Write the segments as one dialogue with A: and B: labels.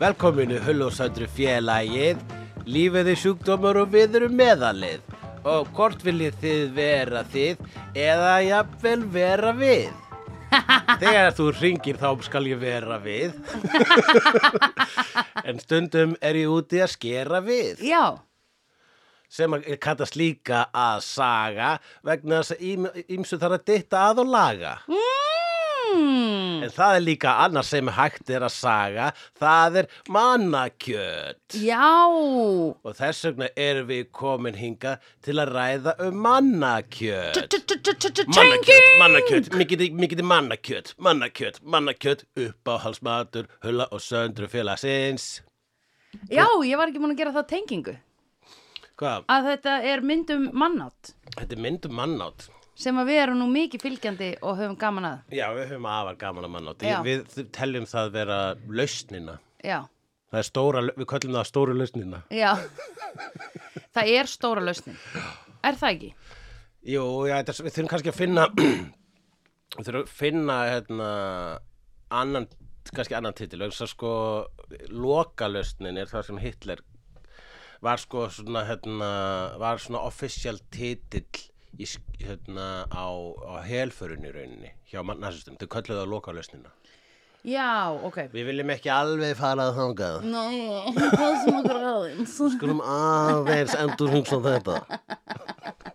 A: Velkominu hull og sandru félagið, lífið er sjúkdómar og við erum meðalið. Og hvort viljið þið vera þið eða jafnvel vera við? Þegar þú ringir þá skal ég vera við. en stundum er ég úti að skera við.
B: Já,
A: Sem að kallast líka að saga vegna þess að ím- ýmsu þarf að ditta að og laga.
B: mm.
A: En það er líka annars sem hægt er að saga, það er mannakjöt.
B: já.
A: Og þess vegna erum við komin hinga til að ræða um mannakjöt. Mannakjöt,
B: Mannakjöt,
A: mannakjöt, mikið í- mikið í mannakjöt, mannakjöt, mannakjöt, uppáhalsmatur, hulla og söndru félagsins.
B: Já, ég var ekki múin að gera það tengingu
A: Hvað,
B: að þetta er myndum mannátt
A: þetta er mynd um mannátt.
B: sem að við erum nú mikið fylgjandi og höfum gaman að
A: Já, við höfum afar gaman að mannátt.
B: Já.
A: Við teljum það vera lausnina.
B: Já,
A: Það er stóra, við köllum það stóru lausnina.
B: já Það er stóra lausnin Er það ekki?
A: Jú, já, þetta, er- við þurfum kannski að finna við þurfum að finna hérna, annan, kannski annan titil þess að sko lokalösnin er það sem Hitler var sko svona hérna, var svona official titill í, sk- hérna, á, á helförunni rauninni hjá nazistum, þau kölluðu á lokalösnina
B: Já, ok
A: Við viljum ekki alveg fara að þangað
B: Nei, passum okkur aðeins
A: Skulum aðeins endur hugsa um þetta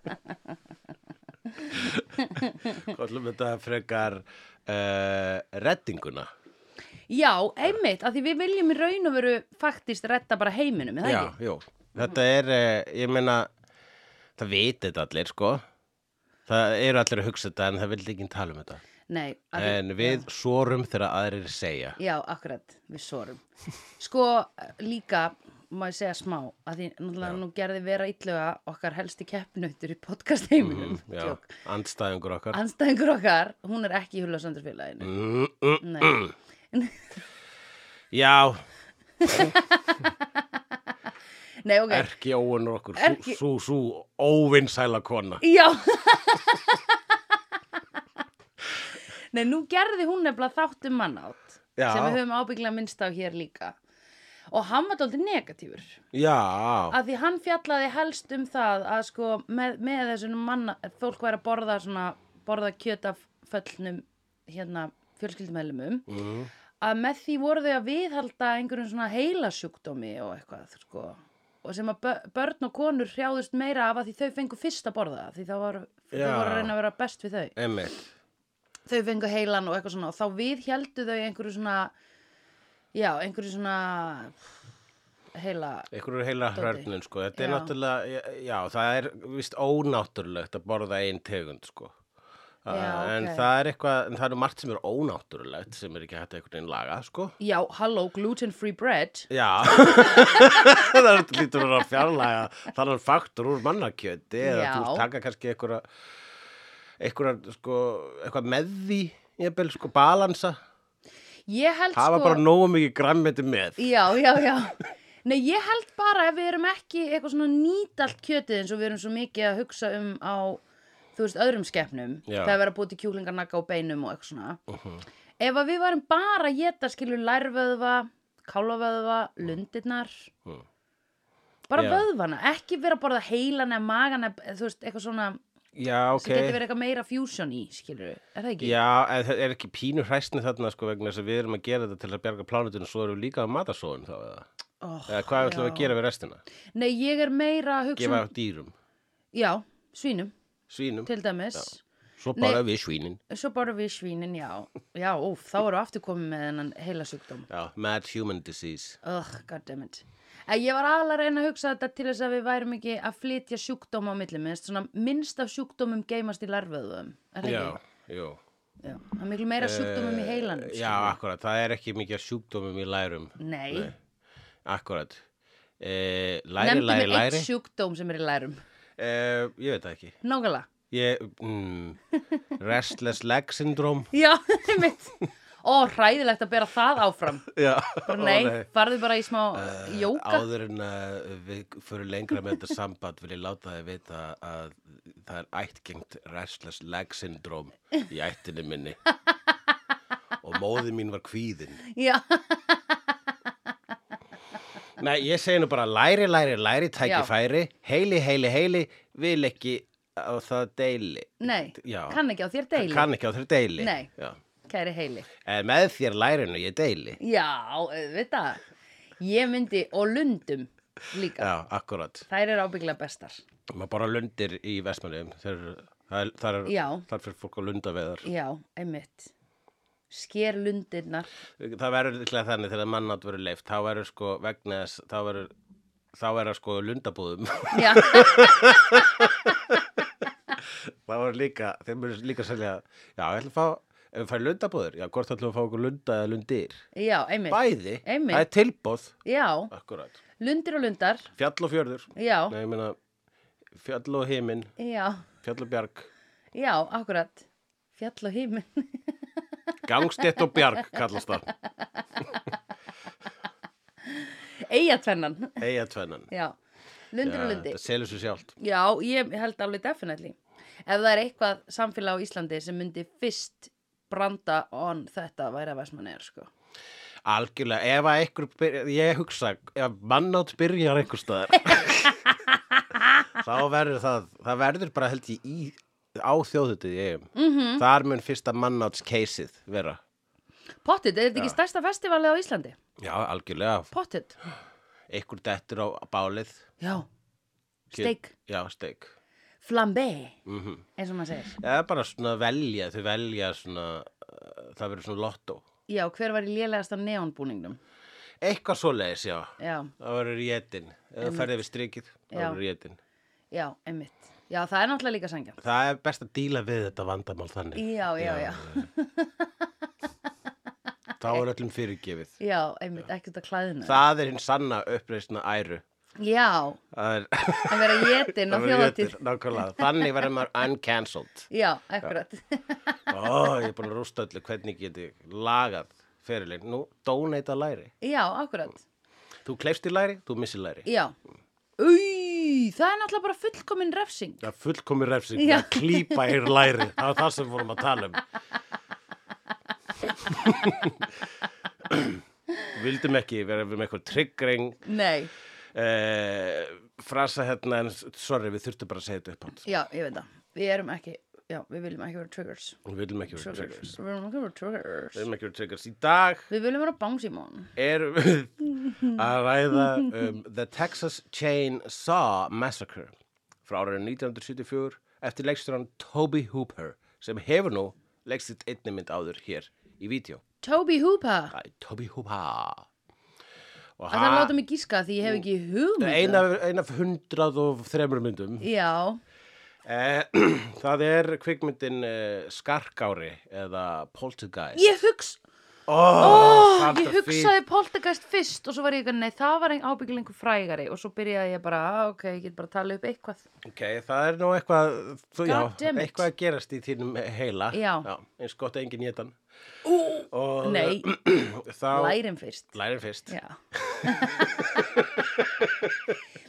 A: Kallum þetta frekar uh, reddinguna
B: Já, einmitt, að því við viljum í raun og veru faktist retta bara heiminum, er það ekki?
A: jú Þetta er, uh, ég meina það veit þetta allir sko Það eru allir að hugsa þetta en það vildi ekki tala um þetta
B: Nei, að því-
A: En við svorum þegar aðrir segja
B: Já, akkurat, við sorum. Sko, líka, má ég segja smá, að því náttúrulega nú gerði vera illuga okkar helsti keppnautur í podcast heiminum. Mm,
A: Já, andstæðingur okkar
B: Anstæðingur okkar, hún er ekki í Hullasandurfélaginu.
A: mm, mm.
B: Nei,
A: Já, Mm.
B: Nei ok.
A: erki óunur okkur
B: Erki-
A: Sú, sú, sú óvinsæla kona
B: Já. Nei, nú gerði hún nefnilega þátt um mannátt,
A: Já.
B: sem við höfum ábygglega minnst á hér líka. Og hann var dálítið negatífur.
A: Já,
B: að því hann fjallaði helst um það að sko með, með þessum manna fólk væri að borða svona borða kjöt af föllnum hérna fjölskyldumælumum
A: mm,
B: að með því voru þau að viðhalda einhverjum svona heilasjúkdómi og eitthvað sko og sem að bö- börn og konur hrjáðust meira af að því þau fengu fyrst að borða það, því þá var, þau
A: Já.
B: voru að reyna að vera best við þau
A: Emil
B: þau fengu heilan og eitthvað svona og þá við heldu þau einhverju svona já, einhverju svona heila
A: Ykkur eru heila
B: Dóti.
A: hrörnun sko, þetta er
B: Já.
A: náttúrulega, já, það er vist ónáttúrulegt að borða einn tegund sko. Uh,
B: Já,
A: En
B: ókei.
A: það er eitthvað, en það eru margt sem er ónáttúrulegt sem er ekki hægt einhvern veginn laga sko.
B: já, halló, gluten free bread
A: Já, það er lítur að vera að fjarlæga þannig faktur úr mannakjöti eða
B: Já.
A: þú vilt taka kannski einhverja, einhverja sko, eitthvað með því, ég bel sko, balansa,
B: Ég held
A: hafa
B: sko...
A: bara nógu mikið grammeti með.
B: Já, já, já. Nei, ég held bara ef við erum ekki eitthvað svona nýtalt kjötið eins og við erum svo mikið að hugsa um á, þú veist, öðrum skepnum.
A: Já. Mhm.
B: Það er verið að búið til kjúklingarnakka og beinum og eitthvað svona. Ef að við varum bara að geta skilur lærvöðva, kálvöðva, lundirnar,
A: Mm.
B: bara
A: Já.
B: vöðvana, ekki vera að borða heilan eða magan eða, þú veist, eitthvað svona
A: Já, ok.
B: sem getur verið eitthvað meira fusion í, skilur, er það ekki?
A: Já, en það er ekki pínu hræstni þarna sko vegna þess að við erum að gera þetta til að bjarga plánutinu og svo erum við líka að mata svoðum þá eða.
B: Oh,
A: Eða hvað ætlum við
B: já.
A: að gera við restina?
B: Nei, ég er meira að hugsa
A: Gefa
B: um,
A: dýrum,
B: já, svínum.
A: svínum,
B: til dæmis
A: svo bara við svínin.
B: svo bara við svínin, já já, óf, þá eru aftur komið með hennan heila sjúkdóm
A: Já, mad human disease.
B: ugh, goddammit en ég var alveg að reyna að hugsa þetta til þess að við værum ekki að flytja sjúkdóm á milli minnst, svona minnst af sjúkdómum geimast í larvöðum er það
A: Já,
B: ekki?
A: jú. Eh,
B: Já, það er miklu meira sjúkdómum í heilanum
A: Já,
B: skilurðu.
A: akkurat, það er ekki mikið af sjúkdómum í lærum.
B: nei,
A: Nei. Akkurat. Eh, læri,
B: nefndi
A: læri,
B: mig
A: læri.
B: eitt sjúkdóm sem er í lærum
A: Eh, ég veit það ekki.
B: nákvæmlega,
A: Ég, mm, restless leg syndrome.
B: já, mitt ó, hræðilegt að bera það áfram
A: Já,
B: bara
A: ó,
B: nei, farðu bara í smá jóka
A: Eh, Áður en að við fyrir lengra með þetta samband vil ég láta þið vita að það er ættgengt restless leg syndrome í ættinni minni og móði mín var kvíðin
B: Já
A: Nei, ég segi nú bara læri, læri, læri, tækifæri, heili, heili, heili, vil ekki á það deili.
B: Nei,
A: Já.
B: kann ekki á þér deili,
A: Kann ekki á þér deili.
B: Nei.
A: Já.
B: kæri heili.
A: En með þér lærinu ég deili.
B: Já, auðvitað. Ég myndi, og lundum líka.
A: Já, akkurat.
B: Þær eru ábyggilega bestar.
A: Maður bara lundir í Vestmannum. Þar, þar, er-
B: Já.
A: þar fyrir fólk að lunda veðar.
B: Já, einmitt. Sker lundirnar.
A: Það verður líklega þannig þegar mannátt verður leift. Þá verður sko vegna þess, þá verður, þá verður sko lundabúðum.
B: Já,
A: Það var líka, þeim eru líka að selja, já, ég ætla að fá, ef við færi lundabúður, já, hvort ætlum við að fá okkur lunda eða lundir?
B: já, einmitt.
A: Bæði,
B: Einmitt.
A: það er tilbóð,
B: Já,
A: akkurat.
B: lundir og lundar.
A: Fjall og fjörður,
B: Já,
A: nei, ég meina, fjall og heiminn,
B: já,
A: fjall og bjarg,
B: já, akkurat. Fjall og híminn.
A: gangstett og bjarg kallast það,
B: Eyja tvennan.
A: eiga tvennan.
B: Já, lundir og lundi.
A: Það selur svo sjálft.
B: Já, ég held alveg definitely. Ef það er eitthvað samfélag á Íslandi sem myndi fyrst branda on þetta væri að versmann er, sko.
A: Algjörlega, ef að einhver, byrja, ég hugsa, ef mannátt byrjar einhver staðar, þá verður það, það verður bara held ég í, á þjóðutið ég um. Mm
B: Mhm.
A: -hmm. Þar mun fyrsta mannátts keisið vera.
B: Pottit, er þetta ekki stærsta festivalið á Íslandi?
A: Já, algjörlega.
B: Pottit,
A: Ekkur dettur á bálið.
B: já.
A: Kjöt-
B: Steik,
A: Já, steik.
B: flambé,
A: Mm
B: eins og maður segir.
A: Það er bara svona velja, þau velja svona, uh, það verður svona lottó.
B: Já, hver var í lélegasta neonbúningnum?
A: Eitthvað svoleiðis, já.
B: Já,
A: Það verður rétin. Ef þú ferði við strikið, það
B: Já.
A: verður rétin.
B: já, einmitt. Já, það er náttúrulega líka sangja.
A: Það er best að díla við þetta vandamál þannig.
B: Já, já, já.
A: Þá
B: Eh.
A: er öllum fyrirgefið.
B: Já, einmitt, ekkert að klæðinu.
A: Það er hinn sanna uppreisna æru.
B: Já,
A: Það er,
B: að vera jetin á
A: það verður
B: þjóðatíð.
A: rétin, nákvæmlega. Þannig verður maður uncancelled.
B: Já, akkurat.
A: Ó, ég er búin að rústa öllu hvernig ég geti lagað fyrirlin. Nú, donate að læri.
B: Já, akkurat.
A: Þú kleifst í læri, þú missir læri.
B: Já. Új, það er náttúrulega bara fullkomin refsing.
A: Það er fullkomi refsing,
B: Já.
A: það er klípa í læri, það er það sem við vorum að tala um. Vildum ekki vera með eitthvað triggering,
B: Nei,
A: eh, frasa hérna, en sorry, við þurftum bara að segja þetta upp átt.
B: já, ég veit það. Við erum ekki, já, við viljum ekki vera triggers.
A: Við viljum ekki vera triggers.
B: Triggers. Við viljum ekki vera
A: Við
B: triggers.
A: viljum ekki vera triggers. Í dag
B: Við viljum vera bánsímón.
A: erum við að ræða um The Texas Chainsaw Massacre frá árið 1974 eftir leikstjóran Toby Hooper sem hefur nú leikstitt einni mynd áður hér í vídeo.
B: Toby Hooper.
A: Það er Toby Hooper. Og
B: Að það láta mig gíska því ég hef ekki um hugmynda.
A: eina, eina af 103 myndum.
B: Já,
A: Eh, það er kvikmyndin eh, Skarkári eða Poltergeist.
B: ég hugsa,
A: oh,
B: oh, ég hugsaði poltergeist fyrst og svo var ég eitthvað, nei, það var ein- ábyggilega einhver frægari og svo byrjaði ég bara, ah, ok, ég get bara að tala upp eitthvað.
A: Ok, það er nú eitthvað, þú, já,
B: God damn it.
A: eitthvað að gerast í þínum heila.
B: Já.
A: eins gott að enginn getan.
B: Ú,
A: Og
B: nei,
A: þá
B: lærin fyrst.
A: lærin fyrst.
B: Já.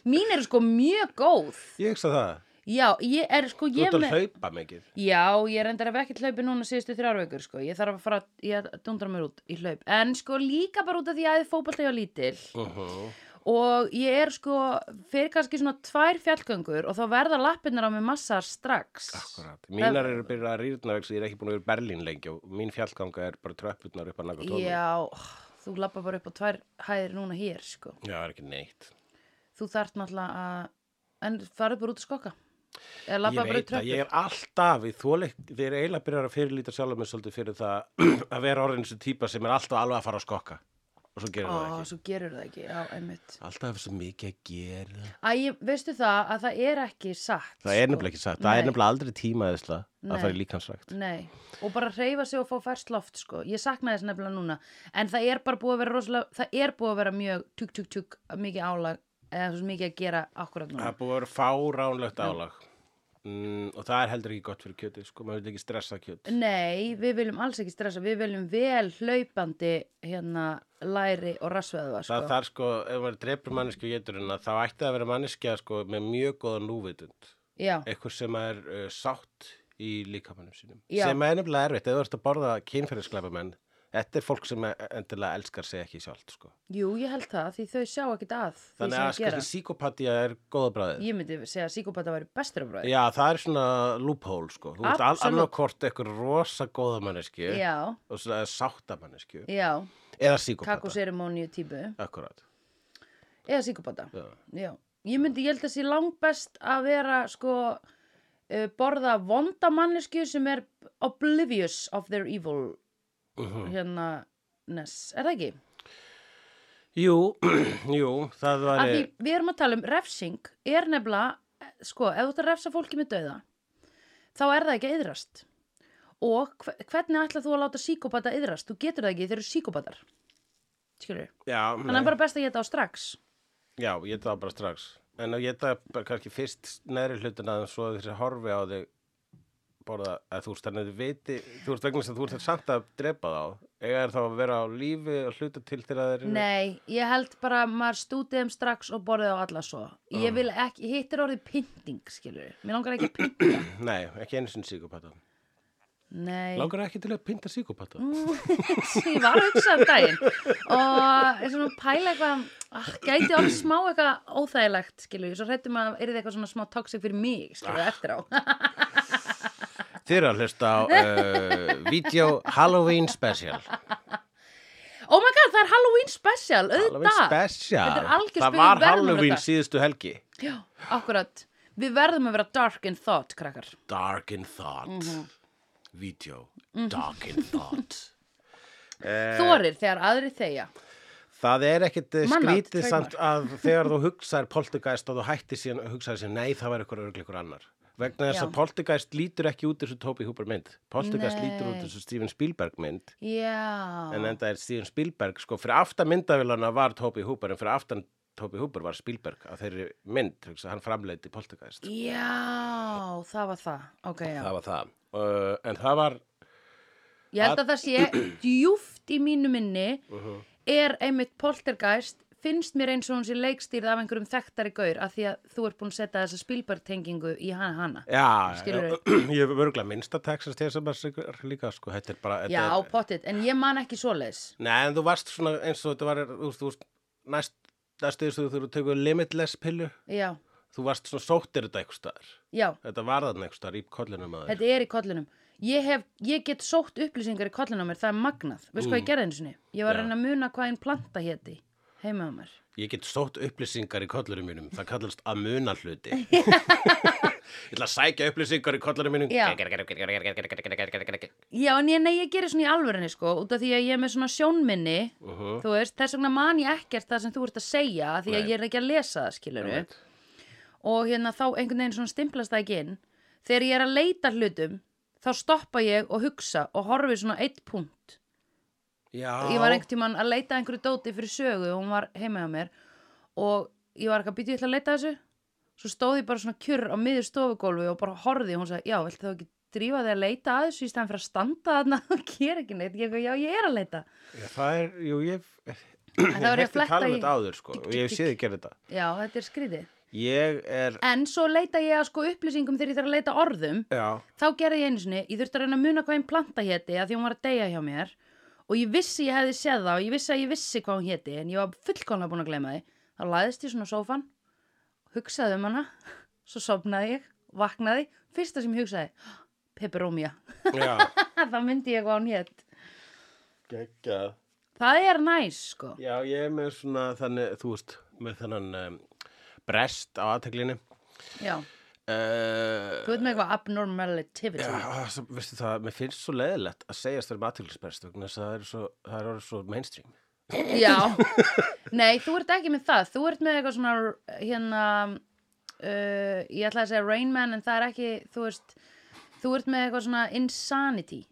B: Mín eru sko mjög góð.
A: Ég hugsa það.
B: Já, ég er sko,
A: Þú
B: ég
A: ert að hlaupa mikið.
B: Já, ég reyndar að ekki hlaupi núna síðustu þrjár vikur, sko. Ég þarf að fara, ég dundra mér út í hlaup. En sko líka bara út af því að ég fótbalta ég á lítil.
A: Uh -huh.
B: Og ég er sko, fyrir kannski svona tvær fjallgöngur og þá verða lappirnar á mig massar strax.
A: Mínar eru byrjað að rýrna vegna ég er ekki búin að vera í Berlín lengi og mín fjallganga er bara tröppurnar upp að naga tónum.
B: Já, oh, þú lappa bara upp á tvær hæðir núna hér, sko.
A: Já, það er ekki neitt.
B: Þú þarft náttúrulega að, en farið bara út að skokka. Eða lappa
A: ég
B: bara upp
A: veit að
B: tröppur.
A: ég er alltaf í þóleik, þeir eru eiginlega byrjar að fyrirlíta sjálfum mér svolítið fyrir það að vera orðin þessu típa sem er alltaf alveg að fara að skokka og svo gerir það
B: Ó,
A: ekki.
B: svo gerur það ekki, já, einmitt.
A: Alltaf svo mikið að gera.
B: Æ, ég- veistu það að það er ekki satt. sko?
A: Það er nefnilega ekki satt. Það er
B: Nei.
A: nefnilega aldrei tímaðisla
B: Nei.
A: að fara í líkansrækt.
B: Nei, og bara reyfa sig og fá fært loft, sko. Ég sakna þess nefnilega núna. En það er bara búið að vera rosalega, það er búið að vera mjög tjúk, tjúk, tjúk, mikið álag, eða svo mikið að gera akkurat
A: Það
B: núna.
A: er búið að vera fáránlegt álag. Mm, og það er heldur ekki gott fyrir kjötið, sko. Maður vil ekki stressa kjöt.
B: Nei, við viljum alls ekki stressa, við viljum vel hlaupandi, hérna, læri og rassveðva, sko.
A: Það þarf sko, ef maður drepur manneskju geturina, þá ætti það að vera manneskja sko með mjög góða núvitund.
B: Já,
A: Eitthvað sem er uh, sátt í líkamannum sínum.
B: Já.
A: Sem er nefnilega erfitt. Ef þú ert að borða kynferðisklæpamenn, Þetta er fólk sem e- endilega elskar sig ekki sjálft sko.
B: Jú, ég held það, því þau sjá ekkit að því
A: Þannig
B: sem
A: að
B: þau
A: kannski
B: gera.
A: psíkopatía er góða bræðið.
B: Ég myndi segja að psíkopata væri bestur af bræði.
A: Já, það er svona loophole sko. Þú ert
B: Absolutt.
A: annarkort eitthvað rosa góða mannesku
B: Já,
A: og svona sáttamannesku
B: já,
A: eða psíkopata.
B: kakoserimóníu típu
A: Akkurát.
B: eða psíkopata.
A: Já.
B: Já, ég myndi, ég held að sé langbest að vera sko uh, borða vonda mannesku sem er oblivious of their evil
A: Mhm.
B: hérna ness, er það ekki?
A: Jú, jú, það
B: Af
A: var...
B: því við erum að tala um refsing er nefnilega, eh, sko, ef þú ert að refsa fólki með dauða, þá er það ekki að yðrast. Og hve- hvernig ætlar þú að láta síkópata yðrast? Þú getur það ekki, þeir eru síkópatar. Skilur,
A: Já,
B: þannig
A: nei.
B: er bara best að geta á strax.
A: Já, ég það bara strax. En að ég það bara kannski fyrst neðri hlutin að svo þessi horfi á þig borða að þú veist þannig að þú viti, þú veist vegna þess að þú ert samt að drepa þá. Eða er þá að vera á lífi og hluta til til að þeir eru...
B: Nei, ég held bara að maður stútið um strax og borðið á alla svo.
A: Ah.
B: Ég vil ekki, hittir orðið pynting, skilur. Mér langar ekki að pynta.
A: Nei, ekki einu sinni psíkopata.
B: Nei,
A: Langar ekki til að pynta psíkopata?
B: ég var að hugsa um daginn. Og ég svona pæla eitthvað, ah, gæti orðið smá eitthvað óþægilegt, skilur. Svo hrættum að er þið eitthvað svona smá toxic fyrir mig, skilur,
A: Ah.
B: eftir á.
A: Þið eru að hlusta á uh, Video Halloween Special
B: oh my god, það er Halloween special,
A: Halloween
B: auðvitað.
A: Special
B: Þetta er algjör
A: Það
B: spil,
A: var
B: við verðum að
A: Halloween
B: vera þetta.
A: síðustu helgi
B: Já, akkurat. Við verðum að vera dark in thought, krakkar.
A: Dark in Thought
B: Mhm.
A: Video Dark in Thought eh,
B: Þorir þegar aðri þegja.
A: Það er ekkit eh,
B: Mannáll,
A: skrítið samt að þegar þú hugsaðir poltergeist og þú hættir síðan að hugsaðir síðan nei það var eitthvað örgleikur ykkur annar vegna þess
B: Já.
A: að poltergeist lítur ekki út þessu Toby Hooper mynd poltergeist lítur út
B: Nei.
A: þessu Steven Spielberg mynd
B: Já.
A: en enda er Steven Spielberg sko fyrir aftan myndavélana var Toby Hooper en fyrir aftan Toby Hooper var Spielberg að þeirri mynd, hugsa, hann framleiti poltergeist
B: Já, það var það. Ok, já.
A: það var það uh, en það var
B: Ég held að það sé djúft í mínu minni
A: Uh-huh.
B: er einmitt poltergeist finnst mér eins og hún sé leikstýrð af einhverjum þekktari gaur af því að þú ert búin að setja þessa spilbartengingu í hana hana.
A: já,
B: Skilurðu?
A: ég, ég hef örgulega minnsta Texas til þess að líka sko, þetta er bara þetta
B: Já,
A: er,
B: pottit, en ég man ekki svoleiðs.
A: Nei, en þú varst svona eins og þetta var þú veist, þú veist, næst, næstu þess að þú tegur limitless pillu
B: Já,
A: þú varst svona sóttir þetta einhvers staðar
B: já,
A: þetta var þarna einhvers staðar í kollinum að þér
B: þetta er í kollinum. Ég, hef, ég get sótt upplýsingar í kollinum á mér, það er magnað. Veist hvað ég gerði einu sinni? Ég var
A: Mm.
B: að
A: Já.
B: reyna að muna hvað einn planta héti heima á mér.
A: Ég get sótt upplýsingar í kollurum mínum, það kallast að muna hluti. Ég ætla að sækja upplýsingar í kollurum mínum.
B: Já.
A: Uh
B: Já, en ég, nei, ég gerir svona í alvörinni sko, út af því að ég er með svona sjónminni,
A: -huh.
B: þú veist, þess vegna man ég ekkert það sem þú ert að segja, af því að
A: Sko. Nei.
B: ég er ekki að lesa það, skilur við. Og hérna þá einhvern veginn svona stimplast það ekki inn. Þegar ég er að leita að hlutum, þá stoppa ég og hugsa og horfi svona eitt punkt.
A: Já.
B: Ég var einhvern tímann að leita að einhverju dóti fyrir sögu og hún var heima hjá mér og ég var ekki að býta ég ætla að leita að þessu. Svo stóð ég bara svona kjurr á miður stofugólfi og bara horfði og hún sagði, já, viltu þá ekki drífa þig að leita að þessu í stæðan fyrir að standa þarna og gera ekki neitt. Ég, eitthvað, já, ég er að leita.
A: Já, Það er, jú, ég hef
B: það var ég að
A: hefði
B: fletta
A: talað
B: í-
A: þetta áður, sko,
B: Tík,
A: og ég hef
B: tík,
A: séð þið gera þetta.
B: Já, þetta er skrítið.
A: Ég er,
B: En svo leita ég að sko upplýsingum þegar ég þarf að leita orðum.
A: já,
B: Þá gerði ég einu sinni, ég þurfti að reyna að muna hvað einn planta héti að því hún var að deyja hjá mér. Og ég vissi ég hefði séð það og ég vissi að ég vissi hvað hún héti en ég var fullkomlega búin að gleyma því. Þá læðist ég svona á sófan, hugsaði um hana, svo sopnaði ég, vaknaði. Fyrsta sem ég hugsaði, peperomia.
A: já,
B: Þá myndi ég hvað hún hétt.
A: geggjað.
B: Það er næs sko.
A: Já, ég er með svona, þannig, þú veist, með þennan um, brest á aðteklinni.
B: Já,
A: Uh,
B: þú veit með eitthvað abnormalitivity.
A: Já, það, veistu það, mér finnst svo leiðilegt að segjast þeirra aðtöklisberst vegna þess að það er svo, það er orðið svo mainstream.
B: Já, nei, þú ert ekki með það Þú ert með eitthvað svona hérna uh, ég ætla að segja Rain Man en það er ekki, þú veist þú ert með eitthvað svona insanity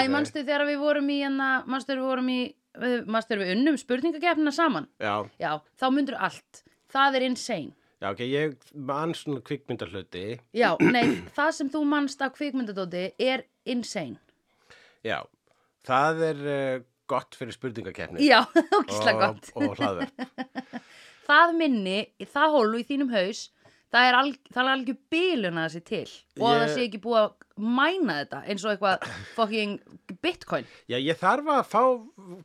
B: Æ, manstu þegar við vorum í hérna, manstu þegar við vorum í við- manstu þegar við unnum spurningakefnina saman
A: Já,
B: Já, þá myndur allt Það er insane
A: já, ok, ég man svona kvikmyndahluti,
B: Já, nei, það sem þú manst á kvikmyndadóti er insane
A: já, það er uh, gott fyrir spurningakefni.
B: Já, ógislega gott
A: Og, og hlaðverð.
B: það minni, það hólu í þínum haus það er, alg, það er algjör bilun að það sé til og að það
A: Ég-
B: sé ekki búið að mæna þetta eins og eitthvað fucking bitcoin
A: Já, ég þarf að fá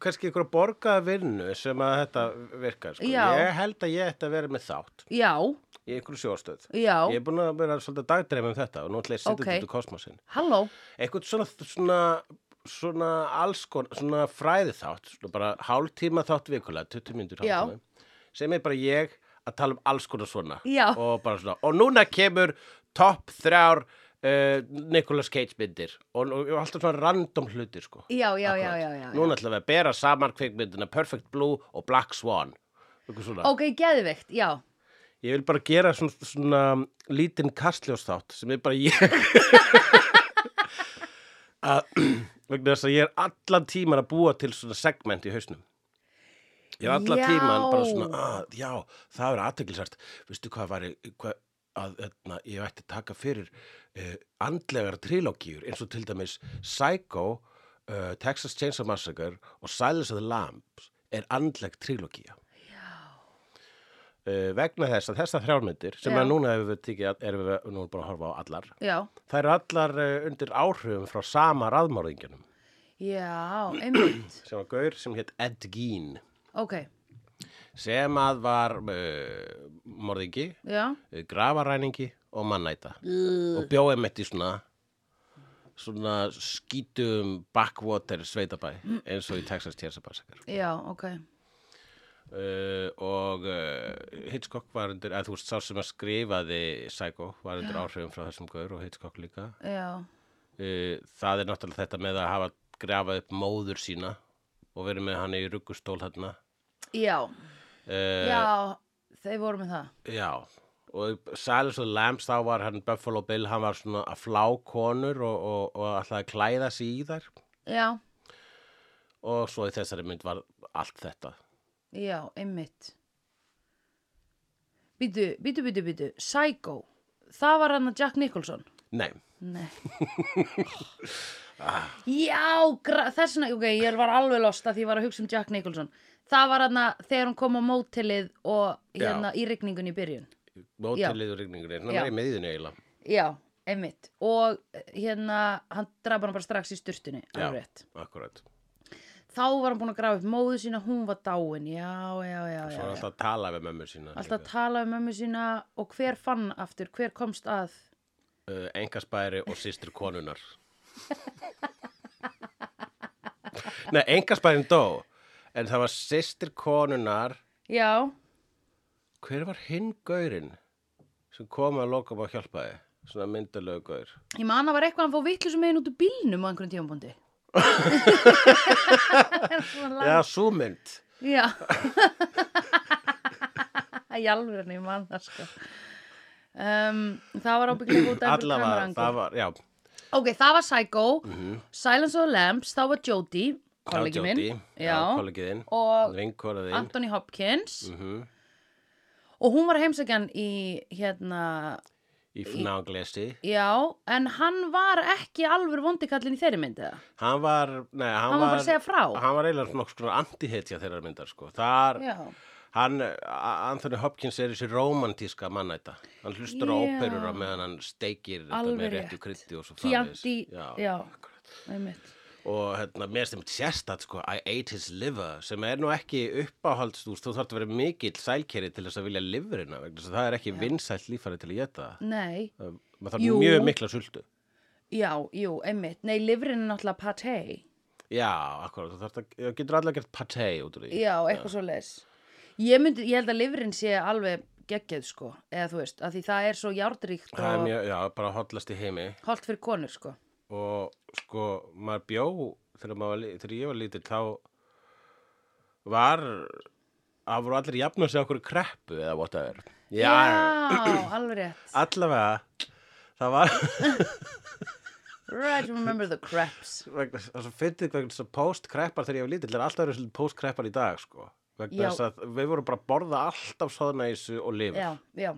A: kannski einhverja borgaða vinnu sem að þetta virkar. Sko.
B: Já.
A: Ég held að ég ætti að vera með þátt
B: já,
A: í einhverju sjórstöð.
B: já,
A: Ég er búin að vera svolítið dagdreif um þetta og nú ætla ég að setja
B: Ok.
A: þetta út í kosmosin.
B: halló
A: Eitthvað svona, svona, svona alls konar, svona fræði þátt, svona bara hálftíma þátt vikulega, 20 mínútur
B: Já.
A: hálftíma, sem er bara ég að tala um alls konar svona.
B: Já.
A: Og bara svona, og núna kemur topp þrjár uh, Nicolas Cage myndir og, og, og alltaf svona random hlutir, sko.
B: já, já, já,
A: Akkurat.
B: já, já, já.
A: Núna ætlum við að bera saman kvikmyndina Perfect Blue og Black Swan. Eitthvað svona.
B: ok, geðvikt, já
A: Ég vil bara gera svona, svona lítinn kastljósþátt sem er bara ég. að, vegna þess að ég er allan tíman að búa til svona segment í hausnum. Ég er allan
B: Já.
A: tíman bara svona, að, já, það er aðteglisært. Vistu hvað var ég, hvað, að, að, ég ætti að taka fyrir uh, andlegar trilógíur eins og til dæmis Psycho, uh, Texas Chainsaw Massacre og Silence of the Lambs er andleg trilógía uh, vegna þess að þessar þrjármyndir sem
B: Já.
A: að núna hefur við tekið, að- erum við nú bara að horfa á allar
B: já,
A: það eru allar uh, undir áhrifum frá sama raðmörðingunum
B: já, einmitt
A: sem var gaur sem hétt Ed Gein
B: ok,
A: sem að var uh, morðingi,
B: já
A: uh, gravaræningi og mannæta
B: L-
A: og bjóði mitt í svona svona skítum backwater sveitabæ eins og í Texas Tjensabæsakar
B: já, ok
A: uh, og uh, Hitchcock var undir, eða þú veist, sá sem að skrifaði Psycho var undir áhrifum frá þessum gaur og Hitchcock líka
B: já,
A: uh, það er náttúrulega þetta með að hafa grafað upp móður sína og verið með hann í ruggustól hérna
B: já,
A: uh,
B: já þeir voru með það
A: já og Silence of the Lambs þá var hann Buffalo Bill, hann var svona að flá konur og, og, og alltaf að klæða sig í þær
B: já,
A: og svo í þessari mynd var allt þetta
B: já, einmitt býtu, býtu, býtu, býtu Psycho, það var hann að Jack Nicholson
A: nei,
B: Nei. Já, gra- þess vegna, ok, ég var alveg lost að því ég var að hugsa um Jack Nicholson. Það var hann þegar hún kom á mótilið og hérna í rigningun í byrjun.
A: mótilið og rigningur hann
B: Já.
A: var í miðinu eiginlega
B: Já, einmitt. Og eh, hérna, hann draf hann bara strax í styrtunni,
A: Já.
B: alveg rétt.
A: akkurat
B: Þá var hann búin að grafa upp móðu sína, hún var dáin, já, já, já, já.
A: Svo var
B: já.
A: alltaf að tala við mömmu sína
B: Alltaf að tala um mömmu sína og hver fann aftur, hver komst að.
A: uh, Engaspæri og sýstir konunar Nei, engaspærin dó En það var sýstir konunar
B: Já,
A: Hver var hinn gaurinn sem kom að lokum og hjálpaði? Svona myndalögu gaur
B: ég man að var eitthvað að hann fór vitlu meginn út úr bílnum á einhverjum tímabundi.
A: Já, sú mynd
B: Já Í alveg ég man það sko um, Það var ábyggilega út af einhverju
A: Allavega,
B: kameraangul.
A: það var, Mhm. já
B: Ok, það var Psycho Silence of the Lambs, þá var Jodie kollegi minn
A: já,
B: já,
A: kollegiðinn
B: Og Ah,
A: Vinkoraðinn
B: Anthony Hopkins
A: mm
B: Og hún var heimsækjan í hérna
A: Í fnáglesi
B: Já, en hann var ekki alveg vondikallin í þeirri myndi það
A: Hann var, nei, hann,
B: Hann var bara að segja frá.
A: Hann var eiginlega nokkuð svona anti-hetja þeirra myndar, sko Þar,
B: Já,
A: hann, eh, A- Anthony Hopkins er þessi romantíska mannæta hann hlustur á
B: Já.
A: óperur á meðan hann steikir þetta
B: Alveg
A: með
B: rétt.
A: réttu krytti og svo framvegis.
B: Chianti Já,
A: já.
B: akkurat einmitt.
A: og hérna, mér sem sérstætt sko I ate his liver sem er nú ekki uppáhaldstúst þú þarf að vera mikill sælkeri til þess að vilja liverina vegna þess að það er ekki vinsælt lífari til að geta
B: Nei,
A: maður þarf
B: Jú.
A: mjög mikla sultu
B: já, jú, einmitt Nei, lifrin er náttúrulega patei
A: já, akkurat, þú þarf að, þú getur allavega gert patei út úr því
B: Já, eitthvað svo leis. Ég, myndi, ég held að lifrin sé alveg geggjöð sko, eða þú veist, að því það er svo járnríkt
A: það er
B: og
A: mjög, já, bara hollast í heimi
B: holt fyrir konur sko.
A: og sko maður bjó þegar, maður, var li- þegar ég var lítill þá var að voru allir jafn að segja okkur kreppu eða whatever
B: Já, alveg rétt.
A: allavega það var
B: Right, remember the craps.
A: vegna, það er svo fyndið vegna þess að post-kreppar þegar ég var lítill það er alltaf eru post-kreppar í dag sko
B: Já.
A: vegna þess að við vorum bara að borða alltaf soðnæsu og lifur,
B: Já, já,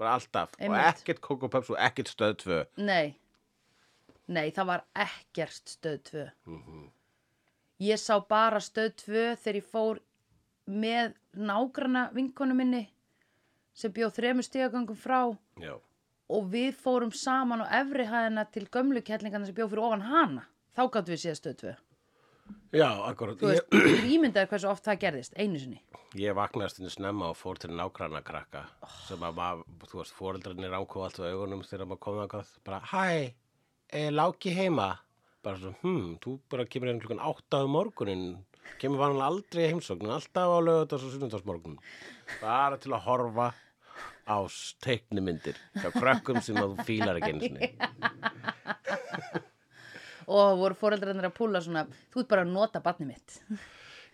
A: bara alltaf og
B: Einmitt.
A: ekkert Coco Peps og ekkert stöð 2
B: nei. Nei, það var ekkert stöð 2. Ég sá bara stöð 2 þegar ég fór með nágrana vinkonu minni sem bjóð þremur stígagöngum frá
A: já,
B: og við fórum saman á efri hæðina til gömlu kettlingarna sem bjóð fyrir ofan hana þá gáttum við séð stöð tvö
A: já, akkurat
B: þú
A: ég,
B: veist, ég... ímyndaði hversu oft það gerðist einu sinni
A: ég vaknaði stundu snemma og fór til nágranna krakka sem að var, þú veist, fóreldrarnir ákóð allt á augunum þegar maður kom þangað bara, hæ, er láki heima bara svona, hm, þú bara kemur einn klukkan átta um morgunin kemur vanlega aldrei í heimsóknin alltaf á lögutas og sunnundagsmorgun bara til að horfa á teiknumyndir hjá krökkum sem að þú fílar ekki einu sinni
B: og voru fóreldrarnir að púla svona þú ert bara að nota barni mitt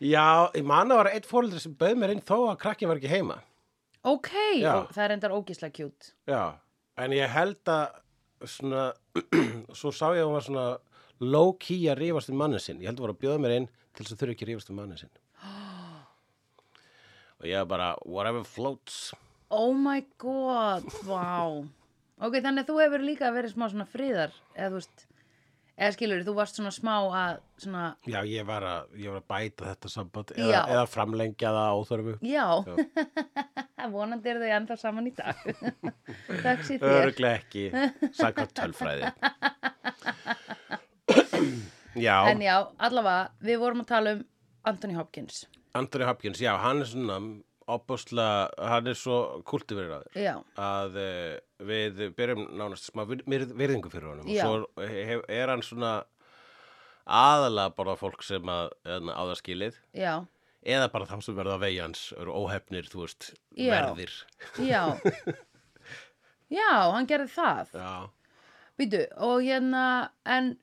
A: Já, ég man að það var eitt fóreldri sem bauð mér inn þó að krakki var ekki heima.
B: ok,
A: Já.
B: og það er endar ógislega kjút
A: Já. En ég held að svona, svo sá ég að hún var svona low-key að rífast um mannin sinn. Ég held að hún var að bjóða mér inn til þess að þurfa ekki að rífast um mannin sinn. Og ég var bara, whatever floats.
B: oh my god, wow ok, þannig að þú hefur líka verið smá svona friðar eða þú veist eða skilur, þú varst svona smá að svona,
A: Já, ég var að, ég var að bæta þetta samband
B: Já.
A: eða, eða framlengja það áþörfu.
B: já, vonandi er þau enda saman í dag takk sér þér
A: Öruglega ekki, sakka tölfræði. Já.
B: en já, allavega, við vorum að tala um Anthony Hopkins
A: Anthony Hopkins, já, hann er svona opbáslega, hann er svo kultiveraður
B: já,
A: að uh, við byrjum nánast smá vir- virð- virðingu fyrir honum
B: Já.
A: og svo hef, er hann svona aðalega bara fólk sem að, að á það skilið
B: já,
A: eða bara þá sem verða vegi hans eru óhefnir, þú veist,
B: Já.
A: verðir
B: já já, hann gerði það
A: Já,
B: Býtu, og hérna, en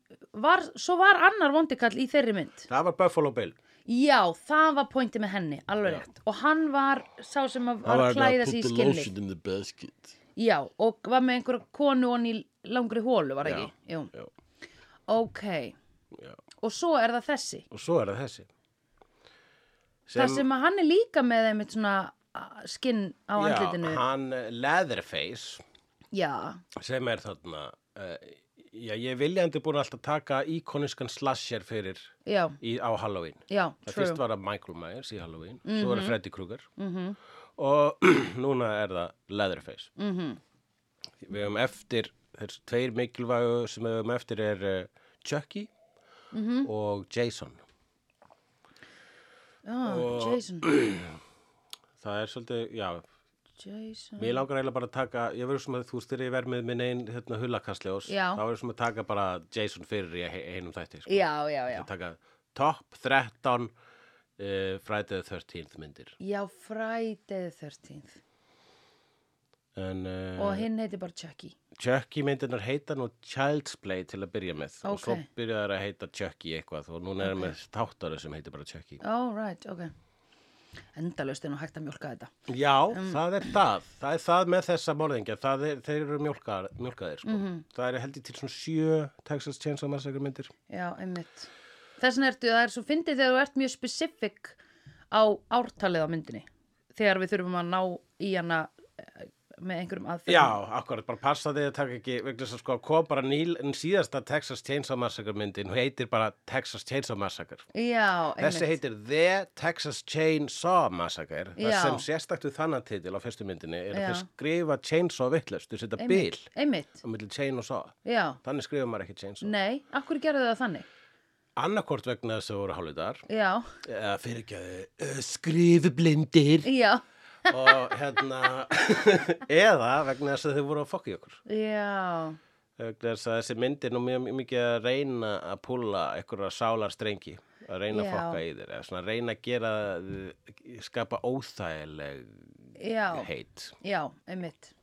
B: var, svo var annar vondikall í þeirri mynd.
A: það var Buffalo Bill
B: Já, það var pointi með henni, alveg rétt. Og hann var sá sem að var að klæða sig í skinni.
A: in hérna the basket
B: Já, og var með einhverja konu og hann í langri hólu, var það
A: Já,
B: ekki? Jú.
A: já.
B: Ok,
A: Já.
B: og svo er það þessi.
A: Og svo er það þessi
B: það sem að hann er líka með einmitt svona ah, skinn á andlitinu.
A: Já, hann eh, Leatherface
B: Já,
A: sem er þarna uh, já, ég viljandi búin alltaf taka íkoniskan slasher fyrir
B: já,
A: í, á Halloween
B: já,
A: það
B: true. Mhm.
A: fyrst var að Michael Myers í Halloween svo var að Freddy Krueger og núna er það Leatherface
B: Mhm.
A: við höfum eftir þessi tveir mikilvægu sem við höfum eftir er uh, Chucky
B: Mhm.
A: og Jason
B: Já, Jason,
A: það er svolítið, já
B: Jason.
A: Mér langar eiginlega bara að taka, ég verður svona, þú veist, þegar ég verð með minn einn hérna, hullakastljós,
B: Já.
A: þá verður svona að taka bara Jason fyrir í he- einum þætti, sko.
B: Já, já, já.
A: Ég taka top 13 uh, Friday the 13th myndir.
B: Já, Friday the 13th.
A: En uh,
B: og hinn heitir bara Chucky
A: Chucky myndirnar heita nú Child's Play til að byrja með og svo
B: Ókei.
A: byrja þær að heita Chucky eitthvað og núna erum við táttari sem heitir bara Chucky.
B: oh right, ok endalaust er nú hægt að mjólka þetta
A: Já, það er það. Það er það með þessa morðingja. Það Er, þeir eru mjólkaðir, mjólkaðir sko. Það er heldur til svona sjö Texas Chainsaw Massacre myndir.
B: já, einmitt þess vegna ertu, það er svo fyndið þegar þú ert mjög specific á ártalið á myndinni þegar við þurfum að ná í hana eh, með einhverjum aðferðum
A: Já, akkurat, bara passa þig að taka ekki vegna þess að sko kom bara nýl en síðasta Texas Chainsaw Massacre myndin hún heitir bara Texas Chainsaw Massacre
B: já einmitt
A: Þessi heitir The Texas Chainsaw Massacre
B: Já.
A: það sem sérstaktu þannan titil á fyrstu myndinni er að
B: Já.
A: þeir skrifa Chainsaw vittlust þau setja bil
B: einmitt, einmitt,
A: á milli chain og saw
B: já
A: Þannig skrifa maður ekki Chainsaw
B: nei, af hverju gerðu það þannig
A: Annarkort vegna þess að þau voru hálfudar
B: já,
A: eða fyrirgjöðu skrifublindir
B: já,
A: og hérna eða vegna þess að þau voru að fokka í okkur
B: já
A: vegna þess að þessi myndir nú mjög mjög mikið að reyna að púla einhverja sálar strengi að reyna
B: Já.
A: að fokka í þér eða svona að reyna að gera þ- skapa óþægileg
B: já,
A: heit
B: já, einmitt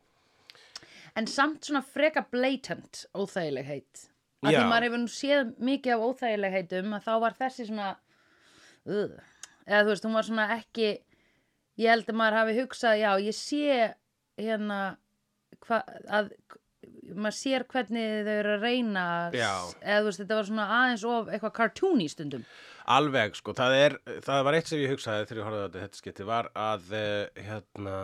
B: en samt svona freka blatant óþægileg heit að
A: Já.
B: því maður hefur nú séð mikið af óþægileg heitum að þá var þessi svona uh, eða þú veist, hún var svona ekki ég held að maður hafi hugsað já, ég sé hérna hva, að maður sér hvernig þau eru að reyna að-
A: Já.
B: eða þú veist, þetta var svona aðeins of eitthvað cartoon í stundum
A: alveg sko, það er það var eitt sem ég hugsaði þegar ég horfði á þetta- þetta skipti var að eh, hérna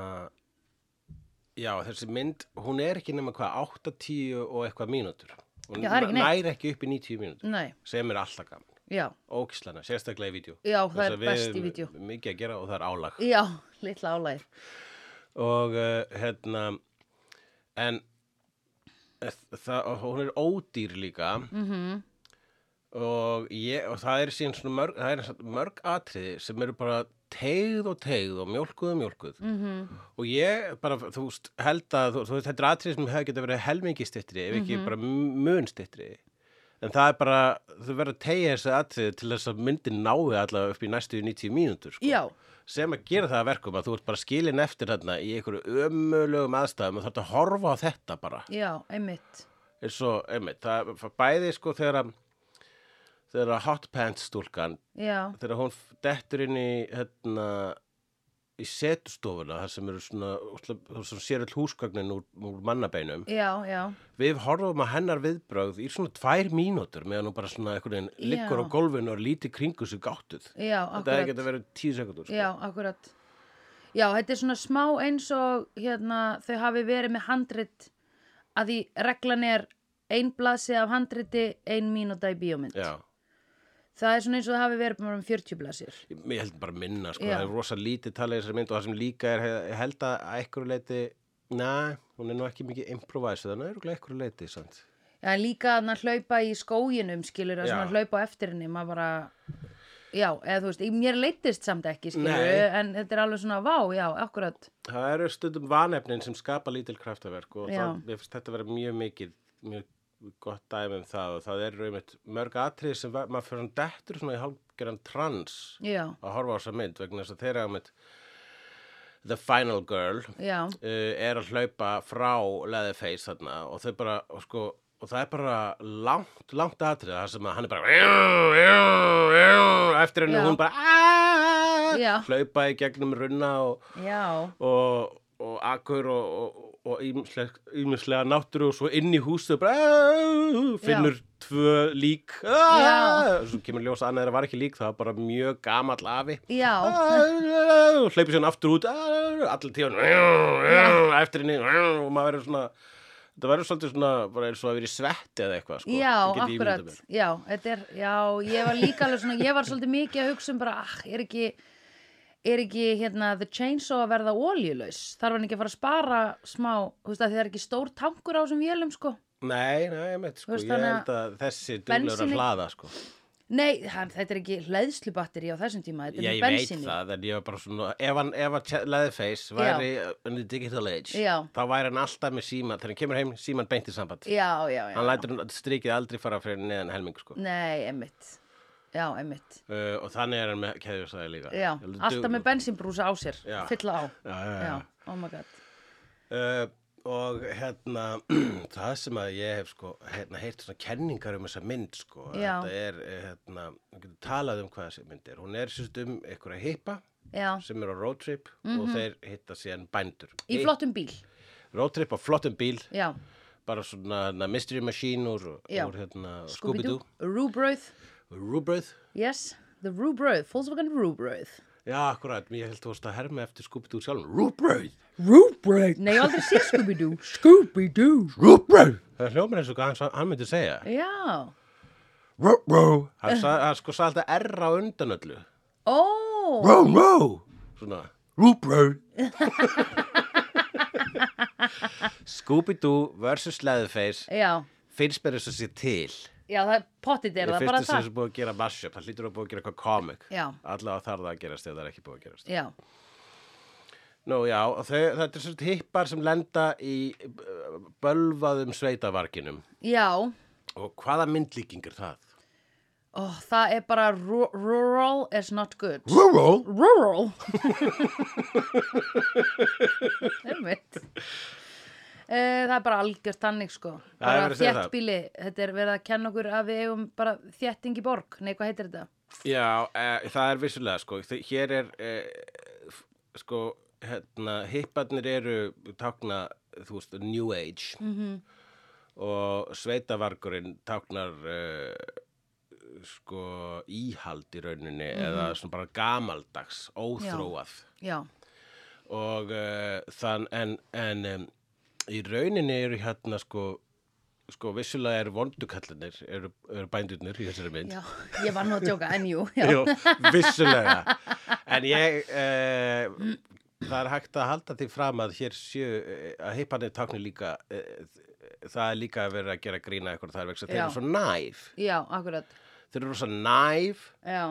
A: já, þessi mynd hún er ekki nema hvað 80 og eitthvað mínútur hún
B: Já, það er ekki neitt.
A: næri ekki upp í 90 mínútur
B: nei,
A: sem er alltaf gaman,
B: já,
A: ókislana sérstaklega í vídeo
B: já, það
A: Þess
B: er
A: að við
B: best í
A: höfum
B: vídeo
A: mikið að gera og það er álag
B: já, litla álæg
A: og uh, hérna en það, og hún er ódýr líka -hmm. og, ég, og það er síðan svona mörg, það er samt mörg atriði sem eru bara tegð og tegð og mjólkuð og mjólkuð
B: Mm.
A: -hmm.
B: Mhm.
A: og ég bara, þú veist, held að þú, þú veist, þetta er atriði sem hefur getað verið helmingi styttri ef ekki bara mun styttri en það er bara, þau verður að tegja þessi atriði til þess að myndin náði allavega upp í næstu 90 mínútur sko
B: Já,
A: sem að gera það að verkum að þú ert bara skilin eftir þarna í einhverju ömulögum aðstæðum og þarf að horfa á þetta bara
B: já, einmitt
A: eins og, einmitt, það það bæði sko þegar að þegar að hot pants stúlkan
B: Já,
A: þegar hún f- dettur inn í hérna í setustofuna þar sem eru svona, ósla- þar sem sér all húsgagnin úr, úr mannabeinum
B: já, já
A: við horfum að hennar viðbrögð í svona tvær mínútur meðan hún bara svona einhvern veginn
B: Já.
A: liggur á gólfinu og lítið kringu sig gáttuð
B: Já,
A: þetta hefði
B: akkurat
A: getað verið tíu sekundur sko.
B: Já, akkurat Já, þetta er svona smá eins og hérna, þau hafi verið með handrit að því reglan er ein blasi af handriti, ein mínúta í bíómynd
A: Já.
B: Það er svona eins og það hafi verið bara um 40 blasir
A: Ég held bara minna, sko,
B: Já.
A: það er rosa lítið talið í þessari mynd og það sem líka er, ég held að að einhverju leiti, næ, hún er nú ekki mikið improvisað, þannig að einhverju leiti, sant?
B: Já, en líka að hann hlaupa í skóginum skilur að
A: Já.
B: svona hlaupa á eftir henni maður bara, já, eða þú veist í- mér leittist samt ekki skilur
A: Nei.
B: en þetta er alveg svona, vá, já, akkurat
A: Það eru stundum vanefnin sem skapa lítil kraftaverk og
B: Já.
A: það, mér finnst þetta vera mjög mikið, mjög gott dæmi um það og það eru einmitt mörg atrið sem va- maður fyrir hann dettur svona í hálfgeran trans
B: Já,
A: að horfa á þessa mynd vegna þess að þeirra einmitt The Final Girl
B: já,
A: uh, er að hlaupa frá Leatherface þarna og þau bara, og sko, og það er bara langt, langt atrið það sem að hann er bara eftir henni
B: Já.
A: og hún bara "Ah!"
B: Já.
A: hlaupa í gegnum runna og,
B: já
A: og, og akkur og, og, og ýmisleg- ýmislega náttúru og svo inn í húsu bara "Ah!" finnur tvö lík
B: Já.
A: "Ah!" svo kemur ljósa annað þeirra var ekki lík það var bara mjög gamall afi
B: Já,
A: hleypir síðan aftur út allir tíðan eftir henni og maður verður svona þetta verður svolítið svona bara eins og að vera í svetti eða eitthvað sko.
B: Já,
A: Ég get ímyndað
B: akkurat,
A: mér.
B: já, þetta er, já, ég var líka alveg svona, ég var svolítið mikið að hugsa um bara, ah, er ekki, er ekki, hérna, the chainsaw að verða oljulaus, þarf hann ekki að fara að spara smá, þú veist að það er ekki stór tankur á þessum vélum, sko,
A: nei, nei, meitt, sko,
B: Þú veist,
A: ég
B: þannig
A: held að þessi duglur að
B: Bensíni-
A: hlaða sko.
B: nei, hann, þetta er ekki hleðslubatteri á þessum tíma,
A: ég,
B: þetta er
A: ég
B: með
A: veit
B: bensinni,
A: það, en ég var bara svona ef, hann, ef að Leatherface væri in the digital age
B: Já.
A: þá væri hann alltaf með síma þegar hann kemur heim, síman beint í samband
B: já, já, já,
A: hann lætur hann strikið aldrei fara fyrir neðan helming sko.
B: nei, emmitt, já, emmitt,
A: uh, og þannig er hann með keðjusæði líka
B: já,
A: Ég held að
B: alltaf
A: duglur.
B: með bensinbrúsa á sér,
A: Já.
B: fylla á,
A: já, já, já.
B: já, oh my god,
A: Uh, og hérna það sem að ég hef sko hérna, heyrt svona kenningar um þessa mynd sko að
B: Já.
A: þetta er eh, hérna við getum talað um hvað þessi mynd er hún er sérst um einhverja hippa
B: já,
A: sem er á roadtrip og þeir hitta síðan bændur
B: Mhm. í flottum bíl,
A: roadtrip á flottum bíl
B: já,
A: bara svona hérna, mystery machine úr,
B: Já.
A: úr hérna, Scooby-Doo
B: Scooby-Doo, Rúbröð,
A: Rubröð
B: Yes, the Rúbröð, Volkswagen Rúbröð
A: já akkurat, ég held þú varst að herma eftir Scooby-Doo sjálfum Rubröð
C: Rupert.
B: Nei, ég hef aldrei sé Scooby-Doo
C: Scooby-Doo.
A: Rubröð það hljómar eins og hvað hann, hann myndi segja
B: Já,
A: Rubröð hann sa, hann sko sagði alltaf R á undan öllu
B: ó,
A: Ró, ró Svona Rúbröð Scooby-Doo versus Leatherface
B: já,
A: finnst mér þess að sé til
B: já, það pottit er það,
A: finnst
B: bara
A: þess að
B: það
A: sé búið að gera mashup það hlýtur að búið að gera eitthvað komik
B: Já.
A: allavega þarf það að gerast ef það er ekki búið að gerast
B: Já,
A: Nú já, og þau, þetta er svona hippar sem lenda í uh, bölvaðum sveitavarkinum
B: já,
A: og hvaða myndlíking er það?
B: ó, það er bara ru- rural is not good
A: Rural
B: Rural Einmitt Eh, Það er bara algjört tannig sko
A: Það er
B: bara
A: verið að segja það.
B: þéttbíli, þetta er verið að kenna okkur að við eigum bara þétting í borg Nei, hvað heitir þetta?
A: Já, e, það er vissulega sko, Þe- hér er e, f- sko, hérna, hipparnir eru tákna, þú veist, New Age -hmm. og sveitavargurinn táknar e, sko íhald í rauninni eða svona bara gamaldags, óþróað
B: Já,
A: og uh, þann en, en um, í rauninni eru hérna sko sko vissulega eru vondukallinir eru, eru bændurnir í þessari mynd
B: já, ég var nú að djóka, en jú, já
A: Jú, vissulega. En ég, eh, það er hægt að halda því fram að hér séu eh, að heipanir tákni líka eh, það er líka að vera að gera grína eitthvað það er vegna þess að þeir
B: Já.
A: eru svo næf
B: já, akkurat
A: þeir eru svo næf
B: já,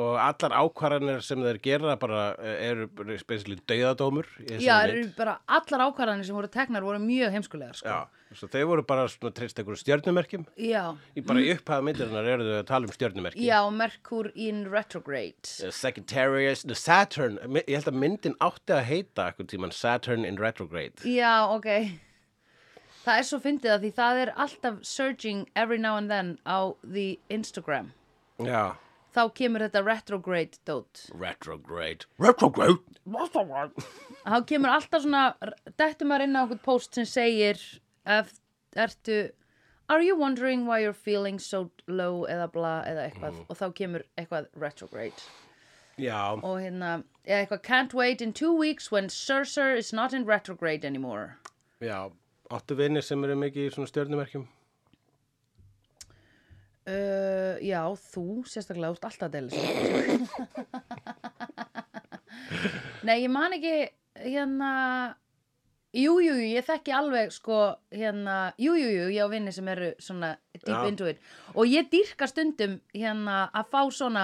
A: og allar ákvarðanir sem þeir gera bara eh, eru spesially dauðadómur í þessari
B: já
A: mynd.
B: eru bara allar ákvarðanir sem voru teknar voru mjög heimskulegar sko.
A: já, svo þeir voru bara svona treyst einhverjum stjörnumerkjum
B: já,
A: í bara í upphæða myndirinnar eru þau að tala um stjörnumerki
B: já, Merkur in retrograde
A: Eh, Sagittarius, the Saturn eh, Mi- ég held að myndin átti að heita eitthvað tíman Saturn in retrograde
B: já, ok það er svo fyndið að því það er alltaf surging every now and then á the Instagram
A: já,
B: þá kemur þetta retrograde dót
A: retrograde retrograde
B: þá kemur alltaf svona dættu maður inn á einhvern post sem segir ef, ertu are you wondering why you're feeling so low eða bla eða eitthvað og þá kemur eitthvað retrograde
A: já,
B: og hérna eða eitthvað can't wait in two weeks when Cursor is not in retrograde anymore
A: já áttu vinir sem eru mikið í svona stjörnumerkjum
B: uh, já þú sérstaklega út alltaf að deila þessu. nei ég man ekki hérna Jú, jú, jú, ég þekki alveg sko hérna, jú, jú, jú, ég á vinni sem eru svona deep
A: Já.
B: into it og ég dýrka stundum hérna að fá svona,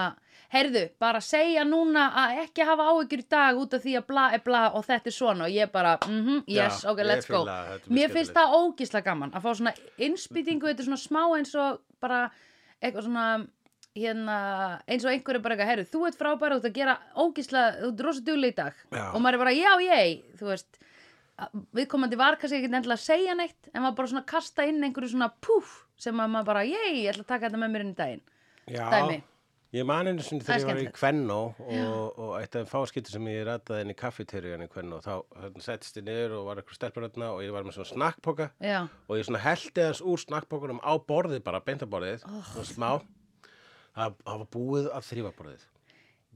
B: heyrðu, bara segja núna að ekki hafa áhyggjur í dag út af því að bla er bla og þetta er svona og ég bara, mhm, yes,
A: Já,
B: ok,
A: ég
B: let's go
A: fíla það, þetta er mjög
B: Mér finnst
A: skemmtilegt.
B: það ógisla gaman að fá svona innspýtingu, þetta er svona smá eins og bara eitthvað svona hérna, eins og einhverju bara eitthvað, heyrðu, þú ert frábæra, þú ert að gera ógisla, þú ert rosa dugleg í dag
A: Já.
B: og maður er bara, já, ég, þú veist viðkomandi var kannski ekkert endilega að segja neitt en var bara svona að kasta inn einhverju svona púf sem að maður bara, ég, ég ætla að taka þetta með mér inn í daginn
A: já,
B: Dæmi.
A: ég man einu sinni
B: Það er
A: þegar ég var í
B: skemmtilegt.
A: Kvennó og, og eitt af fáskipti sem ég rataði inn í kaffiterjun í Kvennó þá hérna, settist ég niður og var eitthvað stelpuröðna og ég var með svona snakkpoka
B: Já,
A: og ég svona heldi aðeins úr snakkbókunum á borðið bara, beintaborðið, oh. svona smá það, það var búið að þrýfa borðið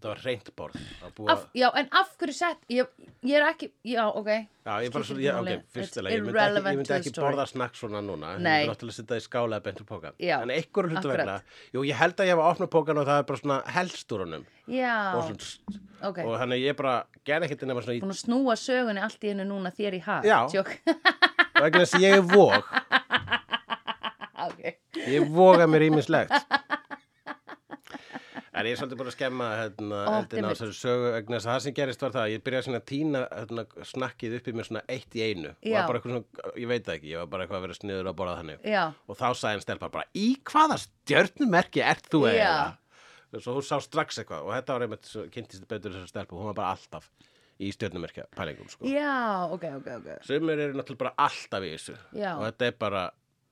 A: það var reynt borð það var búið
B: af,
A: að,
B: já en af hverju sett ég, ég er ekki, já, ok
A: já, ég bara
B: skiptir
A: svona,
B: ekki
A: já,
B: máli.
A: ok, fyrstilega
B: It's
A: ég myndi ekki,
B: irrelevant
A: ég
B: to
A: myndi
B: the
A: ekki
B: story.
A: borða snakk svona núna ég
B: Nei.
A: myndi náttúrulega setja það í skála eða beintu pókan
B: Já,
A: en einhverju hlutu
B: akkurat.
A: vegna, jú, ég held að ég hafa opnað pókan og það er bara svona helst úr honum
B: Já,
A: og, svona, tst,
B: Ah, ok
A: og þannig að ég bara gerði ekkert nema svona í
B: Búin að snúa sögunni allt í hennu núna þér í hag
A: Já.
B: Tjók.
A: vegna þess að ég er vóg
B: okay.
A: ég voga mér ímislegt en ég er svolítið búin að skemma hérna,
B: Ó,
A: endin á
B: dimmit.
A: þessari sögu vegna þess að það sem gerist var það að ég byrjaði svona að týna hérna, snakkið upp í mér svona eitt í einu og
B: Já.
A: var bara eitthvað svona, ég veit það ekki, ég var bara eitthvað að vera sniður að borða þannig
B: Já,
A: og þá sagði hann stelpa bara, í hvaða stjörnumerki ert þú
B: Já.
A: eiginlega svo hún sá strax eitthvað og þetta var einmitt svo kynntist betur þessar stelpa, hún var bara alltaf í stjörnumerkja pælingum sko
B: já, ok, ok, ok
A: sumir eru náttúrulega bara alltaf í þessu
B: Já.
A: og þetta er bara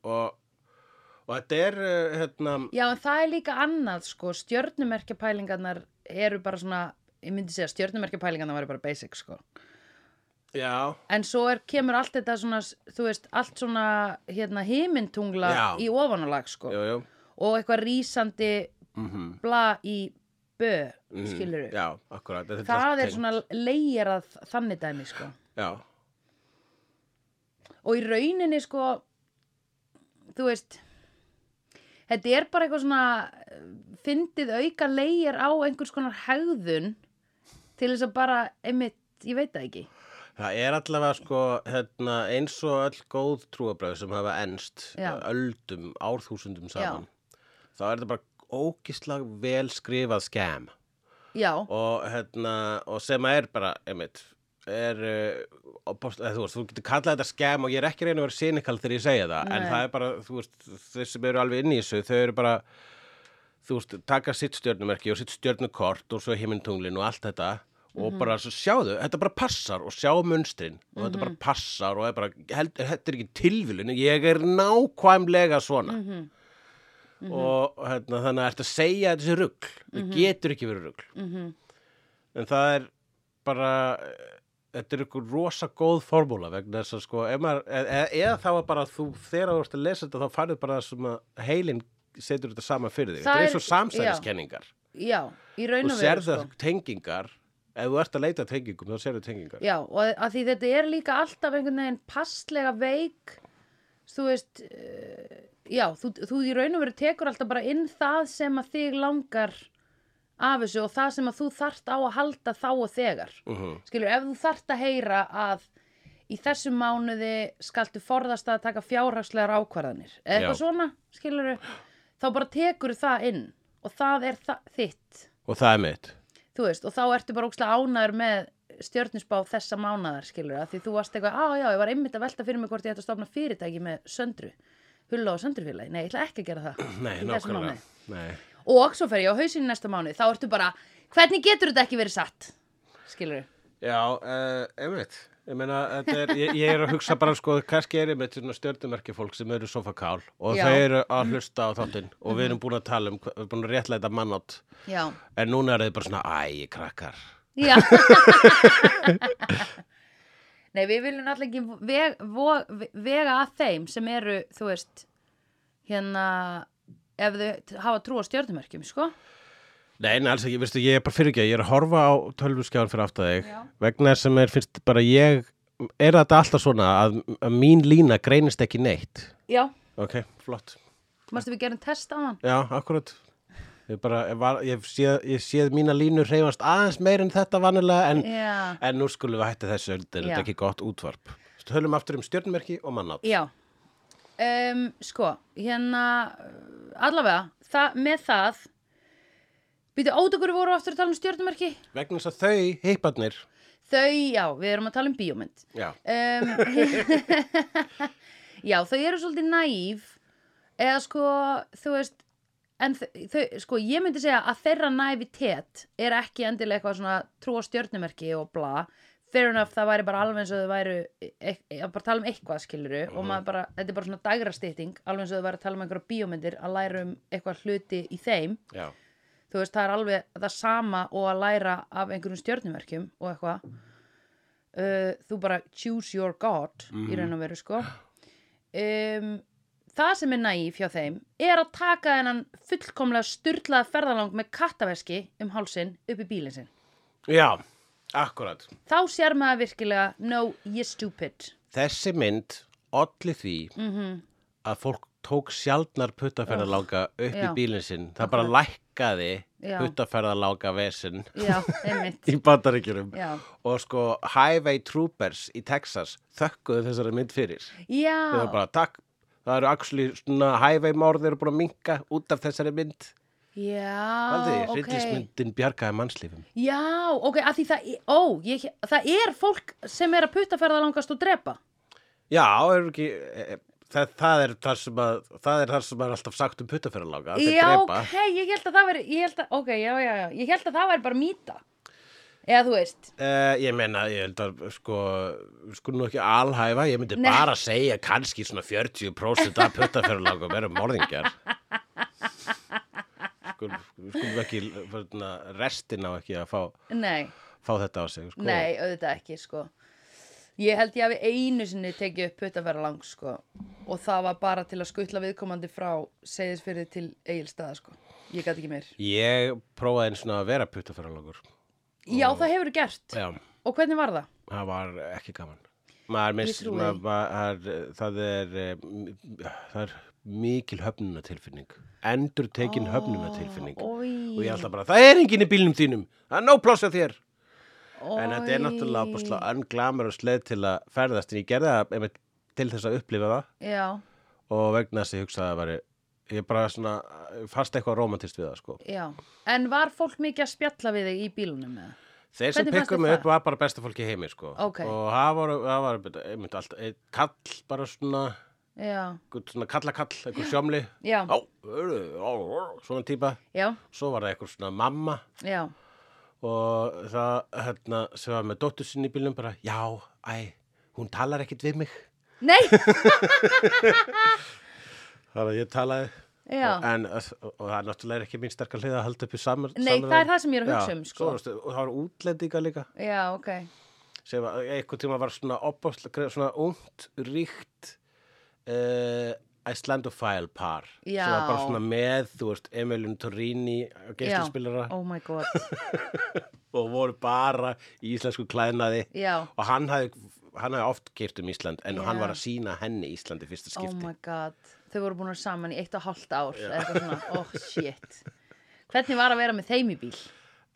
A: og, og þetta er uh, hérna,
B: Já, en það er líka annað sko Stjörnumerkjapælingarnar eru bara svona Ég myndi segja, stjörnumerkjapælingarnar væri bara basic sko
A: já
B: En svo er, kemur allt þetta svona Þú veist, allt svona hérna himintungla
A: Já.
B: Í ofanálag sko
A: jú, jú.
B: Og eitthvað rísandi bla í bö
A: Mm,
B: Skilur við
A: já, akkurat, þetta
B: Það
A: allt
B: er
A: tengt.
B: svona leirað þannig dæmi sko
A: já,
B: og í rauninni sko þú veist þetta er bara eitthvað svona eh, fyndið auka leigir á einhvers konar hegðun til þess að bara einmitt, ég veit það ekki
A: það er allavega sko hérna, eins og öll góð trúabröð sem hafa enst eh,
B: Já.
A: öldum, árþúsundum saman þá er þetta bara ógislega vel skrifað skem
B: já,
A: og, hérna, og sem er bara einmitt, er, uh, opost, eða, þú, veist, þú getur kallað þetta skem og ég er ekki reyna að vera sinikal þegar ég segja það en
B: Nei.
A: það er bara, þú veist, þeir sem eru alveg inn í þessu þau eru bara þú veist, taka sitt stjörnumerki og sitt stjörnukort og svo himintunglin og allt þetta og bara svo sjáðu, þetta bara passar og sjá munstrin og þetta bara passar og er bara, held, þetta er ekki tilvílun ég er nákvæmlega svona
B: Mhm,
A: og hérna, þannig að ertu að segja að þetta sé rugl það getur ekki verið rugl
B: mhm.
A: en það er bara eh, þetta er ykkur rosa góð formúla vegna þess að sko ef maður, eða, eða þá var bara að þú þegar þú ert að lesa þetta þá færðu bara það sem að heilin setur þetta saman fyrir þig
B: Það
A: þetta er
B: er-
A: eins og samsæðiskenningar
B: já, í raun
A: og
B: og veru
A: sérðu
B: sko.
A: sko. tengingar ef þú ert að leita að tengingum þá sérðu tengingar
B: já, og að því þetta er líka alltaf einhvern veginn passlega veik þú veist eh, já, þú, þú í raun og veru tekur alltaf bara inn það sem að þig langar af þessu og það sem að þú þarft á að halda þá og þegar
A: Mhm.
B: skilur, ef þú þarft að heyra að í þessum mánuði skaltu forðast að taka fjárhagslegar ákvarðanir eða eitthvað
A: Já.
B: svona, skilur þá bara tekur það inn og það er það, þitt,
A: og það er mitt
B: þú veist, og þá ertu bara ókslega ánæður með stjörnusbá þessa mánaðar, skilur því þú varst eitthvað, á já, ég var einmitt að velta fyrir mig hvort ég ætti að stofna fyrirtæki með söndru hulla og söndrufélagi, nei, ég ætla ekki að gera það
A: Nei,
B: í þessum
A: nákvæmlega
B: mánuði
A: Nei.
B: og svo fer ég á hausinn í næsta mánu þá ertu bara, hvernig getur þetta ekki verið satt skilur
A: Já, uh, einmitt Ég meina, þetta er, ég, ég er að hugsa bara sko, kannski er einmitt svona stjörnumerki fólk sem eru sofakál og
B: Já.
A: þau eru að hlusta á þáttinn og við erum búin að tala um, hva- við erum búin að réttlæta mannátt
B: já,
A: en núna er þið bara svona, æ, krakkar
B: já nei, við viljum alltaf ekki veg, vo, vega að þeim sem eru, þú veist hérna ef þau hafa trú á stjörnumerkjum, sko
A: Nei, nei, alls ekki, veistu, ég er bara fyrir ekki ég er að horfa á tölvuskjáin fyrir aftur þig
B: Já.
A: vegna þess sem er fyrst bara ég er þetta alltaf svona að, að mín lína greinist ekki neitt
B: já,
A: Ok, flott
B: mástu við gerum test á hann
A: Já, akkurat Ég, bara, ég, var, ég, séð, ég séð mína línu reyfast aðeins meir en þetta vanilega en
B: já,
A: En nú skulum við hætta þessu, þetta er
B: Já.
A: þetta ekki gott útvarp. Tölum aftur um stjörnmerki og mannátt.
B: já um, sko, hérna uh, allavega, það, með það Býtu, át okkur voru aftur að tala um stjörnumerki?
A: Vegna þess að þau, heiparnir,
B: Þau, já, við erum að tala um bíómynd.
A: já,
B: Um, já, þau eru svolítið næf, eða sko, þú veist, en þau, þau, sko, ég myndi segja að þeirra nævitet er ekki endilega eitthvað svona trú á stjörnumerki og bla. Fair enough, það væri bara alveg eins og þau væru, e e að bara tala um eitthvað skiluru og maður bara, þetta er bara svona dagrastýtting, alveg eins og þau væri að tala um einhverja bíómyndir að læra um eitthvað hluti í þeim
A: já,
B: þú veist, það er alveg það sama og að læra af einhverjum stjörnumerkjum og eitthvað uh, þú bara choose your god í raun og veru sko um, það sem er nægif hjá þeim er að taka þennan fullkomlega styrlaða ferðalang með kattaveski um hálsin upp í bílinn sinn
A: já, akkurat.
B: þá sér maður virkilega no, you're stupid
A: Þessi mynd olli því
B: Mhm.
A: að fólk tók sjaldnar puttaferðalanga upp
B: já.
A: í bílinn sinn. Það bara lækkaði
B: Já.
A: puttaferðalanga vesinn
B: já, einmitt
A: í bandaríkjurum.
B: já,
A: Og sko, Highway Troopers í Texas þökkuðu þessari mynd fyrir. Þau
B: já,
A: eru bara, takk, það eru axli svona highway mórð, eru búin að minka út af þessari mynd.
B: já
A: Valdi,
B: Ah,
A: okay. rillismyndin bjargaði mannslífum.
B: Já, ok, að því það, ó, ég, það er fólk sem er að puttaferða langast og drepa.
A: Já, er ekki, e, það, það, er þar sem að, það er þar sem er alltaf sagt um puttaferðaláka, að þeir
B: já,
A: drepa.
B: ok, ég held að það veri, ég held að, ok, já, já, já, ég held að það væri bara mýta. Eða þú veist,
A: Eh, ég meina, ég held að, sko, sko nú ekki alhæfa, ég myndi
B: Nei.
A: bara segja kannski svona 40% af puttaferðalákum eru morðingjar. Sko, við skulum ekki, fyrna, restin á ekki að fá,
B: nei,
A: fá þetta á sig, sko.
B: nei, auðvitað ekki, sko. Ég held ég hafi einu sinni tekið upp puttaferða lang, sko, og það var bara til að skutla viðkomandi frá segðisfyrði til eigilstaða, sko. Ég gat ekki meir.
A: Ég prófaði einu svona að vera puttaferðalákur.
B: Já, það hefur gert.
A: Já.
B: Og hvernig var það?
A: það var ekki gaman maður mist,
B: trúi
A: maður,
B: því.
A: maður, það er eh, m- það er mikil höfnunatilfinning endur tekin oh, höfnunatilfinning og ég er alltaf bara, það er enginn í bílnum þínum það er nóg pláss að þér en þetta er náttúrulega búinlega anglamur og sleið til að ferðast en ég gerði það einmitt til þess að upplifa það
B: Já,
A: og vegna þess að ég hugsaði að veri ég bara svona, fast eitthvað romantist við það sko.
B: já. En var fólk mikið að spjalla við þig í bílunum með það?
A: Þeir sem
B: Hvernig fannst
A: pikkum
B: þér
A: mig
B: það?
A: upp var bara besta fólki í heimi sko.
B: Ókei.
A: og það var, það var einmitt allt, einn kall bara svona,
B: Já,
A: einhvern svona kallakall, einhver sjómli
B: já,
A: á, hörðu, á, á, svona típa
B: já,
A: svo var það einhver svona mamma
B: já.
A: og það hérna, sem var með dóttur sinni í bílnum bara, já, æ, hún talar ekkit við mig
B: Nei,
A: þar að ég talaði
B: já.
A: En, og og það er náttúrulega ekki mín sterkar hlið að halda upp í samar
B: Nei, það er það sem ég er að hugsa um, sko.
A: svo, og það var útlendinga líka
B: Já, ok.
A: sem að- einhvern tíma var svona opaslega, svona ungt, ríkt uh, Icelandophile par
B: Já.
A: sem var bara svona með, þú veist, Emilin Torini geistinspilara
B: Já, oh my god.
A: og voru bara í íslensku klæðnaði
B: Já,
A: og hann hafði, hann hafði oft kýrt um Ísland en
B: Já.
A: hann var að sína henni Íslandi fyrsta
B: oh
A: skipti
B: my god. Þau voru búin að vera saman í eitt og hálft ár. eða Eitthvað svona, oh shit. Hvernig var að vera með þeim í bíl?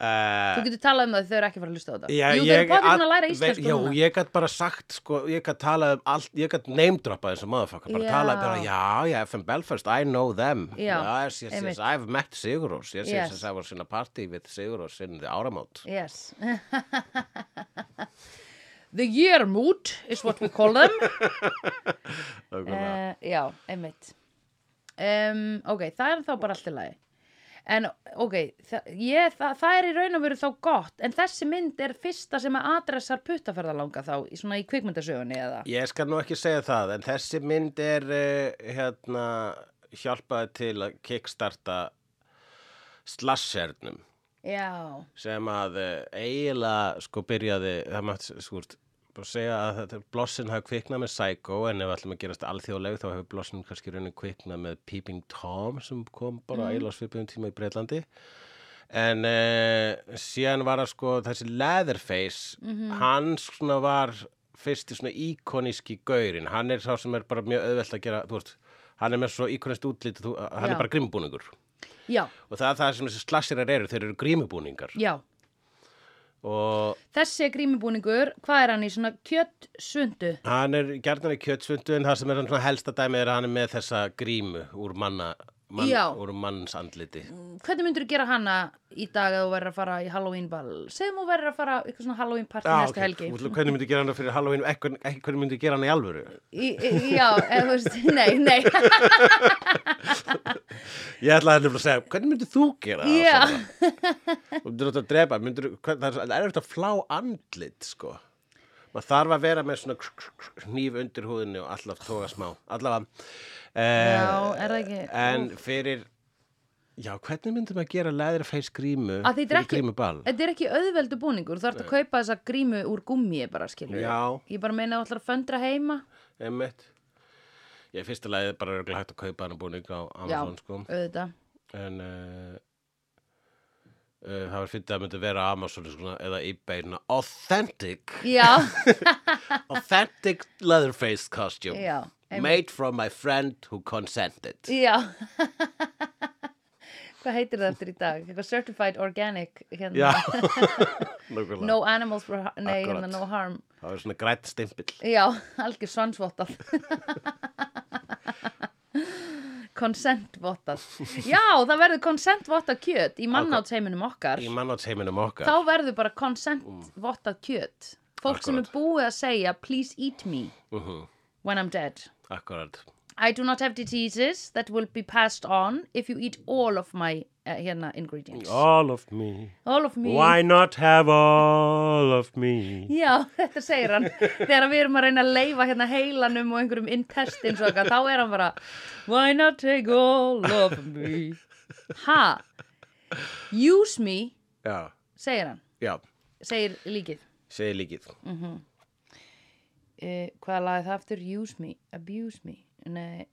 A: Uh,
B: Þú getur talað um það þau eru ekki að fara að hlusta á þetta
A: Já,
B: Jú, þau
A: ég
B: eru báðir
A: að-
B: búin að læra íslensku
A: ve- Já,
B: núna.
A: ég gæt bara sagt, sko, ég gæt talað um allt, ég gæt neymdrappað þessu maðurfakka, bara
B: Já.
A: talað bara, já, já, FM Belfast, I know them.
B: Já,
A: yes, yes, yes,
B: einmitt.
A: I've met Sigurós, yes, yes,
B: Yes.
A: yes, I was in a party with Sigurós in the áramót.
B: Yes The year mood is what we call them
A: Uh,
B: uh, Já, einmitt um, Ok, það er þá bara allt í lagi En ok, það, ég, það, það er í raun og veru þá gott En þessi mynd er fyrsta sem að adressar puttaferðalanga þá í Svona í kvikmyndasögunni eða
A: ég skal nú ekki segja það, en þessi mynd er, uh, hérna, hjálpaði til að kickstarta slashernum.
B: Já,
A: sem að eh, eiginlega sko byrjaði, það mátti skúrt bara segja að þetta blossin hafi kviknað með Psycho en ef við ætlum að gerast alþjóðleg þá hefur blossin kannski raunin kviknað með Peeping Tom sem kom bara eiginlega á svipiðum tíma í Breitlandi en uh, síðan var það sko þessi Leatherface hann svona var fyrsti svona íkoníski gaurin hann er sá sem er bara mjög auðvelt að gera þú veist, hann er með svo íkonist útlit þú, hann
B: Já.
A: er bara grimbúningur
B: já,
A: og það er það sem þessi slassirar eru, þeir eru grímubúningar
B: já
A: og
B: Þessi er grímubúningur, hvað er hann í svona kjötsundu?
A: hann er gerðan í kjötsvundu en það sem er hann svona helsta dæmi er að hann er með þessa grímu úr manna mann,
B: Já.
A: úr manns andliti
B: Hvernig myndur þú gera hana í dag að þú verður að fara í Halloween ball? Segðum þú verður að fara í eitthvað svona Halloween party næstu helgi.
A: Þú ætlar- hvernig myndi gera hana fyrir Halloween ekki, ekki hvernig myndi gera hana í alvöru
B: Í, í, já, eða þú veist, nei, nei,
A: ég ætla að nefnilega að segja, hvernig myndi þú gera það
B: Já.
A: Sandra? og myndir þetta að drepa myndir, hvern, það er- það er eftir að flá andlit sko maður þarf að vera með svona kr- kr- kr- hníf undir húðinni og allaf toga smá allavega
B: Já,
A: eh,
B: er það ekki-
A: en fyrir já, hvernig myndum að gera leðrafeis grímu
B: að þetta er
A: fyrir
B: ekki,
A: grímuball
B: þetta er ekki auðveldu búningur, þú þarf að kaupa þessa grímu úr gummi bara, skilur.
A: Já.
B: Ég bara meina að þú ætlar að föndra heima.
A: Einmitt. Ég fyrsta lagið bara örugglega hægt að kaupa hann að búning á Amazon sko.
B: auðvitað.
A: En uh, uh, það var fyrir að myndi vera Amazon sko, eða eBay svona, authentic,
B: Já,
A: authentic leatherface costume
B: Já, einmitt.
A: made from my friend who consented.
B: já. Hvað heitir það eftir í dag? Eitthvað certified organic, hérna.
A: Já, nákvæmlega.
B: No animals were, har- nei,
A: Akkurat.
B: hérna, no harm.
A: Það var svona grætt stimpill.
B: Já, algjör svansvottað Konsentvotað Já, það verður konsentvotað kjöt í mannátsheiminum okkar
A: Í mannáttsheiminum okkar.
B: Þá verður bara konsentvotað kjöt Fólk sem er
A: Akkurat.
B: búið að segja Please eat me
A: Uh -huh.
B: when I'm dead
A: Akkurat.
B: I do not have diseases that will be passed on if you eat all of my uh, hérna, ingredients
A: All of me.
B: All of me
A: Why not have all of me?
B: Já, þetta segir hann þegar við erum að reyna að leifa hérna heilanum og einhverjum intestins og eitthvað, þá er hann bara Why not take all of me Ha Use me,
A: Já,
B: segir hann
A: já,
B: segir líkið
A: segi líkið.
B: uh, Hvaða lagði það aftur? Use me, abuse me Nei,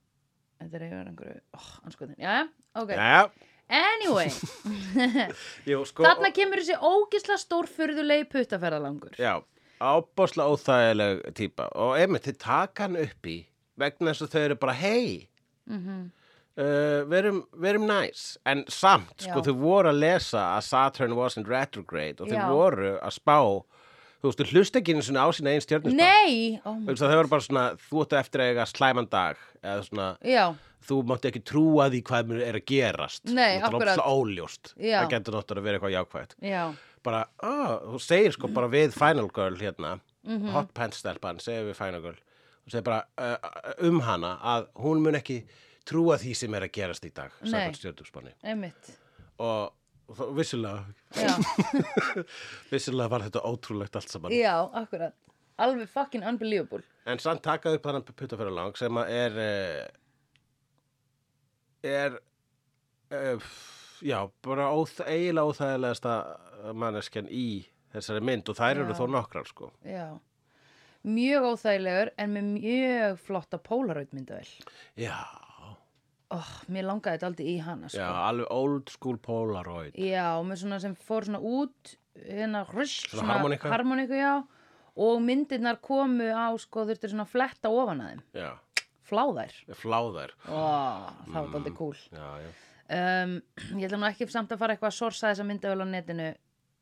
B: þetta er eitthvað einhverju oh, anskotin, já, ok
A: Já,
B: Anyway,
A: jú, sko.
B: þarna kemur þessi ógisla stórfurðulegi puttaferðalangur
A: Já, ábásla óþægileg típa og einmitt þið taka hann upp í vegna þess að þau eru bara hei
B: Mhm.
A: mm -hmm. uh, verum, verum næs en samt, sko,
B: Já.
A: þau voru að lesa að Saturn wasn't retrograde og þau
B: Já.
A: voru að spá þú veist, þau hlust ekki einu svona á sína einn stjörnusbá
B: Nei, oh my-
A: þau voru bara svona, þú ættu eftir að eiga slæman dag eða svona,
B: já
A: þú mátt ekki trúa því hvað mér er að gerast
B: Nei,
A: Þú
B: akkurat.
A: veist, það er óljóst
B: Já.
A: það getur náttúrulega að vera eitthvað jákvætt
B: Já,
A: bara, ah, þú segir sko bara við Final Girl hérna,
B: Mhm.
A: Hot Pants stelpan, segir við Final Girl og segir bara uh, um hana að hún mun ekki trúa því sem er að gerast í dag,
B: Nei.
A: samkvæmt stjórnumspanni
B: einmitt
A: og, og þá- vissulega
B: Já
A: vissulega var þetta ótrúlegt allt saman
B: Já, akkurat. Alveg fucking unbelievable.
A: en samt takaði upp þannig putta fyrir lang sem að er uh, er uh, já, bara óþ, eiginlega óþægilegasta manneskjan í þessari mynd og þær eru
B: Já.
A: þó nokkrar sko
B: Já. Mjög óþægilegur en með mjög flotta Polaroid myndavel.
A: já
B: Oh, mér langaði þetta aldrei í hana, sko.
A: Já, alveg old school Polaroid
B: Já, með svona sem fór svona út, hérna, hrush,
A: Svona harmonika?
B: harmoníku, já. Og myndirnar komu á, sko, þurftur svona að fletta ofan að þeim.
A: Já,
B: Fláðær.
A: fláðar Mm.
B: Ó, það var aldrei cool.
A: Já, já,
B: um, ég ætla nú ekki samt að fara eitthvað að sorsa þessa myndavel á netinu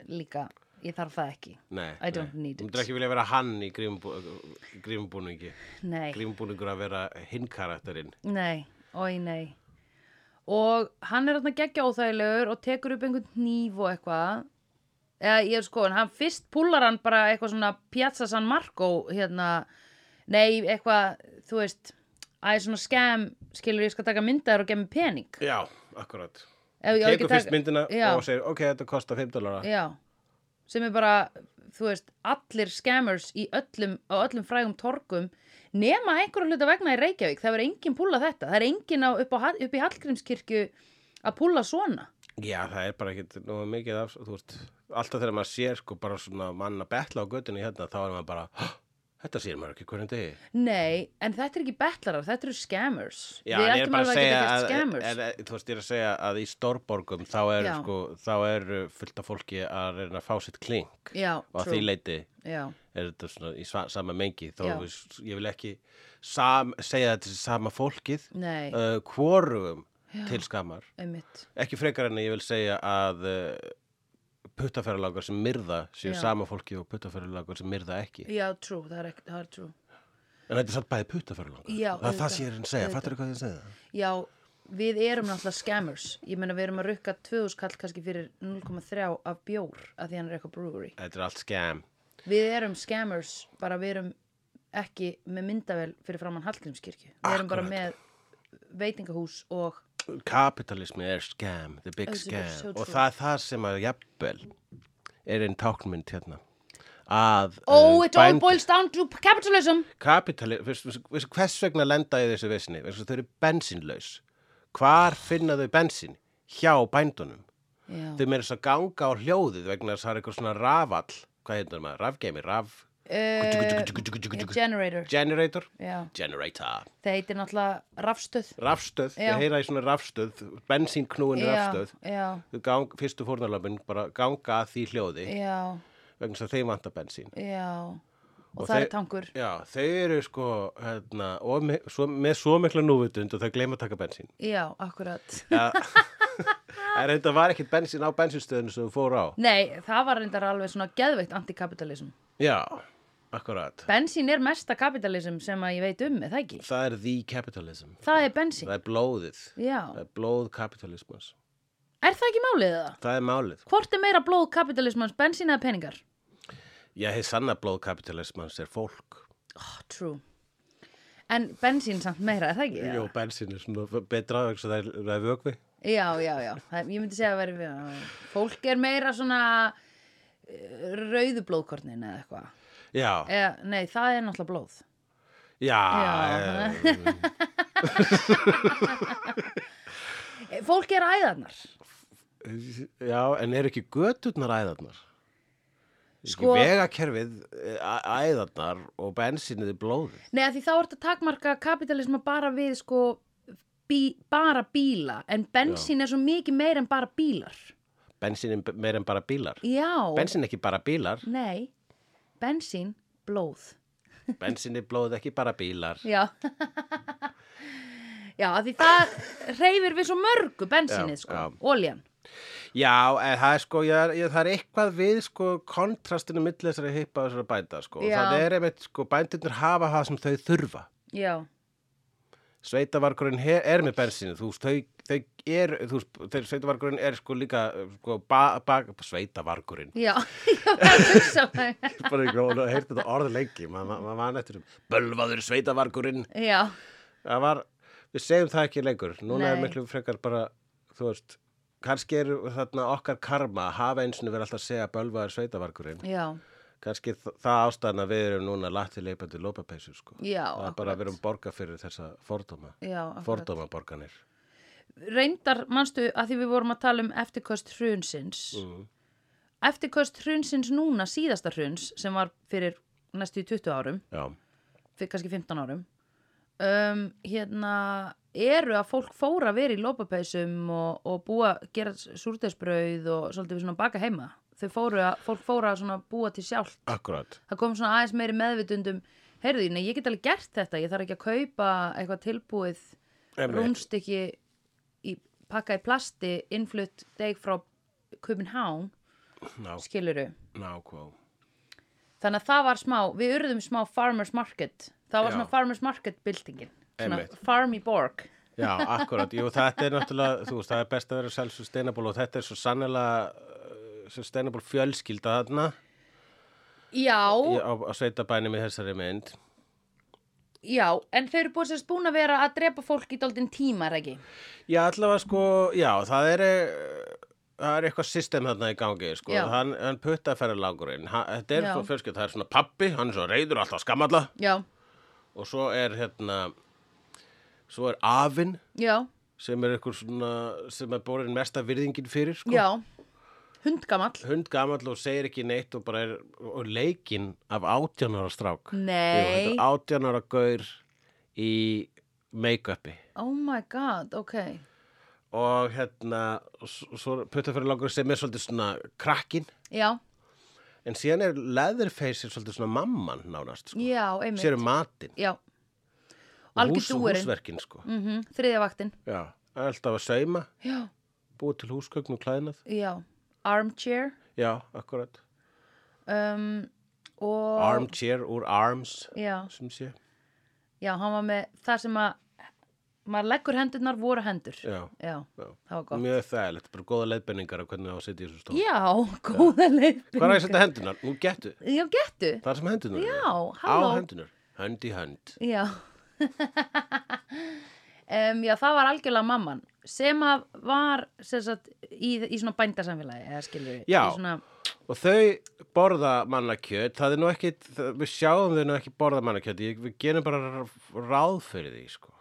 B: líka ég þarf það ekki
A: Nei,
B: I don't
A: nei.
B: need
A: Þú
B: it.
A: myndir ekki vilja vera hann í grímumbúningi grímumbúningi
B: nei,
A: grímumbúningur að vera hinn karakterinn
B: nei, oi nei og hann er þarna geggja óþægilegur og tekur upp einhvern nýf og eitthvað eða ég er sko, en hann fyrst púlar hann bara eitthvað svona Piazza San Marco hérna, nei, eitthvað þú veist, æ, svona skem skilur ég skal taka myndaður og gemmi pening
A: Já, akkurat
B: Ef ég á ekki
A: Tekur
B: að
A: fyrst
B: taka-
A: myndina
B: Já.
A: og segir ok, þetta kostar 5 dólar
B: Já, sem er bara, þú veist, allir scammers í öllum, á öllum frægum torgum nema einhverju hluta vegna í Reykjavík. Það verður enginn púla þetta. Það er enginn á, upp, á, Hall- upp í Hallgrímskirkju að púla svona.
A: Já, það er bara ekkert nú mikið af, þú veist, alltaf þegar maður sér sko bara svona mann að betla á götunni hérna, þá er maður bara, "Hå, þetta sér maður ekki hvernig degi.
B: Nei, en þetta er ekki betlarar, þetta eru scammers.
A: Já,
B: Við
A: en ég er
B: ættum
A: bara að
B: alveg
A: segja,
B: geta
A: að,
B: gert scammers.
A: en, en, þú veist, ég er að segja að í stórborgum þá er,
B: Já.
A: sko, þá er fullt af fólki að reyna að fá sitt klink
B: Já,
A: og að
B: true.
A: því leiti
B: Já,
A: er þetta svona í sva, sama mengi, þó
B: Já.
A: við, ég vil ekki sam, segja þetta sem sama fólkið,
B: nei,
A: uh, hvorugum til skammar.
B: einmitt.
A: ekki frekar en að ég vil segja að uh, puttaferðalangar sem myrða séu
B: Já.
A: sama fólki og puttaferðalangar sem myrða ekki
B: Já, true, það er, ekki, það er true.
A: en þetta er samt bæði puttaferðalangar það
B: Já,
A: er
B: auðvitað,
A: það sem ég er að segja,
B: auðvitað.
A: fattur hvað ég segja
B: Já, við erum náttúrulega scammers. Ég meina, við erum að rukka 2000 kall kannski fyrir 0,3 af bjór að því hann er eitthvað brewery.
A: þetta er allt skam
B: Við erum scammers, bara við erum ekki með myndavel fyrir framann Hallgrímskirkju. Við erum bara
A: Akkurat.
B: með veitingahús og
A: kapitalismi er skam, the big
B: Auðvitað,
A: skam
B: so true.
A: og það er það sem að jafnvel er einn táknmynd hérna að eh,
B: Oh, it all
A: bændur-
B: boils down to capitalism!
A: kapitali, veistu- veistu- veistu hvers vegna lenda í þessu vesni, veistu, þau eru bensinlaus hvar finna þau bensin hjá bændunum
B: Já,
A: þau meira þess að ganga á hljóðið vegna þess að það er eitthvað svona rafall hvað heitir maður, rafgeimi, raf
B: Eh, generator.
A: generator,
B: Já,
A: generator
B: það heitir náttúrulega rafstöð.
A: rafstöð,
B: Já.
A: þau heyra í svona rafstöð bensínknúin rafstöð
B: Já, já,
A: þau gang, fyrstu fórnarlöfin bara ganga að því hljóði
B: já,
A: vegna þess að þeim vantar bensín
B: já. Og,
A: Og
B: það
A: þeir-
B: er tankur.
A: Já, þau eru sko hérna, og með svo, með svo mikla núvitund og þau gleyma að taka bensín.
B: Já, akkurat.
A: Ja, en þetta var ekkit bensín á bensinstöðinu sem þau fóru á.
B: Nei, það var reyndar alveg svona geðveikt antikapitalism.
A: Já, akkurat.
B: Bensín er mesta kapitalism sem að ég veit um, er það ekki?
A: Það er the capitalism.
B: Það er bensín.
A: Það er blóðið.
B: Já.
A: Það er blóð kapitalismans.
B: Er það ekki málið það?
A: Það er málið.
B: Hvort er meira blóð kapitalismans, bensín eða peningar?
A: Ég hef sanna blóð kapitalismans er fólk.
B: Oh, true. En bensín samt meira, er það ekki?
A: Jó, bensin er svona betra vegna þess að það er, það er vökvi.
B: Já, já, já. Það, ég myndi segja að vera við. Fólk er meira svona eh, rauðu blóðkornin eða eitthvað.
A: Já,
B: Eða, nei, það er náttúrulega blóð.
A: já.
B: Já.
A: eh,
B: Eh, Fólk er æðarnar.
A: já, en eru ekki göturnar æðarnar? Sko...
B: Sko-
A: Ekki vegakerfið eh, æ- æðarnar og bensinnið er blóðið.
B: Nei, af því þá ertu að takmarka kapitalisma bara við sko bí, bara bíla, en bensín er svo mikið meira en bara bílar.
A: Bensin er meira en bara bílar.
B: Já,
A: Bensin er ekki bara bílar.
B: nei, bensín, blóð.
A: Bensin er blóð ekki bara bílar.
B: Já, já, af því það reyfir við svo mörgu bensinnið
A: Já,
B: sko,
A: já.
B: oljan.
A: Já, en það er sko, ég, ég, það er eitthvað við sko kontrastinu milli þessari hippa og þessari bænda sko.
B: Já.
A: Það er einmitt sko, bændurnir hafa það sem þau þurfa.
B: Já,
A: Sveitavarkurinn he- er með bensinu, þú veist, þau, þau er, þú veist, þeir, sveitavarkurinn er sko líka, sko, ba, ba, sveitavarkurinn.
B: já, ég var að hugsa það.
A: Bara ekki, hún hefði þetta orð lengi, maður ma, ma, man eftir um, bölvaður sveitavarkurinn.
B: Já,
A: Það var, við segjum það ekki lengur, núna er
B: Nei.
A: miklu frekar bara, þú veist, kannski er þarna okkar karma að hafa eins og vera alltaf að segja bölvaður sveitavarkurinn.
B: já,
A: kannski þ- það ástæðan að við erum núna latti leipandi lópapeysu sko. það
B: Já,
A: er bara
B: akkurat.
A: að við erum borga fyrir þessa fordóma
B: já. akkurat.
A: fordóma borganir
B: Reyndar, manstu, að því við vorum að tala um eftirkost hrunsins.
A: mm.
B: eftirköst hrunsins núna síðasta hruns sem var fyrir næstu í 20 árum,
A: já,
B: fyrir kannski 15 árum um, hérna eru að fólk fóra að vera í lópapeysum og, og búa, gera súrdeisbrauð og svolítið svona baka heima þau fóru að, fólk fóra að svona búa til sjálf
A: akkurat
B: það kom svona aðeins meiri meðvitundum heyrðu, nei, ég get alveg gert þetta, ég þarf ekki að kaupa eitthvað tilbúið
A: Einmitt.
B: rúnstykki í pakka í plasti innflutt deg frá Copenhagen,
A: ná,
B: skiluru
A: ná, hvað
B: þannig að það var smá, við urðum smá farmers market, það var
A: Já.
B: svona farmers market buildingin, svona
A: Einmitt.
B: farm í borg
A: Já, akkurat, jú, þetta er náttúrulega, þú veist, það er best að vera self sustainable og þetta er svo sannilega uh, sustainable fjölskylda þarna
B: já,
A: í- á, á sveitabænum í þessari mynd.
B: já en þau eru búin sérst búin að vera að drepa fólk í dóldin tíma, er ekki?
A: Já, allavega sko, já, það er, eh, það er eitthvað system þarna í gangi, sko,
B: Já.
A: hann, hann puttaferðar langurinn, ha, þetta er
B: Já.
A: svo fjölskylda, það er svona pappi, hann er svo reyður alltaf skamalla
B: já,
A: og svo er hérna, svo er afinn
B: já,
A: sem er eitthvað svona, sem er borin mesta virðingin fyrir, sko.
B: já hundgamall
A: hund gamall og segir ekki neitt og bara er og leikinn af 18 ára strák
B: nei,
A: Jú, þetta er 18 ára gaur í make-upi
B: oh my god, ok
A: og hérna s- svo putta fyrir langur sem er svolítið svona krakkin
B: já,
A: en síðan er Leatherface er svolítið svona mamman nánast sko.
B: já, einmitt
A: sér um matinn
B: já,
A: og
B: algjör
A: hús,
B: dúurinn
A: húsverkin sko.
B: mm þriðja vaktin
A: já, alltaf að sauma
B: já,
A: búið til húsgögn og klæðnað
B: já, armchair
A: já, akkurat
B: um, og
A: armchair úr arms
B: já,
A: sem sé
B: Já, hann var með það sem að maður leggur hendurnar voru hendur.
A: já, já.
B: það var gott.
A: mjög þægilegt, bara góða leiðbenningar af hvernig það á að sitja í þessu stofu
B: Já, góða leiðbyrning.
A: Hvað er að setja hendunar? Nú getu,
B: Já, gettu.
A: það er sem hendunar
B: Já,
A: Á
B: halló.
A: hendunar, hönd í hönd
B: Já. um, já, það var algjörlega mamman sem að var sem sagt, í, í svona bændasamfélagi eða skilur við.
A: Já.
B: Í Svona,
A: Og þau borða mannakjöt Það er nú ekki, það- við sjáum þau nú ekki borða mannakjöt Ég- Við gerum bara r- ráð fyrir því, sko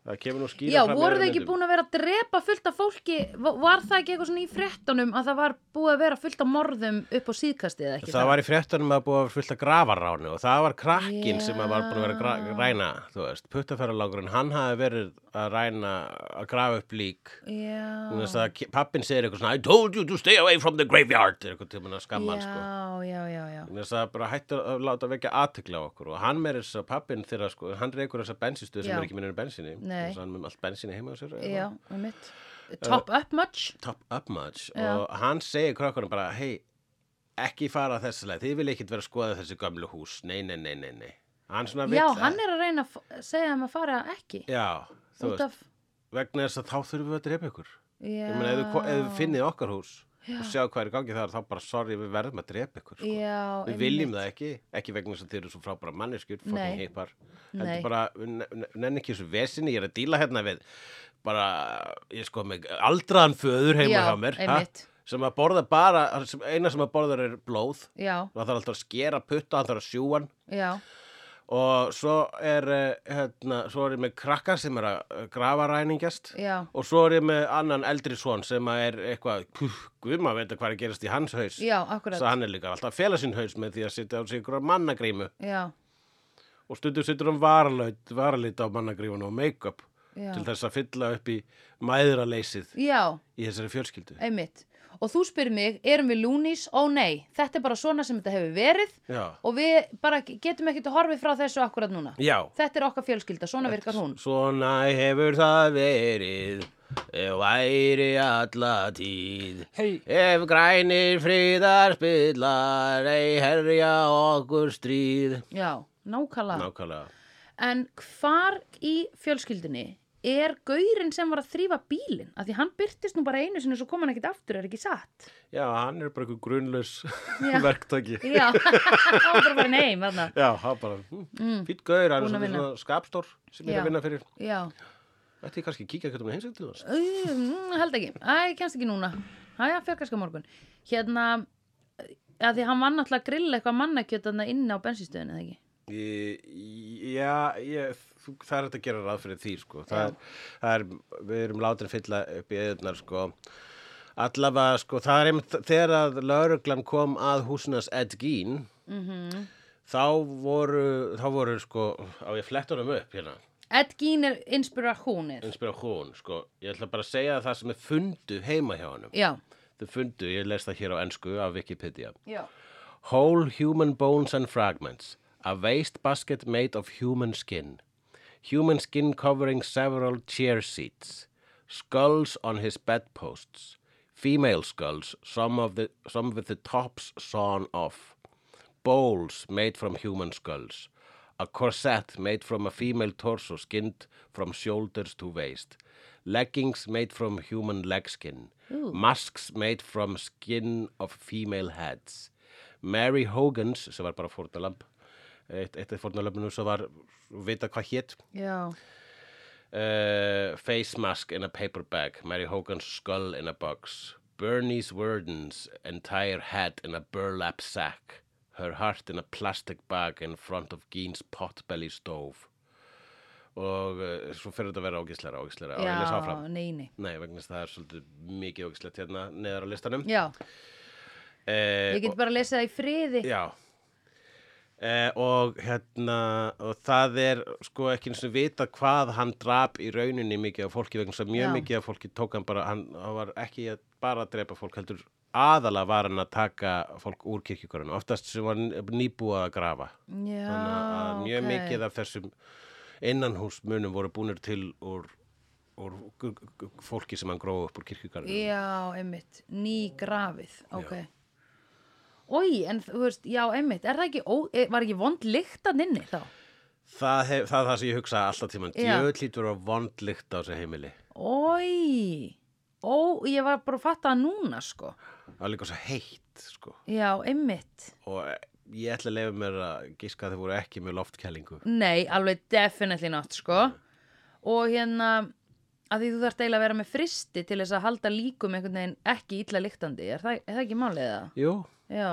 A: Það kemur nú skýra
B: já,
A: fram í
B: voru
A: öðrum
B: þau ekki
A: myndum.
B: búin að vera að drepa fullt af fólki? Va- Var það ekki eitthvað svona í fréttunum að það var búið að vera fullt af morðum upp á síðkastið eða ekki?
A: Það var í fréttunum að búa að vera fullt að grafaránu og það var krakkin sem að var búin að vera að gra- ræna, þú veist, puttaferralangurinn, hann hafi verið að ræna, að grafa upp lík
B: Já.
A: Þannig að pappin segir eitthvað svona I told you to stay away from the graveyard er eitthvað tíma að skamma hann sko
B: Já, já, já, já.
A: Þannig að það bara hættir að láta vekja aðtekla á okkur og hann meir þess að pappin þeirra sko, hann reykur þessa bensinstöð sem
B: Já.
A: er ekki minnur bensinni
B: Nei.
A: þess að hann með allt bensinni heima á sér eða
B: Já, um mitt. Top up much?
A: top up much
B: Já.
A: og hann segir krökkunum bara hei, ekki fara þessi leið þið vil ekkit vera að skoða þessi gömlu hús nei, nei, nei, nei, nei hann svona vill
B: Já, hann er að reyna að f- segja um að fara ekki.
A: Já, þú
B: Út
A: veist,
B: af...
A: vegna þess að þá þurfum við að drepa ykkur
B: Já.
A: Ég meina, ef þið ko- ef þið finnið okkar hús
B: Já.
A: og sjá sko. hvað er í gangi þar, þá bara sorry, við verðum að drepa ykkur sko.
B: Já,
A: Við
B: einmitt.
A: viljum það ekki, ekki vegna þess að þið eru svo frábæra manneskjur, fucking
B: Nei.
A: hippar.
B: Nei.
A: Heldur bara, við ne- ne- nenni ekki þessu vesinni, ég er að díla hérna við, bara, ég sko með aldraðan föður heima
B: Já,
A: hjá mér, ha?
B: einmitt.
A: sem að borða bara, sem- eina sem að borða er blóð,
B: Já,
A: og það þarf alltaf að skera putta, það þarf að sjúa hann,
B: já,
A: og svo er, eh, hérna, svo er ég með krakka sem er að eh, grafa ræningjast,
B: já.
A: og svo er ég með annan eldri svon sem að er eitthvað, guð maður veit að hvað er að gerast í hans haus.
B: Já,
A: Svo
B: akkurat.
A: hann er líka alltaf að fela sinn haus með því að sitja á sig ykkur mannagrímu
B: Já,
A: og stundum situr hann varaleit, varaleit á mannagrífun og make-up
B: já.
A: til þess að fylla upp í mæðraleysið
B: Já,
A: í þessari fjölskyldu.
B: einmitt. Og þú spyrir mig, erum við lúnís? Ó nei, þetta er bara svona sem þetta hefur verið
A: Já,
B: og við bara getum ekkert að horfið frá þessu akkurat núna.
A: já.
B: Þetta er okkar fjölskylda, svona virkar hún.
A: Svona hefur það verið, ef væri alla tíð.
C: Hey.
A: Ef grænir friðar spillar, ei herja okkur stríð.
B: Já, nákvæmlega.
A: Nákvæmlega.
B: En hvar í fjölskyldinni er gaurinn sem var að þrýfa bílinn? Af því hann byrtist nú bara einu sinni svo kom hann ekkit aftur, er ekki satt?
A: Já, hann er bara eitthvað grunlaus
B: Já.
A: verktaki.
B: Já, hann var bara farin heim þarna.
A: Já, það bara, mm. fýtt gauður, hann er
B: Búinn að
A: svolítið
B: vinna.
A: svona skapstór sem ég er
B: Já.
A: að vinna fyrir.
B: Já,
A: Ætti ég kannski að kíkja um hvernig hún heimsætti það?
B: mm, held ekki. Æ, kennst ekki núna. Æ, já, fjökkarska morgun. Hérna, að því hann var náttúrulega að grilla eitthvað mannakjöt þarna inni á bensinstöðinu, eða ekki?
A: Já, ég, þú, það er hægt að gera ráð fyrir því, sko. Það er, það er, við erum látin að fylla upp í eðunar, sko. Allavega, sko, það er einmitt þegar að lauruglan kom að húsinas Ed Gein, þá voru, þá voru, sko, á ég flettur um upp hérna,
B: Ed Gein er inspirasjónir.
A: inspiration, sko. Ég ætla bara að segja það sem er fundu heima hjá hannum.
B: Já.
A: Þau fundu, ég les það hér á ennsku af Wikipedia.
B: Já.
A: Whole human bones and fragments, a waste basket made of human skin. Human skin covering several chair seats. Skulls on his bedposts. Female skulls, some, of the, some with the tops sawn off. Bowls made from human skulls. A corset made from a female torso skinned from shoulders to waist. Leggings made from human leg skin. Masks made from skin of female heads. Mary Hogans, sem var bara fórnalamb, eitt, eitt af fórnalambinu sem var vita hvað hétt,
B: Já,
A: uh, face mask in a paper bag, Mary Hogan's skull in a box, Bernice Worden's entire head in a burlap sack, her heart in a plastic bag in front of Gein's potbelly stove. Og uh, svo fyrir þetta að vera ógisleira, ógisleira. og ég les áfram.
B: já, neini
A: Nei, vegna þess að það er svolítið mikið ógislegt hérna neðar á listanum.
B: Já,
A: Eh,
B: ég get bara að lesa það í friði
A: Já eh, og hérna og það er sko ekki eins og vita hvað hann drap í rauninni mikið af fólki vegna þess að mjög
B: Já.
A: mikið af fólki tók hann bara hann, hann var ekki að bara að drepa fólk heldur aðalega var hann að taka fólk úr kirkjugörðinu oftast sem var n- nýbúið að grafa
B: Já,
A: þannig að mjög
B: ok.
A: mikið af þessum innanhúsmunum voru búnir til úr, úr g- g- g- fólki sem hann gróði upp úr kirkjugörðinu
B: Já, einmitt, ný grafið, ok. Ói, en þú veist, já, einmitt, er það ekki, ó, e- var ekki vond lykt að nynni þá?
A: það, hef, það er það sem ég hugsa alltaf tímann
B: Já.
A: djöðlítur og vondlykt á þessu heimili
B: Ói, ó, ég var bara að fatta það núna, sko.
A: Það var líka svo heitt, sko.
B: Já, einmitt.
A: Og eh, ég ætla að leifa mér að gíska að þau voru ekki með loftkælingu.
B: Nei, alveg definitely not, sko. Og hérna, að því þú þarft eiginlega að vera með fristi til þess að halda líkum einhvern veginn ekki illa lyktandi, er það, er það ekki málið það?
A: Jú.
B: Já.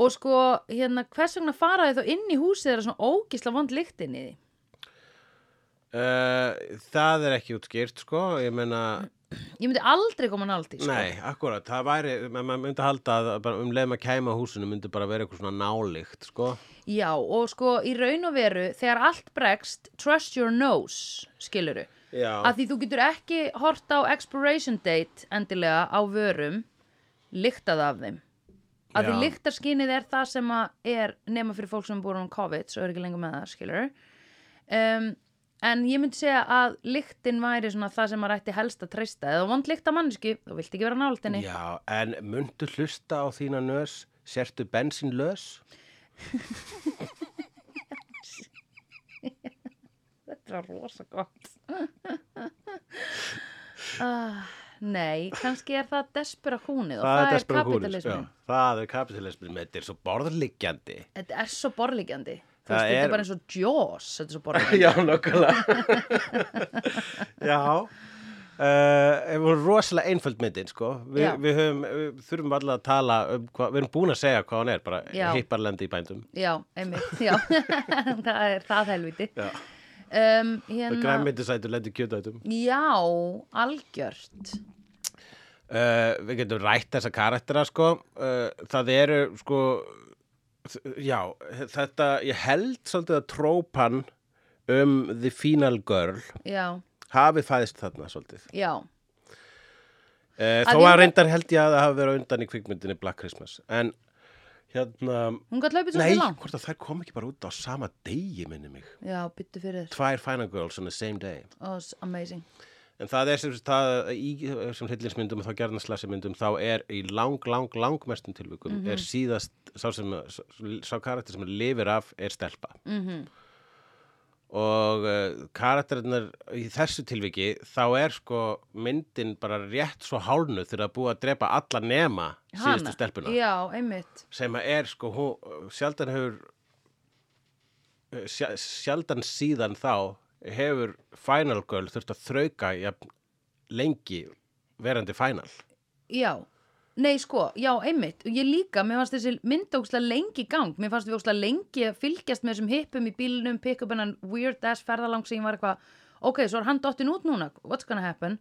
B: Og sko, hérna, hvers vegna faraði þá inn í húsið þeirra svona ógisla vond lyktin í því?
A: Uh, það er ekki útskýrt, sko. Ég meina,
B: Ég myndi aldrei koma nált í, sko.
A: nei, akkurat, það væri, ma- maður myndi halda að bara um leið maður kæma að húsinu myndi bara vera eitthvað svona nálykt, sko.
B: Já, og sko, í raun og veru, þegar allt bregst, trust your nose, skiluru.
A: Já.
B: Að því þú getur ekki hort á expiration date endilega á vörum, lyktað af þeim. Að því
A: Já.
B: lyktarskynið er það sem að er nema fyrir fólk sem er búin um COVID, svo er ekki lengur með það, skiluru. Um, en ég myndi segja að lyktin væri svona það sem maður ætti helst að treysta. Eða vond lykt af manneski, þú vilt ekki vera nált henni.
A: Já, en myndu hlusta á þína nös, sértu bensínlös?
B: Þetta var rosa gott. uh, nei, kannski er það desperahúnið og það, er,
A: desperate
B: um er
A: húrið,
B: kapitalismin.
A: já. Það er kapitalismin, menn, þetta er svo borðliggjandi.
B: Þetta er svo borlíkjandi. Þú
A: Það
B: veist, þetta
A: er-
B: er bara eins og Jaws, þetta er svo borlíkjandi.
A: Já, nokkulega Já Uh, við vorum rosalega einföld myndin sko. Vi,
B: Já.
A: við, höfum, við þurfum alltaf að tala um hvað, við erum búin að segja hvað hann er bara
B: Já.
A: heiparlendi í bændum
B: Já, einmitt, já. það er það helviti.
A: Já.
B: Um, hérna,
A: græmyndisætur lendi kjötætum
B: já, algjört.
A: uh, við getum rætt þessa karaktera sko. uh, það eru sko, þ- já, þetta ég held svolítið að trópan um The Final Girl
B: Já,
A: hafi fæðist þarna svolítið
B: já,
A: Uh, þó
B: Að
A: að
B: undan-
A: reyndar held ég að það hafi verið á undan í kvikmyndinni Black Christmas en hérna
B: hún gætt hlaupið svo
A: nei,
B: langt.
A: hvort að þær kom ekki bara út á sama degi minni mig,
B: Já, byttu fyrir þér.
A: tvær Final Girls on the same day
B: Oh, it's amazing.
A: en það er sem, það, í sem hryllingsmyndum og þá gerðnarslæsi myndum þá er í lang, lang, langmestum tilvikum
B: Mhm.
A: er síðast, sá, sem, sá, sá karakter sem lifir af er stelpa
B: Mhm.
A: og uh, karakterinnar í þessu tilviki þá er sko myndin bara rétt svo hálnu þegar að búa að drepa alla nema síðustu stelpuna
B: Já, einmitt.
A: sem að er sko hún, sjaldan hefur sja- sjaldan síðan þá hefur Final Girl þurft að þrauka jafn, lengi verandi Final
B: Já, nei sko, já einmitt og ég líka, mér fannst þessi mynd ókslega lengi í gang, mér fannst við ókslega lengi að fylgjast með þessum hippum í bílnum, pick up hennan weird ass ferðalang sem ég var eitthvað ok, svo er hann dottinn út núna, what's gonna happen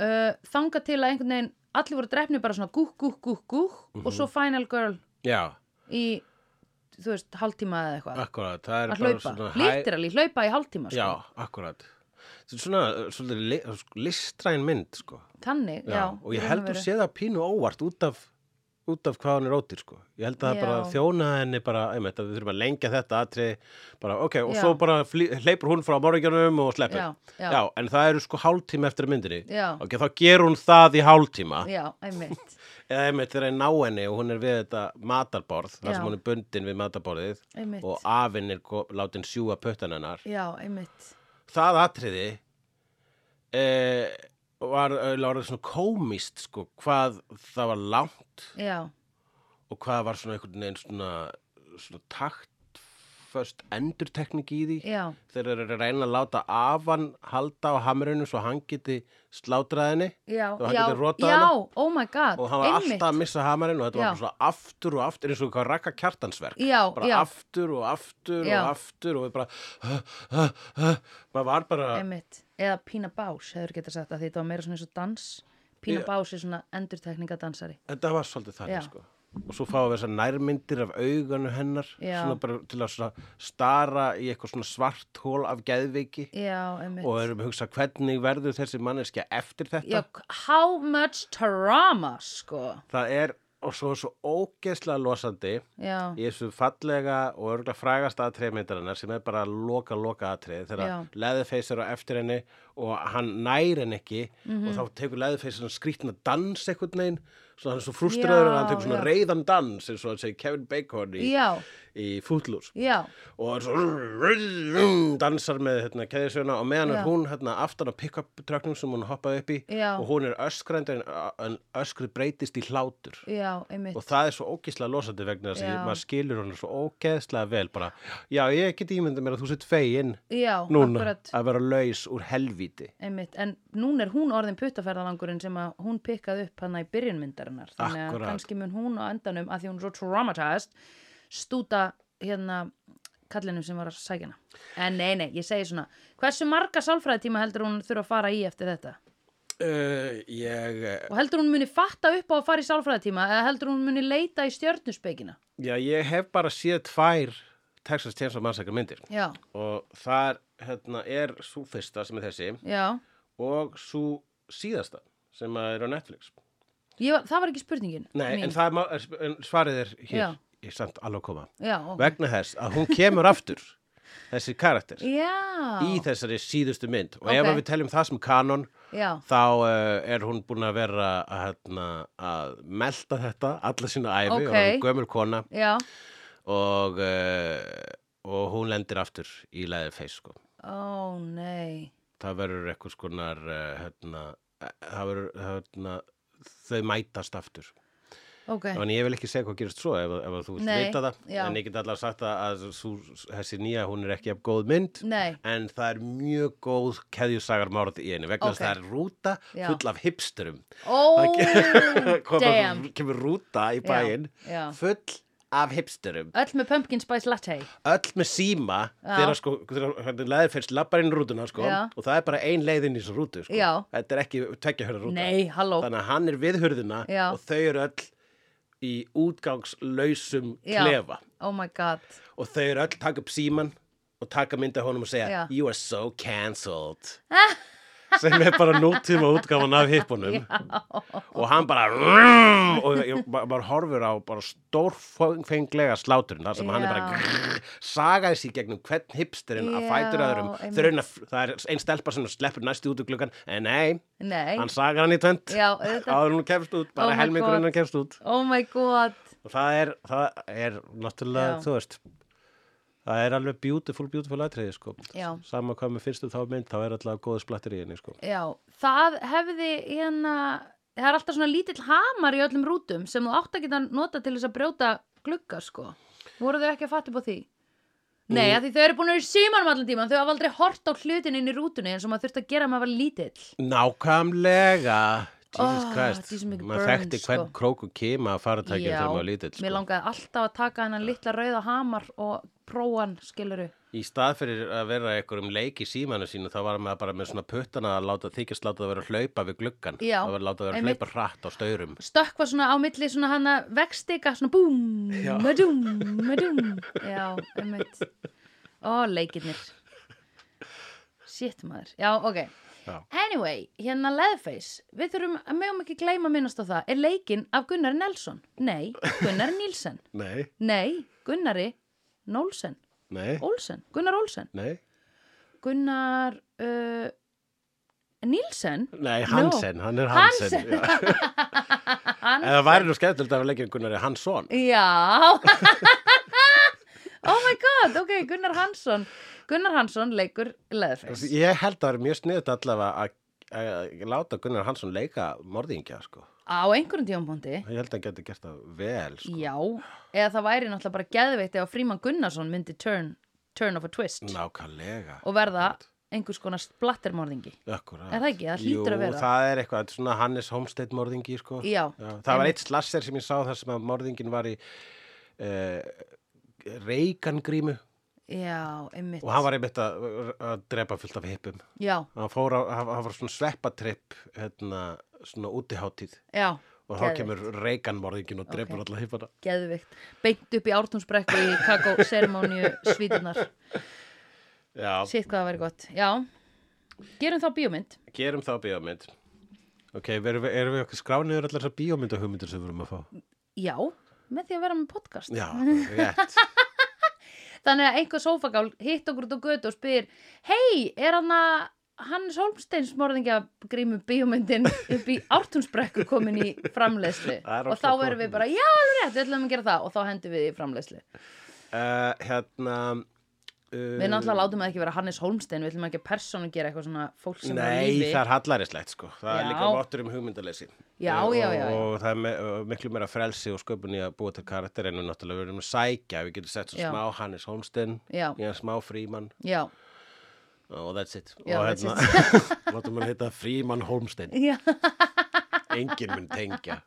B: uh, þanga til að einhvern veginn allir voru drefni bara svona gúk, gúk, gúk, gúk
A: Mhm.
B: og svo final girl
A: Já,
B: í, þú veist, hálftíma eða eitthvað
A: akkurat Það er
B: að
A: bara
B: hlaupa,
A: svona hæ-
B: literally hlaupa í hálftíma sko.
A: Já, akkurat Þetta er Svona, svona li, listræn mynd sko.
B: þannig, já,
A: Og ég
B: í raun
A: heldur
B: veru.
A: sé það pínu óvart út af út af hvað hann er ótir sko. ég held að það
B: Já.
A: bara þjóna henni bara, einmitt, að við þurfum að lengja þetta atri, bara, ok, og
B: Já.
A: svo bara flý, hleypur hún frá morgjörnum og sleppur
B: Já, já.
A: en það eru sko hálftíma eftir myndinni
B: Já.
A: ok, þá ger hún það í hálftíma
B: já, einmitt
A: eða einmitt þegar ég ná henni og hún er við þetta matarborð,
B: Já.
A: þar sem hún er bundin við matarborðið
B: Einmitt.
A: og afinn er ko- látin sjúga pötan hennar
B: já, einmitt
A: það atriði e, var eiginlega orðið svona komist sko, hvað það var langt
B: já,
A: og hvað var svona einhvern veginn svona, svona taktföst endurtekning í því
B: já,
A: þegar þeir eru að reyna að láta afan halda á hamrinu svo hann geti slátraðinni
B: já,
A: Og hann
B: já,
A: getur rotað
B: já
A: hana.
B: oh my god,
A: og hann var
B: einmitt
A: alltaf að missa hamarinn og þetta
B: Já.
A: var bara svona aftur og aftur eins og hvað rakka kjartansverk
B: já,
A: bara
B: já,
A: aftur og aftur
B: Já.
A: og aftur og við bara maður var bara
B: einmitt eða Pína Bás hefur getað sagt að því þetta var meira svona eins og dans Pína
A: Já.
B: Bás er svona endurtekningadansari
A: þetta var svolítið
B: Já.
A: þannig sko og svo fáum við þessar nærmyndir af auganu hennar
B: Já.
A: svona bara til að svona stara í eitthvað svona svart hól af geðveiki
B: já, einmitt
A: og erum að hugsa hvernig verður þessi manneskja eftir þetta
B: já, how much drama sko,
A: það er og svo svo ógeðslega losandi
B: já,
A: í þessu fallega og örgulega frægasta atrið myndarinnar sem er bara loka loka atrið
B: Já.
A: þegar Leatherface er á eftir henni og hann nær henni ekki
B: Mhm.
A: og þá tekur Leatherface svona skrýtna dans einhvern veginn, svona hann er svo frustraður
B: Já,
A: og hann tekur svona
B: já.
A: reyðan dans eins og hann segir Kevin Bacon í,
B: já,
A: í Footloose
B: já
A: og er svo dansar með hérna, keðisöna og meðan
B: Já.
A: er hún hérna, aftan á pick-up tröknum sem hún hoppaði upp í
B: Já.
A: og hún er öskrandi en, en öskrið breytist í hlátur
B: Já, einmitt.
A: og það er svo ógeðslega losandi vegna þess að
B: Já.
A: ég- maður skilur hún svo ógeðslega vel bara, já ég get ímyndað mér að þú sett fegin
B: Já,
A: núna
B: akkurat.
A: að vera laus úr helvíti
B: Einmitt. En núna er hún orðin puttaferðalangurinn sem að hún pikkaði upp hana í byrjunmyndarinnar. Þannig að
A: Akkurat.
B: kannski mun hún á endanum að því hún er svo traumatized stúta hérna kallinum sem var að sækja hana. En nei, nei, ég segi svona, hversu marga sálfræðitíma heldur hún þurfa að fara í eftir þetta?
A: uh, ég, eh,
B: Og heldur hún muni fatta upp á að fara í sálfræðitíma eða heldur hún muni leita í stjörnuspekina?
A: já ég hef bara séð tvær Texas Chainsaw Massacre myndir
B: Já,
A: og þar hérna, er svo fyrsta sem er þessi
B: já.
A: og svo síðasta sem að er á Netflix
B: Ég, var- það var ekki spurningin.
A: Nei,
B: mín.
A: en, það er, má- er, en svarið er hér,
B: Já.
A: ég er samt alveg að koma
B: Já, ok.
A: vegna þess að hún kemur aftur þessi karakter
B: Já,
A: í þessari síðustu mynd og
B: Ok.
A: ef að við teljum það sem kanon
B: já,
A: þá uh, er hún búin að vera að, hérna, að melta þetta alla sína æfi
B: Ok.
A: og hún gömul kona
B: já.
A: og, uh, og hún lendir aftur í leðið feis sko.
B: Ó, nei.
A: það verður eitthvað skonar uh, hérna, eh, það verður hérna, þau mætast aftur
B: Ok.
A: Þannig ég vil ekki segja hvað gerist svo ef, ef þú vilt
B: Nei,
A: vita það,
B: já.
A: en ég get allar sagt að, að sú, þessi nýja hún er ekki af góð mynd,
B: Nei.
A: en það er mjög góð keðjusagarmárð í henni, vegna þess
B: Ok.
A: að það er rúta
B: Já.
A: full af hipsterum.
B: Ó,
A: Kom-
B: damn.
A: kemur rúta í bæinn
B: já.
A: full af hipsterum
B: Öll með pumpkin spice latte.
A: öll með síma
B: Já.
A: þegar sko, leður fyrst labbar inn í rútuna sko,
B: Já.
A: og það er bara ein leið inn í þessu rútu sko.
B: Já.
A: þetta er ekki tveggjahörða rúta
B: Nei, halló.
A: þannig að hann er við hurðina
B: Já.
A: og þau eru öll í útgangslausum
B: Já.
A: klefa
B: Oh my god.
A: og þau eru öll taka upp síman og taka mynda honum og segja
B: Já.
A: you are so cancelled sem er bara nútíma útgáfan af hippunum og hann bara og ég- ma- maður horfir á bara stórfenglega sláturinn þar sem hann er
B: Já.
A: bara sagaði sér gegnum hvern hipsterinn að
B: Já,
A: fætur öðrum Þau eru að, það er ein stelpa sem sleppur næstu út úr gluggan en nei,
B: Nei.
A: hann sagar hann í tvönd
B: Já, auðvitað.
A: áður en hún kemst út,
B: Oh
A: bara
B: my
A: helmingur
B: God.
A: hann kemst út
B: Oh my god.
A: og það er, það er náttúrulega,
B: Já.
A: þú veist það er alveg beautiful, beautiful atriði sko.
B: Já.
A: sama hvað með fyrstu þá mynd þá er alltaf góð splattir í henni sko.
B: Já, það hefði hérna, það er alltaf svona lítill hamar í öllum rútum sem þú átt að geta nota til þess að brjóta glugga, sko. Voru þau ekki að fatta upp á því? Nei, mm. því þau eru búin að vera í símanum allan tíman, þau hafa aldrei hort á hlutin inn í rútunni eins og maður þurfti að gera að maður var lítill.
A: nákvæmlega Jesus
B: Oh,
A: Christ,
B: Jesus McBurn,
A: maður þekkti hvern
B: sko.
A: krók og kima að faratækja þegar maður var lítill sko.
B: mér langaði alltaf að taka hennan litla rauða hamar og próan, skiluru.
A: í stað fyrir að vera einhverjum leik í símanu sínu þá var maður bara með svona puttana að láta þykist láta það vera að hlaupa við gluggan
B: Já,
A: það var að láta það vera að
B: einmitt.
A: hlaupa hratt á staurum
B: Stökkva svona á milli svona hana vegstega, svona búm, madúm, madúm. Já, einmitt. Ó, leikirnir. Shit, maður. Já, ok.
A: Já.
B: Anyway, hérna Leatherface, við þurfum að megum ekki gleyma að minnast á það, er leikinn af Gunnar Nelson? Nei, Gunnar Nílsen.
A: Nei,
B: Nei, Gunnari Nólsen,
A: nei,
B: Olsen, Gunnar Olsen.
A: nei
B: Gunnar uh, Nílsen?
A: Nei, Hansen, hann er Hansen,
B: Hansen.
A: Já. En það væri nú skemmtilegt að við leggjum Gunnari Hansson
B: Já Oh my god, ok, Gunnar Hansson Gunnar Hansson leikur Leatherface
A: Ég held að það er mjög sniðut allavega að- að láta Gunnar Hansson leika morðingja, sko.
B: á einhverjum tímapunkti
A: Ég held að hann geti gert það vel, sko.
B: Já, eða það væri náttúrulega bara geðveitt ef að Fríman Gunnarsson myndi turn, turn of a twist
A: Nákvæmlega.
B: og verða einhvers konar splattermorðingi
A: Akkurat.
B: Er það ekki? Það hlýtur
A: Jú,
B: að vera.
A: það er eitthvað, þetta er svona Hannes Homestead morðingi, sko.
B: Já,
A: það var eitt slasser sem ég sá þar sem að morðingin var í uh, reikangrímu
B: Já, einmitt
A: og hann var einmitt að, að drepa fullt af hippum.
B: Já,
A: Hann fór á, hann, hann var svona sveppatripp, hérna, svona útiháttíð
B: já,
A: og þá
B: Geðveikt.
A: kemur reikanmorðingin og drepur
B: Ok.
A: alla hippana.
B: geðveikt Beint upp í ártúnsbrekku í kakó seremóníu svítunar
A: Já,
B: Sitt hvað það væri gott, já Gerum þá bíómynd
A: gerum þá bíómynd ok, erum við, erum við okkur skrániður allar þessar bíómyndahugmyndir sem við erum að fá
B: Já, með því að vera með podcast
A: já, rétt
B: Þannig að einhver sófagál hitt okkur út á götu og spyr Hei, er hann að Hannes Holmsteins morðingja grímu bíómyndin upp í ártúnsbrekku komin í framleiðslu
A: Það er
B: og þá
A: ógeðslega
B: erum við
A: gott.
B: bara, já, alveg rétt, við ætlum að gera það og þá hendum við í framleiðslu.
A: uh, hérna uh,
B: Við náttúrulega látum að ekki vera Hannes Holmstein, við ætlum ekki að persónu gera eitthvað svona fólk sem er á
A: nei,
B: lífi.
A: það er hallærislegt sko það er
B: Já.
A: líka vottur um hugmyndaleysi
B: Já,
A: Eh, og,
B: já, já, já.
A: og það er me, og miklu meira frelsi og sköpun í að búa til karakter en við náttúrulega verðum að sækja við getum sett svo
B: Já.
A: smá Hannes Holmstein
B: Já.
A: já, smá Fríman
B: Já,
A: og that's it
B: Já,
A: og
B: that's
A: hérna, látum hann heita Fríman Holmstein
B: já,
A: enginn mun tengja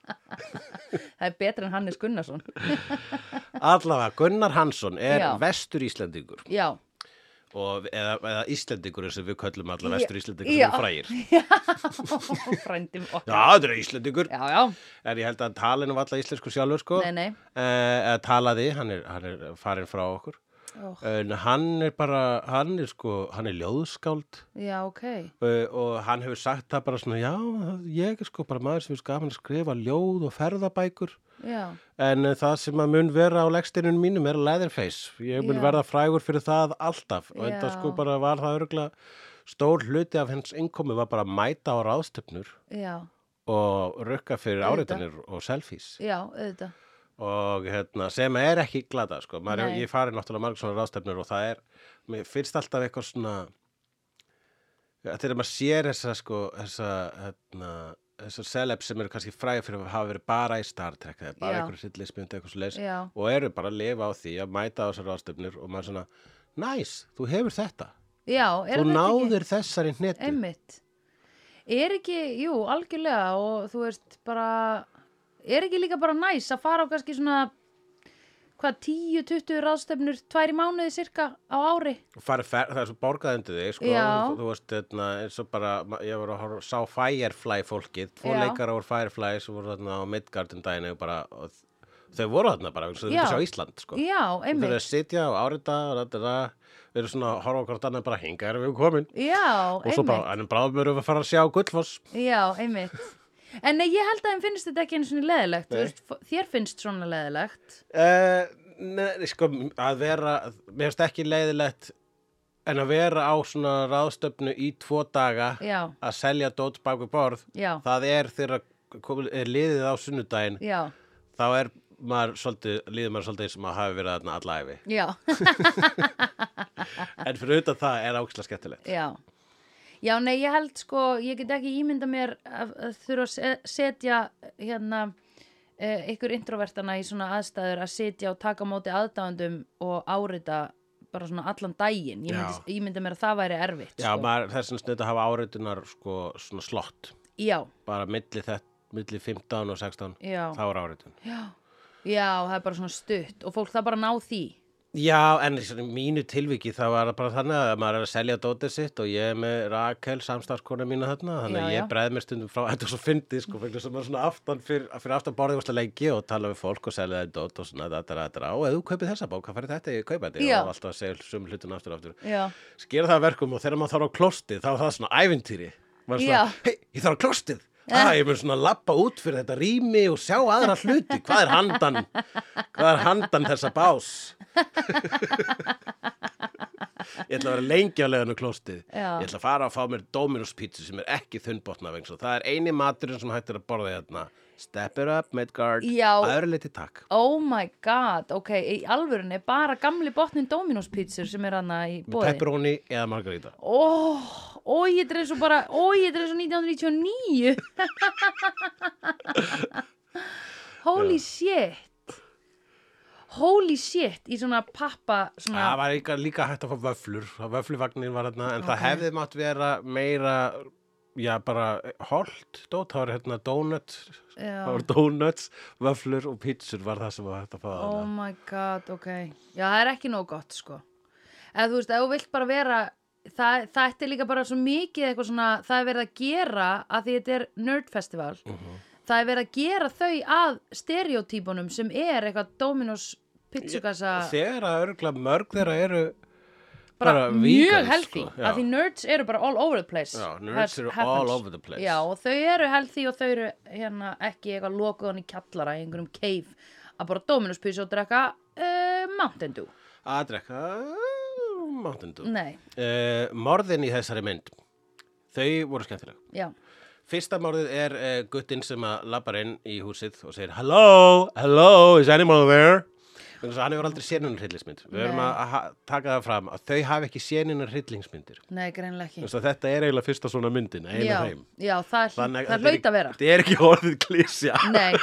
B: það er betra en Hannes Gunnarsson.
A: allavega, Gunnar Hansson er
B: Já.
A: vestur Íslendingur
B: Já,
A: og, eða, eða Íslendingur sem við köllum alla
B: Já,
A: vestur Íslendingur
B: já.
A: sem er frægir Já,
B: frændum okkar.
A: þetta er Íslendingur
B: Já, já,
A: en ég held að hann tali nú alla íslensku sjálfur sko
B: nei, nei.
A: Eh, eða talaði, hann er, hann er farin frá okkur
B: Oh,
A: en hann er bara, hann er sko hann er ljóðskáld
B: já, ok.
A: eh, og hann hefur sagt það bara svona já, ég er sko bara maður sem er skafan að skrifa ljóð og ferðabækur
B: Já,
A: En eh, það sem að mun vera á leggsteinunum mínum er Leatherface. Ég mun
B: Já.
A: verða frægur fyrir það alltaf. Og þetta
B: Já.
A: sko bara var það örgla stór hluti af hens innkomi var bara að mæta á ráðstöfnur
B: já,
A: og rukka fyrir
B: Auðvitað.
A: áreitanir og selfies.
B: já, auðvitað.
A: Og hérna, sem er ekki glada, sko. Maður,
B: Nei.
A: ég fari náttúrulega marg svona ráðstöfnur og það er, mér finnst alltaf eitthvað svona, þegar maður sér þessa, sko, þessa, hérna, þessar celebs sem eru kannski fræði fyrir að hafa verið bara í Star Trek eða bara
B: Já.
A: einhverju sillismynd eitthvað svo leys
B: Já,
A: og eru bara að lifa á því að mæta á þessar ráðstöfnir og maður svona, næs, þú hefur þetta
B: já,
A: þú
B: er þetta ekki-
A: náðir þessari hnetu
B: Einmitt. Er ekki, jú, algjörlega og þú veist bara, er ekki líka bara næs að fara á kannski svona, hvað, 10-20 ráðstefnur, tvær í mánuði cirka á ári?
A: og farið fer, það er svo borgað undir þig sko,
B: Já.
A: þú, þú veist, þetta, eins og bara ma- ég var að horfa, sá Firefly fólkið tvo
B: Já.
A: leikara voru Firefly sem voru þarna á Midgard um daginn og bara, og þ- þau voru þarna bara, eins og þau
B: Já.
A: myndu sjá Ísland sko.
B: Já,
A: þau eru að
B: einmitt.
A: sitja og árita og þetta er að, við erum svona að horfa okkur annað bara hinga erum við komin og
B: Já,
A: svo bara,
B: einmitt.
A: en bráðum erum við að fara að sjá Gullfoss
B: Já, einmitt. En nei, ég held að þeim finnst þetta ekki einu svona leðilegt,
A: Nei.
B: veist, f- þér finnst svona leðilegt.
A: Eh, Nei, sko, að vera, mér finnst ekki leiðilegt en að vera á svona ráðstöfnu í tvo daga
B: Já,
A: að selja dót bak við borð,
B: já,
A: það er þegar komið- er liðið á sunnudaginn,
B: já,
A: þá er maður svolítið, líður maður svolítið sem að hafi verið þarna alla æfi.
B: já.
A: En fyrir utan það er ákslega skemmtilegt.
B: Já. Já, nei, ég held sko, ég get ekki ímynda mér að, að þurfa að se- setja hérna eh, ykkur introvertana í svona aðstæður að setja og taka á móti aðdáðandum og árita bara svona allan daginn. Ég myndi,
A: Já.
B: ímynda mér að það væri erfitt.
A: Já,
B: sko.
A: maður, þess að snuta hafa áreitunar sko svona slott,
B: Já,
A: bara milli þetta, milli 15 og 16,
B: já,
A: þá er áreitun.
B: já. Já, það er bara svona stutt og fólk það bara að ná því.
A: Já, en í svona mínu tilviki það var bara þannig að maður er að selja dótið sitt og ég er með Rakel, samstarfskona mína þarna, þannig
B: Já,
A: að ég
B: já.
A: breið mér stundum frá, þetta var svo fyndið, sko, fyrir sem maður svona aftan fyrir, fyrir aftan borðið úrslega lengi og tala við fólk og selja þeim dót og svona, þetta, þetta, þetta, og ef þú kaupir þessa bók, hvað færi þetta, ég kaupa þetta,
B: Já.
A: og alltaf að segja sum hlutun aftur og aftur.
B: Já.
A: Skera það að verkum og þegar maður þarf á klostið, þá er það svona ævintýri. Maður er
B: Já.
A: svona, hei, ég þarf á klostið. Ah, ég mun svona lappa út fyrir þetta rými og sjá aðra hluti. Hvað er handan, hvað er handan þessa bás? ég ætla að vera lengi á leiðinu klostið.
B: Já.
A: Ég ætla að fara að fá mér Dominus pizza sem er ekki þunnbotnavengs og það er eini maturinn sem hægt er að borða hérna. Step it up, Midgard.
B: Já.
A: Að öðru leyti takk.
B: Oh my god, ok, í alvörunni bara gamli botnin Dominos pizzur sem er hana í
A: Með
B: bóði.
A: pepperoni eða margarita.
B: Ó, ó, ég dreif svo bara, ó, ég dreif svo 1999. Holy shit. Holy shit, í svona pappa, svona,
A: Það Ah, var líka, líka hægt að fá vöflur, það vöfluvagnin var hérna, en það hefði mátt vera meira, já bara holt, dót, það var hérna donuts, það
B: já,
A: var donuts, vöflur og pítsur var það sem var hægt að fá
B: oh
A: þarna.
B: my god, ok. Já, það er ekki nóg gott, sko. Eða þú veist, ef þú vilt bara vera, það, það er líka bara svo mikið eitthvað svona, það er verið að gera, að því þetta er Nerd Festival,
A: Mhm.
B: það er verið að gera þau að stereotípunum sem er eitthvað Dominos pizzugasa...
A: Þegar að örgulega mörg þeirra eru
B: bara,
A: bara
B: mjög
A: vegans,
B: healthy
A: sko, já.
B: af því nerds eru bara all over the place
A: Já, nerds
B: Has-
A: eru
B: happens.
A: all over the place.
B: já, og þau eru healthy og þau eru hérna, ekki eitthvað lokuðan í kjallara í einhverjum cave að bara Dominus písu og drekka uh, Mountain Dew
A: að drekka máttundu.
B: nei,
A: Uh, morðin í þessari mynd, þau voru skemmtileg.
B: já,
A: Fyrsta morðið er uh, guttinn sem að labbar inn í húsið og segir Hello, hello, is anyone there? Þannig að hann hefur aldrei séð neinar hryllingsmynd. Við verðum
B: Nei.
A: að ha- taka það fram að þau hafi ekki séð neinar hryllingsmyndir.
B: nei, greinilega ekki
A: Þannig að þetta er eiginlega fyrsta svona myndin, einu
B: já,
A: heim.
B: já, það, Þannig, það hlaut að vera
A: Þetta er ekki orðið klísja.
B: nei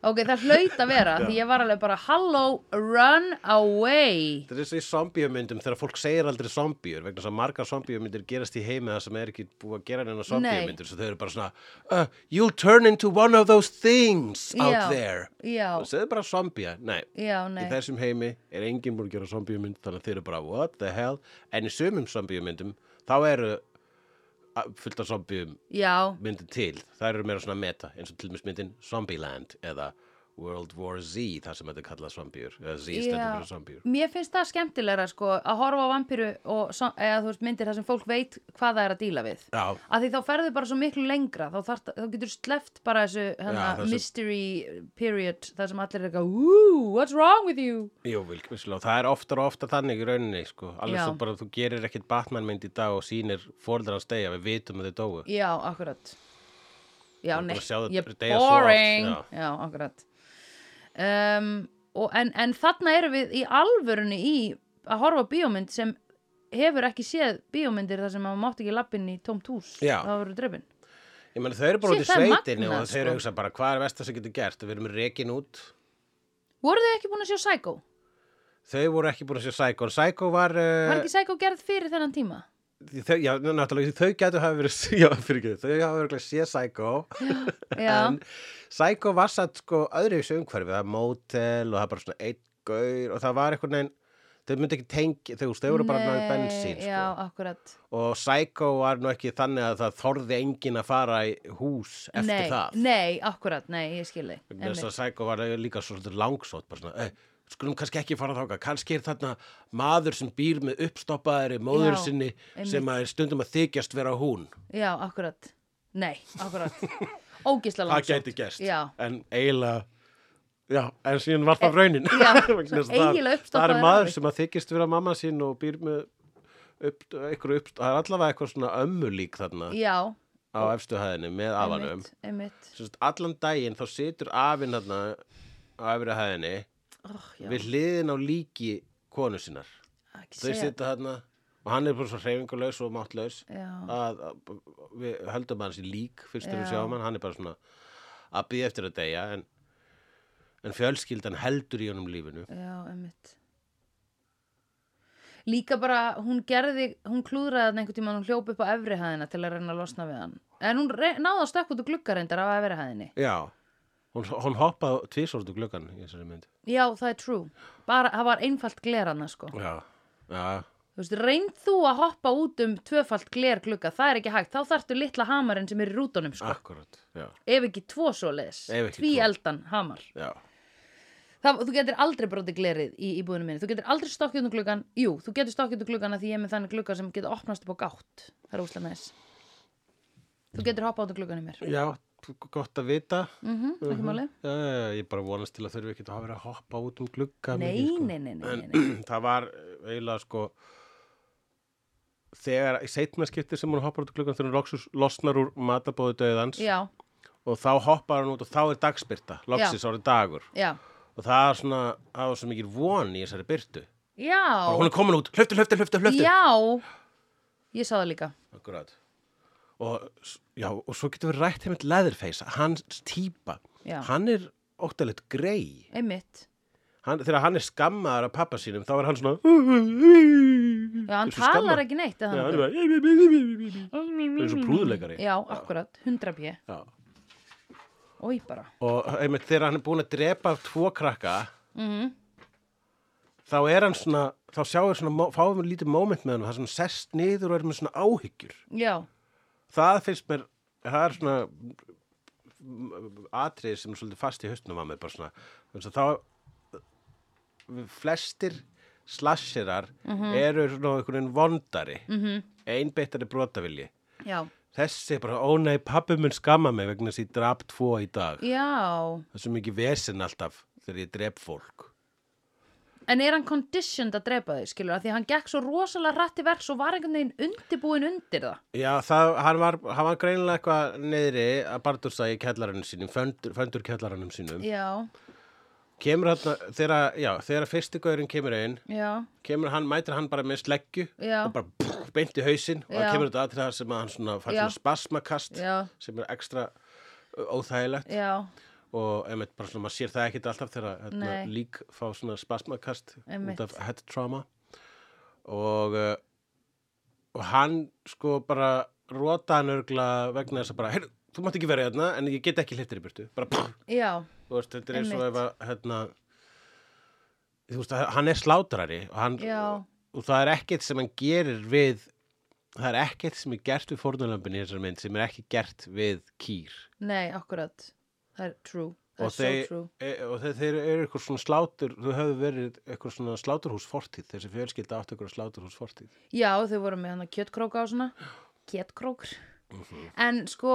B: ok, það hlaut að vera því ég var alveg bara hello, run away
A: Þetta er eins og í zombíumyndum þegar fólk segir aldrei zombíur vegna þess að margar zombíumyndir gerast í heimi það sem er ekki búið að gera neina zombíumyndir svo þau eru bara svona uh, You'll turn into one of those things
B: Já.
A: out there
B: já,
A: og segðu bara zombía, nei
B: já, nei
A: Í þessum heimi er enginn búin að gera zombíumynd þannig að þeir eru bara what the hell en í sumum zombíumyndum þá eru a- fullt af zombíum
B: já,
A: myndir til það eru meira svona meta eins og til dæmis myndin Zombieland eða World War Z þar sem þetta er kallað zombíur eða Z stendur
B: Já.
A: fyrir zombíur
B: Mér finnst það skemmtilegra sko að horfa á vampiru og so- eða, þú veist, myndir þar sem fólk veit hvað það er að díla við.
A: Já,
B: Af því þá ferðu bara svo miklu lengra, þá, þart, þá getur sleppt bara þessu hana,
A: Já, þessu-
B: mystery period, þar sem allir er eitthvað, ooh, what's wrong with you?
A: jú, vil, vissulega, það er oftar og oftar þannig í rauninni, sko, alveg
B: Já.
A: svo bara þú gerir ekkit Batman-mynd í dag og sýnir fórðar hans deyja, við vitum að þau dóu.
B: Já, akkurat. Já,
A: er
B: nei,
A: bara að sjá þetta
B: ég
A: deyja svo oft,
B: boring.
A: já.
B: já. akkurat. Um, og, en, en þarna erum við í alvörunni í að horfa á bíómynd sem hefur ekki séð bíómyndir þar sem maður mátt ekki lappin í tómt hús.
A: Já.
B: Það voru drefin.
A: Ég meni, þau eru bara
B: Sé,
A: út í
B: það er
A: sveitinni
B: magnað,
A: og þau eru
B: sko.
A: að hugsa bara hvað er vest það sem getur gert, við erum rekin út.
B: Voru þau ekki búin að sjá Psycho?
A: Þau voru ekki búin að sé Psycho, en Psycho var,
B: Var
A: uh,
B: ekki Psycho gerð fyrir þennan tíma?
A: þau, já, náttúrulega, þau getur hafa verið, já, fyrir ekki, þau hafa verið að sé Psycho,
B: Já,
A: en Psycho var satt sko öðru í þessu umhverfi, það er mótel og það er bara svona einn gaur og það var eitthvað neginn, þau myndi ekki tengi, þau, þau voru bara náðu bensín, sko.
B: Já, akkurat.
A: og Psycho var nú ekki þannig að það þorði enginn að fara í hús eftir
B: nei,
A: það
B: Nei, akkurat, nei, ég skil þig.
A: vegna þess
B: Einmitt.
A: að Psycho var líka svolítið langsótt bara svona, "Eh, skulum kannski ekki fara þáka kannski er þarna maður sem býr með uppstoppaðari móður
B: Já,
A: sinni
B: einmitt.
A: sem að er stundum að þykjast vera hún
B: Já, akkurat. Nei, akkurat. Ógisla
A: það
B: langsótt.
A: gæti gerst
B: Já. Eh,
A: en eiginlega Já, en síðan var það raunin
B: já,
A: Vegna þess að það-
B: eiginlega
A: Það
B: uppstoppaður
A: er maður
B: afi.
A: sem að þykist vera mamma sín og býr með upp, ykkur upp, það er allavega eitthvað svona ömmulík þarna
B: Já,
A: á efstu hæðinni með afanum
B: einmitt, einmitt.
A: Sest, allan daginn þá situr afinn hérna á efri hæðinni
B: Oh, já,
A: við hliðin á líki konu sinnar
B: ekki
A: þau
B: segja.
A: sita hérna og hann er bara svo hreyfingulegs og máttlaus
B: Já,
A: að, að við höldum hans í lík fyrst þegar við
B: Já.
A: sjáum hann, hann er bara svona að býða eftir að deyja en, en fjölskyldan heldur í honum lífinu
B: já, einmitt. Líka bara, hún gerði, hún klúðraði hann einhvern tímann, hún hljóp upp á efri hæðina til að reyna að losna við hann. En hún re- náði að stökk út og gluggarendar á efri hæðinni.
A: já, Hún, hún hoppaði tvísortu gluggan í þessari mynd.
B: Já, það er true. Bara, það var einfalt glerana, sko.
A: Já, já,
B: Þú veist, reynd þú að hoppa út um tvöfalt glerglugga, það er ekki hægt. Þá þarftu litla hamarinn sem er í rútunum, sko.
A: akkurat, já,
B: Ef ekki tvo svoleiðis.
A: Ah. Ef ekki
B: Tví
A: tvo.
B: eldan hamar.
A: já.
B: Það, þú getur aldrei brotið glerið í íbúðinu minni. Þú getur aldrei stokkið um gluggan. Jú, þú getur stokkið um gluggan að því ég er með þannig glugga sem getur opnast upp á gátt. Það er úslega næs. Þú getur hoppað út um gluggan í mér.
A: Já, gott að vita.
B: Mm
A: Mhm.
B: Ekki máli?
A: Já, já, já, ég bara vonast til að þurfi ekkert að hafa verið að hoppa út um glugga.
B: Nei,
A: mikið, sko.
B: nei, nei, nei, nei, nei.
A: Það var eiginlega sko þegar í seinna skipti sem hún hoppar út um gluggan þegar hún loksus losnar úr matabóðu döðans
B: Já,
A: og þá hoppar hún út og þá er dagspyrta, loksis árið dagur
B: já.
A: og það er svona, það var svo mikil von í þessari byrtu.
B: Já.
A: Og hún er komin út, hlöftu, hlöftu, hlöftu, hlöftu.
B: Já, ég sá það líka
A: Akkurat. Og, s- já, og svo getum við rætt heimilt Leatherface, hans típa.
B: Já.
A: Hann er óttalegt grei.
B: Einmitt
A: Hann, þegar hann er skammaður af pappa sínum, þá er hann svona...
B: Já, hann
A: Eins og
B: talar
A: skamma.
B: ekki neitt
A: Já,
B: eða
A: hann er
B: hann
A: bara... Það er svo prúðuleikari.
B: Já, akkurat, 100 pjö
A: Já.
B: Ói bara
A: Og einmitt þegar hann er búin að drepa af tvo krakka,
B: Mhm.
A: þá er hann svona... Þá sjáum við svona, mo- fáum við lítið moment með hann, það er svona sest niður og er með svona áhyggjur.
B: Já,
A: það finnst mér það er svona atrið sem er svolítið fast í haustnum að mér bara svona þannig að þá flestir slasherar eru svona einhvern veginn vondari mm -hmm. einbeittari brotavilji
B: já,
A: þessi er bara, ó nei, pappi mun skamma mig vegna þess að ég drap tvo í dag
B: já
A: það er svo mikið vesen alltaf þegar ég drep fólk
B: En er hann conditioned að drepa þau, skilur að Því að hann gekk svo rosalega hratt í verks og var einhvern veginn undirbúin undir það
A: Já, það, hann, var, hann var greinilega eitthvað niðri að bardursa í kjallaranum sínum, föndur, föndur kjallaranum sínum
B: Já,
A: kemur hann, þegar, já, þegar fyrsti gaurinn kemur inn,
B: já,
A: kemur hann, mætir hann bara með sleggju
B: Já.
A: og bara brr, beint í hausinn og það
B: Já.
A: kemur þetta að til það sem að hann svona fær
B: Já.
A: svona spasmakast
B: Já.
A: sem er ekstra uh, óþægilegt
B: já,
A: og einmitt bara svona, maður sér það ekkit alltaf þegar hérna,
B: Nei.
A: lík fá svona spasmakast út
B: Einmitt.
A: af head trauma og uh, og hann sko bara róta hann örgla vegna þess að bara, heyrðu, þú mátt ekki vera hérna en ég get ekki hlittir í burtu, bara brr,
B: já
A: þú veist, þetta er eins og
B: Einmitt.
A: ef að hérna, þú veist, hann er slátrari og, hann,
B: Já.
A: og það er ekkert sem hann gerir við það er ekkert sem er gert við fórnulömbin í þessari mynd sem er ekki gert við kýr
B: Nei, akkurat Það er true, það
A: og
B: er so
A: þeir,
B: true
A: e, og þeir, þeir eru eitthvað svona slátur þau höfðu verið eitthvað svona sláturhús fortíð þessi fjölskylda áttu eitthvað sláturhús fortíð
B: Já, þau voru með hann að kjötkróka og svona Kjötkrókur En sko,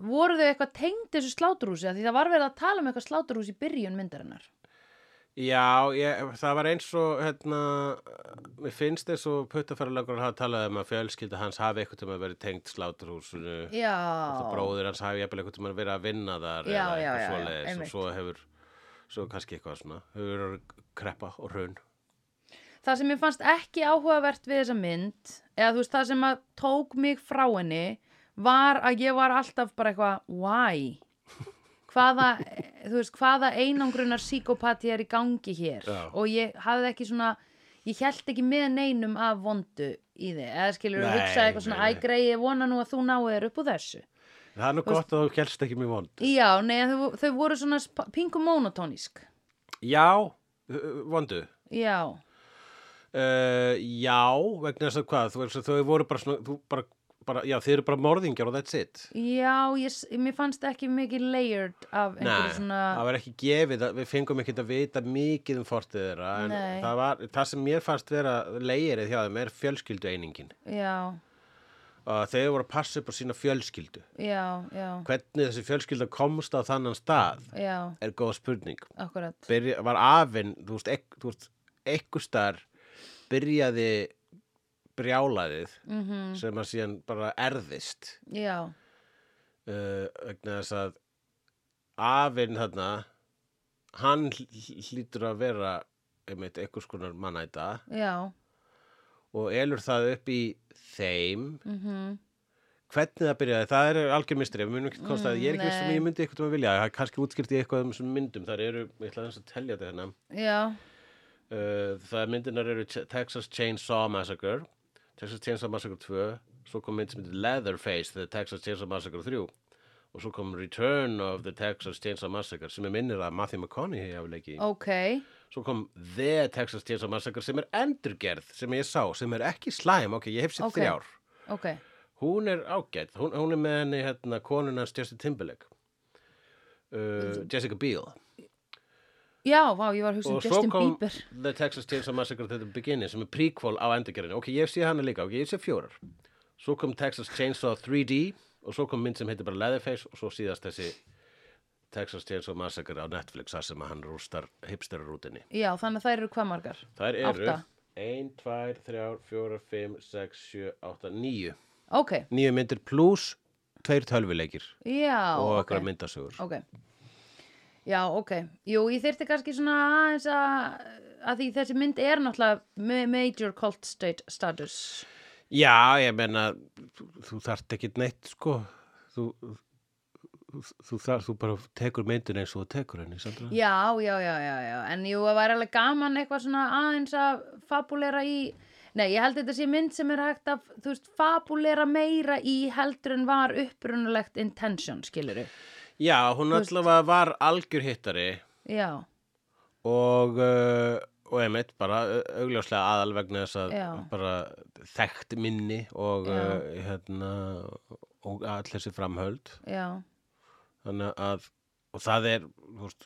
B: voru þau eitthvað tengd þessu sláturhúsi Af Því það var verið að tala um eitthvað sláturhús í byrjun myndarinnar
A: já, ég, það var eins og hérna, mér finnst eins og puttafæralagur hafa talað um að fjölskylda hans hafi eitthvað til að verið tengt sláturhúsinu
B: Já
A: Þetta bróðir hans hafi jafnvel eitthvað tímann verið að vinna þar
B: Já,
A: eða eitthvað
B: já, já, já,
A: svoleiðis og
B: einmitt.
A: svo hefur svo kannski eitthvað svona hefur verið að kreppa og raun
B: Það sem ég fannst ekki áhugavert við þessa mynd Eða þú veist, það sem að tók mig frá henni Var að ég var alltaf bara eitthvað Why? Hvaða, þú veist, hvaða einangrunar psíkopati er í gangi hér
A: Já.
B: Og ég hafði ekki svona Ég held ekki með neinum af vondu í þið Eða skilur
A: Nei,
B: að hugsa eitthvað svona
A: nei,
B: Æ,
A: nei.
B: grei, ég vona nú að þú náu þér upp úr þessu
A: Það er nú gott að þú kelst ekki mjög vond
B: Já, nei, en þau, þau voru svona sp- pingu monotónísk
A: Já, uh, vondu
B: Já,
A: uh, Já, vegna þess að hvað þú, veist að þau voru bara svona þú, bara, bara, Já, þið eru bara morðingjar og that's it
B: já, ég, s- mér fannst ekki mikið layered af einhverju svona
A: það var ekki gefið, að- við fengum ekkert að vita mikið um fortið þeirra en
B: Nei.
A: það, var, það sem mér fannst vera leirið hjá þeim er fjölskyldu einingin
B: Já,
A: og þau voru að passa upp á sína fjölskyldu
B: já, já,
A: hvernig þessi fjölskylda komst á þannan stað
B: já,
A: er góð spurning
B: akkurat
A: Byrja, var afinn, þú veist, ek, þú veist ekkustar byrjaði brjálaðið
B: mm
A: sem að síðan bara erðist
B: Já,
A: uh, vegna þess að afinn þarna hann hl- hl- hlýtur að vera einmitt einhvers konar mannæta
B: já,
A: og elur það upp í þeim
B: mm
A: hvernig það byrjaði, það eru algjör mistri við munum ekki komst að
B: Mm,
A: ég er ekki veist um
B: nei.
A: ég myndi eitthvað að vilja, það er kannski útskýrt í eitthvað um þessum myndum, þar eru, ég ætla aðeins að telja þetta hérna
B: já,
A: uh, það er myndinar eru Ch- Texas Chainsaw Massacre Texas Chainsaw Massacre 2 svo kom mynd sem myndir Leatherface The Texas Chainsaw Massacre 3 og svo kom Return of the Texas Chainsaw Massacre sem er minnir að Matthew McConaughey hafi leikið í
B: ok,
A: svo kom The Texas Chainsaw Massacre sem er endurgerð sem ég sá, sem er ekki slæm ok, ég hef sér
B: Ok.
A: þrjár
B: ok
A: hún er ágætt, hún, hún er með henni hérna, konunans Justin Timberlake uh, Jessica Biel
B: já, vá, ég var að hugsa um
A: og svo
B: Justin
A: kom
B: Bieber
A: The Texas Chainsaw Massacre to the Beginning sem er prequel á endurgerðinu ok, ég sé hana líka, ok, ég sé fjórar svo kom Texas Chainsaw 3D og svo kom mynd sem heitir bara Leatherface og svo síðast þessi Texas Chainsaw Massacre á Netflix þar sem að hann rústar hipsterarútinni
B: já, þannig að þær eru hvað margar
A: þær eru
B: Átta.
A: 1, 2, 3, 4, 5, 6, 7, 8, 9
B: ok,
A: 9 myndir pluss tveir tölvuleikir
B: já,
A: og
B: ok
A: okkur myndasögur
B: ok já, ok, jú, ég þyrfti kannski svona aðeins að að því þessi mynd er náttúrulega ma- major cult state status
A: Já, ég meina, þú, þú þarft ekkit neitt, sko. Þú, þú, þú, þar, þú bara tekur myndin eins og þú tekur henni, Sandra.
B: já, já, já, já, já en jú, það væri alveg gaman eitthvað svona aðeins að fabulera í nei, ég held þetta sé mynd sem er hægt að þú veist, fabulera meira í heldur en var upprunalegt intention, skilur
A: Já, hún
B: Þú veist-
A: allavega var algjör hittari
B: já,
A: og, uh, og einmitt bara uh, augljóslega aðal vegna þess að
B: Já.
A: bara þekkt minni og,
B: Já.
A: uh, hérna, og all þessi framhöld.
B: já,
A: Þannig að, og það er, þú veist,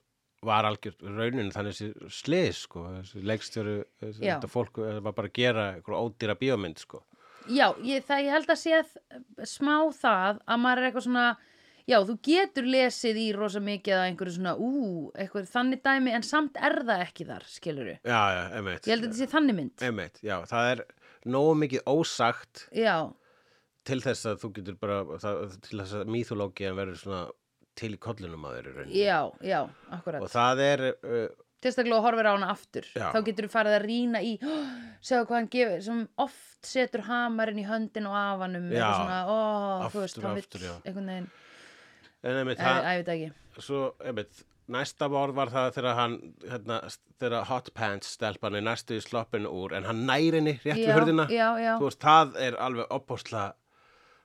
A: var algjört rauninu þannig þessi slið, sko, þessi leikstjóru, þessi-
B: Já.
A: þetta fólk eh, var bara að gera einhver ódýra bíómynd, sko.
B: já ég, það, ég held að sé að smá það að maður er eitthvað svona já, þú getur lesið í rosa mikið að einhverju svona, ú, eitthvað þannig dæmi en samt er það ekki þar, skilur ég
A: Já, já, einmitt.
B: held að þetta sé þannig mynd
A: Einmitt, já, það er nógu mikið ósagt
B: já,
A: til þess að þú getur bara, það, til þess að mýþológiðan verður svona til í kollunum að þeirri rauninni.
B: já, já, akkurat
A: Og það er, uh,
B: sérstaklega og horfir á hana aftur
A: Já.
B: þá getur þú farið að rýna í oh, segja hvað hann gefur, sem oft setur hamarinn í höndin og afanum
A: Já.
B: eitthvað svona, ó,
A: Aftur,
B: þú veist, hann
A: aftur,
B: vill
A: já.
B: einhvern veginn,
A: en einmitt,
B: Æ,
A: það,
B: æ, ég veit það ekki
A: svo, einmitt, næsta ár var það þegar hann, hérna, þegar hot pants stelpan er næstu í sloppinu úr, en hann næri henni rétt við
B: Já,
A: hurðina.
B: já, já.
A: Þú veist, það er alveg oppósla,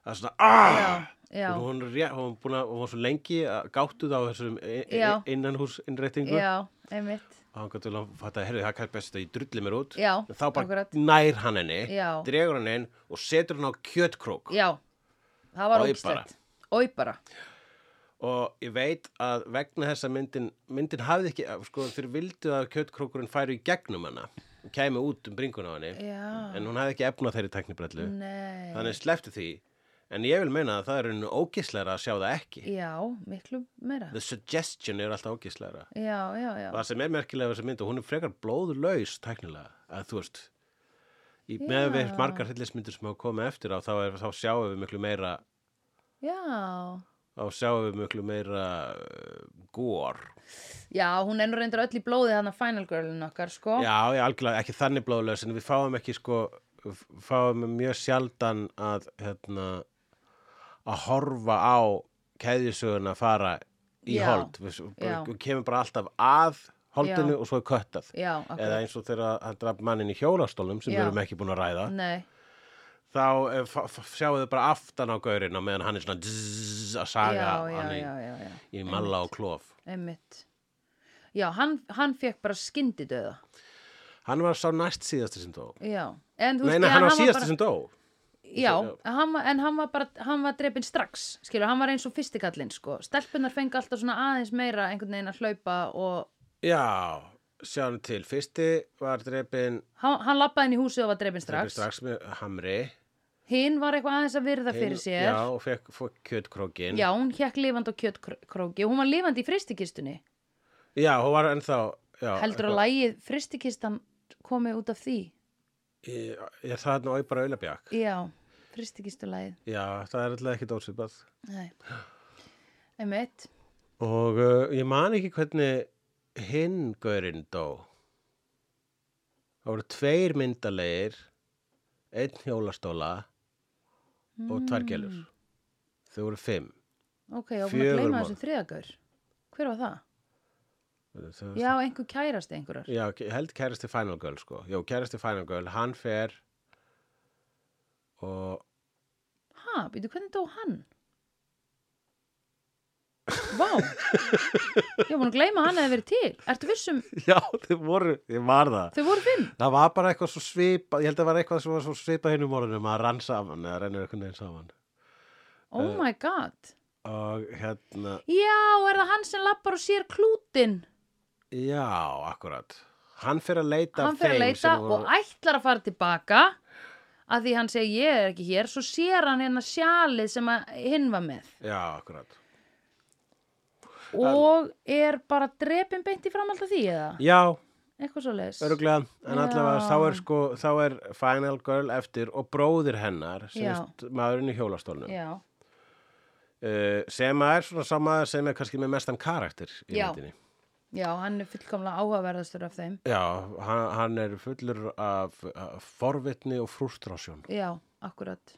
A: það er svona, ahhh!
B: já, já,
A: Og hún, er rétt, hún, búin að, hún var svo lengi að gáttu það á þessum
B: Já.
A: innanhús innréttingu.
B: já, einmitt
A: og hann gæti vel að fatta að herri það er kannski best að ég drulli mér út
B: Já,
A: En þá bara
B: akkurat.
A: nær hann henni
B: Já.
A: dregur hann inn og setur hann á kjötkrók
B: já, það var
A: Oj,
B: ógstætt oi bara,
A: og ég veit að vegna þessa myndin myndin hafði ekki, sko þeir vildu að kjötkrókurinn færi í gegnum hana og kæmi út um bringuna á henni
B: Já.
A: en hún hafði ekki efna þeirri teknibrellu
B: nei
A: þannig slefti því en ég vil meina að það er einu ógisleira að sjá það ekki
B: já, miklu meira
A: the suggestion er alltaf ógisleira
B: já, já, já,
A: það sem er merkilega við þessa mynd og hún er frekar blóðlaus tæknilega að þú veist í með við margar hryllismyndir sem hafa komið eftir á þá, er, þá sjáum við miklu meira
B: já
A: þá sjáum við miklu meira uh, gór
B: Já, hún ennur reyndar öll í blóði þannig að Final Girlin okkar, sko.
A: já, já, algjörlega ekki þannig blóðlaus en við fáum ekki sko f- fáum mjög sjaldan að hérna að horfa á keðjusöguna fara í
B: Já,
A: hold við,
B: já.
A: við kemum bara alltaf að holdinu
B: Já.
A: og svo er köttað
B: Já, akkurat.
A: eða eins og þegar hann draf mannin í hjólastólum sem
B: Já.
A: við erum ekki búin að ræða
B: Nei,
A: þá eh, fa- fa- sjáum við bara aftan á gaurin og meðan hann er svona dzz, að saga
B: já, já,
A: hann í,
B: já, já, já,
A: í malla og klof
B: einmitt. Já, hann, hann fekk bara skyndidauða.
A: hann var sá næst síðasti sem dó
B: Já, en þú
A: nei,
B: veist,
A: nei,
B: en
A: hann var síðasti
B: bara,
A: sem dó
B: Já, hann, var- en hann var bara, hann var drepin strax, skilur, hann var eins og fyrstikallinn, sko. Stelpunar fengi alltaf svona aðeins meira einhvern veginn að hlaupa og
A: já, sjáum til fyrsti var drepin
B: hann, hann lappaði inn í húsið og var drepin
A: drepin
B: strax.
A: strax með hamri
B: Hinn var eitthvað aðeins að virða fyrir
A: Hinn-
B: sér.
A: já, og fekk, fekk kjötkrókin
B: Já, hún hekk lifandi á kjötkróki og hún var lifandi í fristikistunni.
A: já, hún var ennþá já,
B: Heldur
A: eitthvað-
B: að lægið fristikistan komi út af því?
A: Ég- ég er það nú auðvitað bara auðlabjak
B: Já, fristikistulagið.
A: já, það er alltaf ekki dósipað
B: Nei. Einmitt.
A: og uh, ég man ekki hvernig hinn gaurinn dó það voru tveir myndalegir einn hjólastóla og tvær gælur
B: Mm.
A: þau voru fimm
B: Ok, og hún að
A: Fjögur
B: gleyma
A: morð.
B: þessum þriðagaur. Hver var það?
A: þau,
B: Já, einhver kærasti einhverjar.
A: já, ég held kærasti Final Girl sko já, kærasti Final Girl, hann fer og
B: Ha, býtu, hvernig dó hann? Vá, ég var búin að gleyma að hann hefði verið til. Ertu vissum,
A: Já, þau voru, ég var það
B: þau voru fimm?
A: Það var bara eitthvað svo svipað, ég held að það var eitthvað svo, svo svipað hinn um orðunum að rann saman eða rennur einhvern veginn saman. Eh.
B: Oh my god.
A: Og hérna,
B: Já, er það hann sem lappar og sér klútin?
A: já, akkurat. Hann fyrir að leita
B: Hann fer að
A: þeim
B: leita
A: sem
B: og ætlar að fara tilbaka að því hann segi ég er ekki hér, svo sér hann hérna sjalið sem að hinn var með
A: Já, akkurat.
B: og er bara drepin beint í framhald af því eða?
A: Já,
B: Eitthvað svo leis.
A: öruglega, en
B: Já.
A: allavega þá er sko, þá er Final Girl eftir og bróðir hennar, sem
B: Já.
A: er st- maðurinn í hjólastólnum,
B: Já,
A: uh, sem er svona sama sem er kannski með mestan karakter í
B: Já.
A: myndinni.
B: já, hann er fullkomlega áhugaverðastur af þeim.
A: Já, hann, hann er fullur af, af forvitni og frústrásjón.
B: Já, akkurat.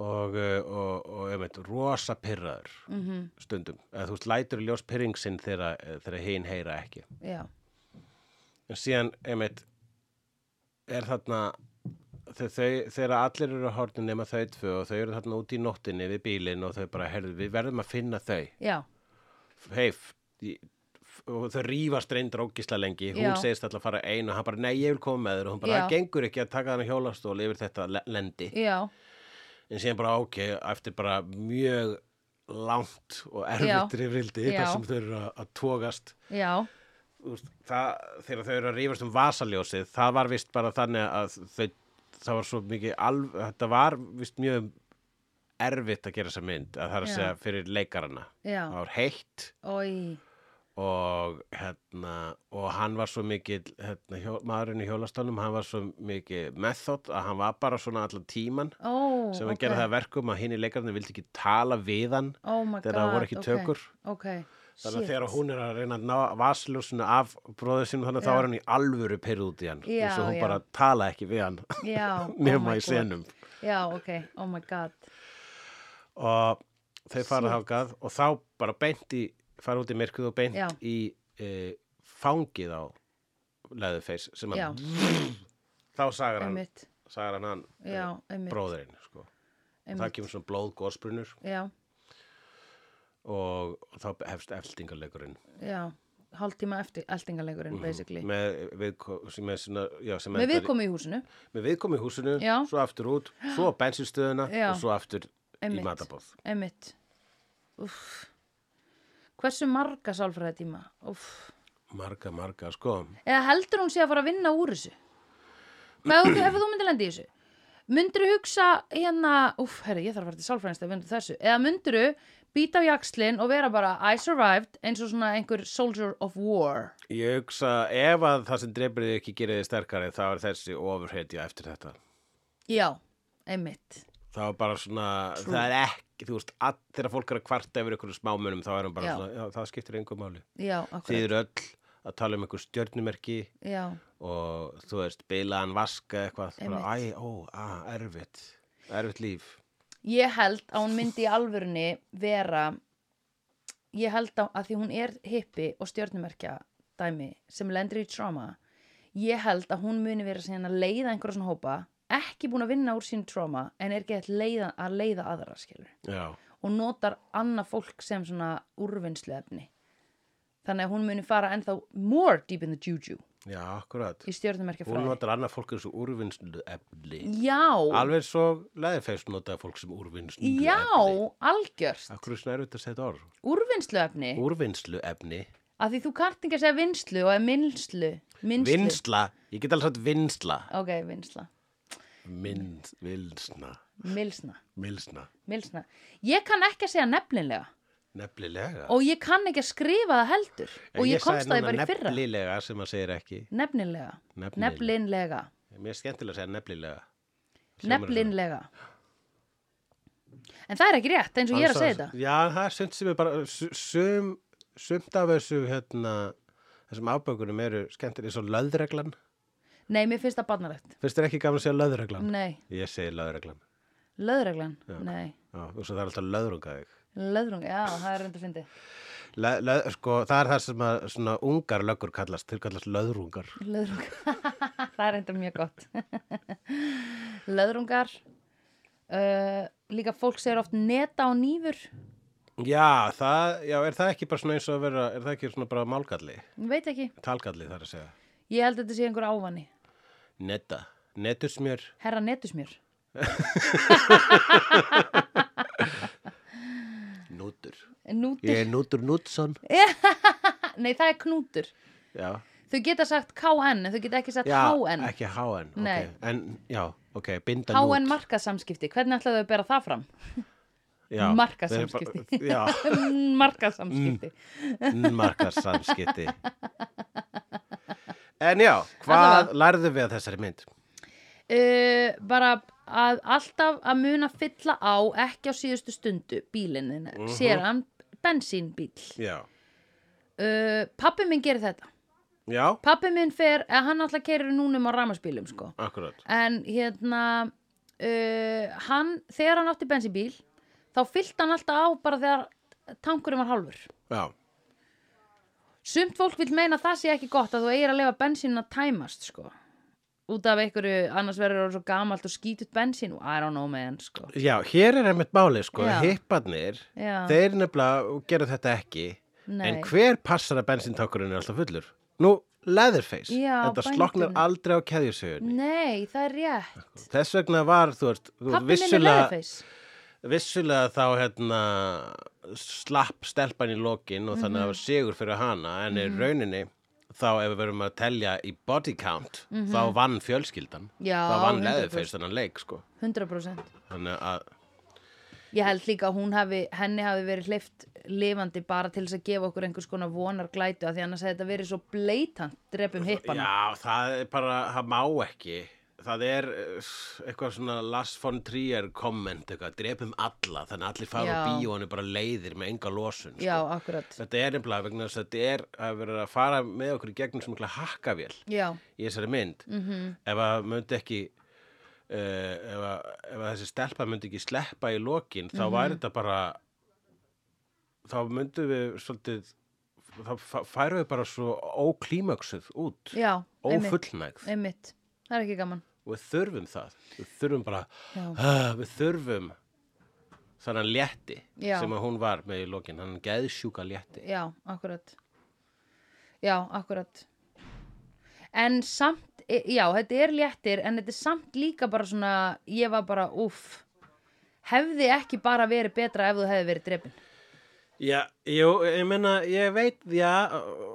A: og, uh, og, og einmitt, rosa pyrraður
B: Mhm.
A: stundum. Eða, þú veist, lætur í ljós pyrring sinn þegar, eh, þegar hinn heyra ekki.
B: Já,
A: En síðan, einmitt, er þarna, þau, þau, þegar allir eru á hornin nema þau tvö og þau eru þarna úti í nóttinni við bílinn og þau bara, heyrðu, við verðum að finna þau.
B: já,
A: Hei, f- í- f- og þau rífast reyndar ógisla lengi, hún
B: Já.
A: segist alltaf að fara ein og hann bara, nei, ég vil koma með þér og hún bara,
B: Já.
A: það gengur ekki að taka hann á hjólastóli yfir þetta le- lendi.
B: já,
A: en síðan bara ok, eftir bara mjög langt og
B: Já.
A: erfitt rifrildi
B: Já.
A: þar sem þau eru að, að tógast
B: já,
A: það, þegar þau eru að rífast um vasaljósið það var vist bara þannig að þau, það var svo mikið alv, þetta var vist mjög erfitt að gera þessa mynd að það er að
B: Já.
A: segja fyrir leikarana það
B: já,
A: var heitt
B: oi,
A: og hérna og hann var svo mikið hérna, hjó, maðurinn í hjólastálum, hann var svo mikið method að hann var bara svona allan tíman
B: ó,
A: sem að
B: ok,
A: gera það að verkum að hinn í leikarnir vildi ekki tala við hann
B: oh my
A: þegar það
B: God,
A: voru ekki
B: ok,
A: tökur.
B: ok,
A: þannig að
B: shit.
A: þegar hún er að reyna að ná vasljósinu af bróður sínum þannig að
B: Já.
A: þá er hann í alvöru pyrr út í hann
B: Já,
A: eins og hún
B: já.
A: bara tala ekki við hann
B: já, oh
A: nema
B: my
A: í
B: God.
A: senum
B: já, ok, oh my god,
A: og þau fara þákað og þá bara beint í fara út í myrkuð og beint
B: Já.
A: í e, fangið á leðufeis sem
B: já,
A: að þá sagar hann,
B: einmitt,
A: sagar hann, hann eh,
B: já, einmitt,
A: bróðirinn sko. það
B: einmitt,
A: kemur svona blóð gósbrunur
B: já, og
A: og, og þá hefst eldingalegurinn
B: já, hálftíma eftir eldingalegurinn, Mm-hmm.
A: Mhm.
B: basically,
A: með, við, með, svona, já, sem
B: með
A: endar í-
B: viðkomi í húsinu,
A: með viðkomi í húsinu,
B: Já.
A: svo aftur út, svo á bensinstöðuna
B: Já.
A: og svo aftur
B: Einmitt.
A: í matabóð.
B: einmitt, uff, hversu marga sálfræðitíma, uff,
A: Marga, marga, sko.
B: eða heldur hún sé að fara að vinna úr þessu með þú, ef þú myndir lenda í þessu myndir hugsa hérna úf, herri, ég þarf að fara til sálfræðinst að vinna úr þessu eða myndir býta á jakslinn og vera bara I survived eins og svona einhver soldier of war
A: Ég hugsa ef að það sem dreipir þig ekki gerir þig sterkari þá er þessi ofurhetja eftir þetta.
B: já, einmitt
A: Það er bara svona, það er ekki, þú veist, all, þegar fólk er að kvarta yfir einhverjum smámunum þá er hann bara
B: Já.
A: svona, já, það skiptir einhver máli.
B: já, akkurat
A: Þið eru öll að tala um einhver stjörnumerki
B: já,
A: og þú veist, bilaðan vaska eitthvað, það er bara, æ,
B: Einmitt.
A: ó, á, erfitt, erfitt líf.
B: ég held að hún myndi í alvörunni vera ég held að, að því hún er hippi og stjörnumerkja dæmi sem lendur í trauma ég held að hún muni vera síðan að leiða einhverja svona hópa ekki búin að vinna úr sín trauma en er gett leiða, að leiða aðra skilur
A: Já,
B: og notar annað fólk sem svona úrvinnslu þannig að hún muni fara ennþá more deep in the juju
A: já, akkurat.
B: í stjörnumerkja
A: Hún
B: fræði
A: notar annað fólk eins og úrvinnslu efni.
B: já,
A: Alveg svo leðifeist notaði fólk sem úrvinnslu efni.
B: já, algjörst
A: Akkur er svona erut að segja þetta orð.
B: úrvinnslu
A: Úrvinnslu efni.
B: að því þú kannt ekki að segja vinslu og er minnslu minnslu,
A: Vinsla. Ég get alveg sagt vinsla.
B: ok, vinsla,
A: Minns, vilsna.
B: milsna
A: Milsna.
B: milsna, ég kann ekki að segja nefnilega
A: Nefnilega.
B: og ég kann ekki að skrifa það heldur
A: En
B: og ég,
A: sagði
B: komst það
A: núna
B: bara í fyrra
A: Nefnilega sem að segir ekki.
B: nefnilega,
A: Nefnilega.
B: nefnilega
A: Mér er skemmtilega að segja nefnilega.
B: nefnilega en það er ekki rétt eins og ég er að segja þetta
A: Já, það er sumt sem er bara, su- sum, sumt af þessu, hérna, þessum afbökunum eru skemmtilega eins og löðreglan.
B: nei, mér finnst það barnarlegt
A: Finnst þér ekki gaman að segja löðreglan?
B: nei,
A: Ég segi löðreglan.
B: löðreglan, nei
A: Já, og svo það er alltaf löðrunga þig.
B: löðrung, já, það er reynda fyndið
A: Le, le, sko, það er það sem að svona ungar löggur kallast, þeir kallast löðrungar.
B: Löðrungar, það er enda mjög gott. Löðrungar, uh, líka fólk segir oft neta og nýfur.
A: Já, það, já, er það ekki bara svona eins og að vera, er það ekki svona bara málgalli,
B: Ég veit ekki.
A: talgalli þar að segja?
B: Ég held að þetta sé einhver ávani.
A: Netta, netusmjör,
B: Herra netusmjör.
A: nútur.
B: Nútur.
A: Ég er nútur nútson.
B: Nei, það er knútur.
A: Já,
B: Þau geta sagt KN, en þau geta ekki sagt
A: já
B: HN.
A: ekki HN, ok.
B: Nei.
A: En, já, ok, binda nút.
B: HN markasamskipti. Hvernig ætlaðu þau að bera það fram?
A: Já,
B: markaðssamskipti.
A: þeir bara- Já,
B: Um, Markasamskipti.
A: Mm. markarsamskipti. En já, hvað lærðu við að þessari mynd?
B: Uh, bara að alltaf að muna fylla á, ekki á síðustu stundu, bílinin, uh
A: Mhm.
B: -huh. sér hann bensínbíl.
A: Já,
B: Uh, pappi minn gerir þetta.
A: já,
B: Pappi minn fer, eða hann alltaf keirir núnum á ramaspílum, sko.
A: akkurat.
B: En hérna, uh, hann, þegar hann átti bensínbíl, þá fyllt hann alltaf á bara þegar tankurinn var hálfur.
A: Já,
B: Sumt fólk vil meina að það sé ekki gott að þú eigir að lefa bensínin að tæmast, sko. Út af einhverju, annars verður það svo gamalt og skítut bensín og I don't know man, sko.
A: já, hér er einmitt máli, sko,
B: Já.
A: hipparnir,
B: Já,
A: þeir nefnilega gera þetta ekki. En
B: nei.
A: hver passar að bensintakkurinn er alltaf fullur? Nú, Leatherface,
B: Já,
A: þetta
B: bændum.
A: sloknar aldrei á keðjusögunni.
B: Nei, það er rétt.
A: Þess vegna var, þú veist, þú veist,
B: Pappi minn er
A: vissulega,
B: leðurfeis.
A: vissulega þá hérna, slapp stelpan í lokin og þannig að
B: Mhm.
A: það var sigur fyrir hana, en í rauninni, þá ef við verum að telja í body count, þá vann fjölskyldan,
B: Mhm. Já,
A: þá vann
B: 100%.
A: Leatherface þannig leik, sko.
B: 100%.
A: Þannig að,
B: Ég held líka að hún hafi, henni hafi verið hleyft lifandi bara til þess að gefa okkur einhvers konar vonar glætu að því annars hefði þetta verið svo bleitant drefum hippana.
A: já, það er bara, það má ekki. Það er eh, eitthvað svona Lars von Trier komment, eitthvað, drepum alla, þannig að allir fara á
B: Já.
A: bíóinu bara leiðir með enga losun.
B: Já, akkurat.
A: sko. Þetta er nefnilega vegna þess að þetta er að vera að fara með okkur í gegnum sem mikla hakkavél
B: Já, mhm.
A: í þessari mynd. -hmm. Ef að myndi ekki, uh, ef, að, ef að þessi stelpa myndi ekki sleppa í lokin, þá
B: Mhm.
A: væri þetta bara, þá myndum við svolítið, þá fa- færum við bara svo óklímöksuð út
B: já, einmitt,
A: ófullnægð
B: einmitt. Það er ekki gaman.
A: og við þurfum það við þurfum bara
B: Já.
A: ah, við þurfum þannig létti
B: Já.
A: sem að hún var með í lokin hann geðsjúka létti
B: Já, akkurat. Já, akkurat. En samt, e- já, þetta er léttir en þetta er samt líka bara svona, ég var bara, úff, hefði ekki bara verið betra ef þú hefði verið drefin.
A: já, jú, ég meina ég veit, já,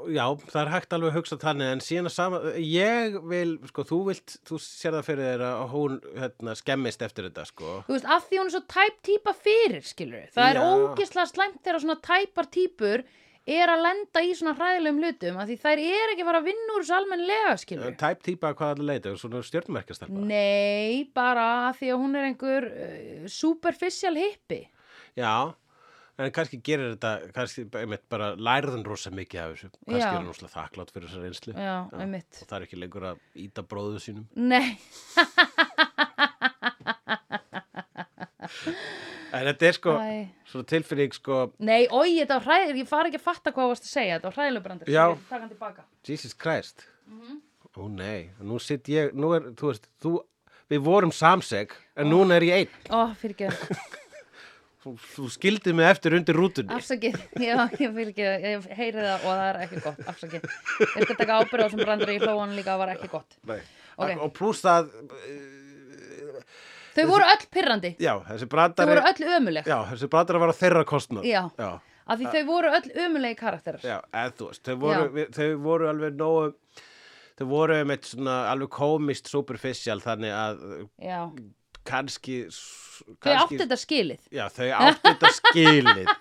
A: já það er hægt alveg að hugsa þannig en síðan að sama ég vil, sko, þú vilt þú sér það fyrir þér að hún hérna, skemmist eftir þetta, sko
B: Þú veist, af því hún er svo tæp típa fyrir, skilur við.
A: Já.
B: Það er ógislega slæmt þegar svona tæpar típur er að lenda í svona hræðilegum hlutum af því þær er ekki að fara að vinna úr þessu almennlega, skilur við.
A: tæp típa að hvað allir leita, svona stjörnmerkastelpa
B: Mm. Nei, bara af því að hún er einhver uh, superficial hippi.
A: Já, en kannski gerir þetta, kannski einmitt bara lærðan rosa mikið af þessu. Kannski
B: Já.
A: er hann rosalega þakklátt fyrir þessa reynslu.
B: Já, einmitt.
A: Og það er ekki lengur að íta bróðu sínum.
B: Nei,
A: En þetta er sko,
B: Æ.
A: svona tilfinning sko,
B: nei, oi, þetta var hræðileg, ég far ekki að fatta hvað þú varst að segja, þetta var hræðileg brandur.
A: Já.
B: Ég taka hann tilbaka.
A: Jesus Christ.
B: Mhm.
A: Ó nei, nú sitt ég, nú er, þú veist, þú, við vorum samseg, en núna er ég einn.
B: Ó, fyrir ekki,
A: Þú, þú skildið mig eftir undir rútunni.
B: afsakið, já, ég fyrir ég heyri það og það er ekki gott, afsakið. Ég skal taka ábyrða á sem brandur, ég hlóa hann líka, það var ekki gott. Ok.
A: Og pluss það,
B: Þau voru öll pirrandi,
A: já, þessi
B: þau
A: brandari,
B: voru öll ömuleg
A: já, þessi brandari var á þeirra kostnað.
B: Já.
A: Já.
B: af því þau voru öll ömulegi karakterar
A: Já, eða þú veist, þau voru, við, þau voru alveg nógu, þau voru um eitt svona alveg komist superficial þannig að uh,
B: Já.
A: kannski, s-
B: Þau áttu
A: kannski
B: þetta skilið
A: Já, þau áttu þetta skilið.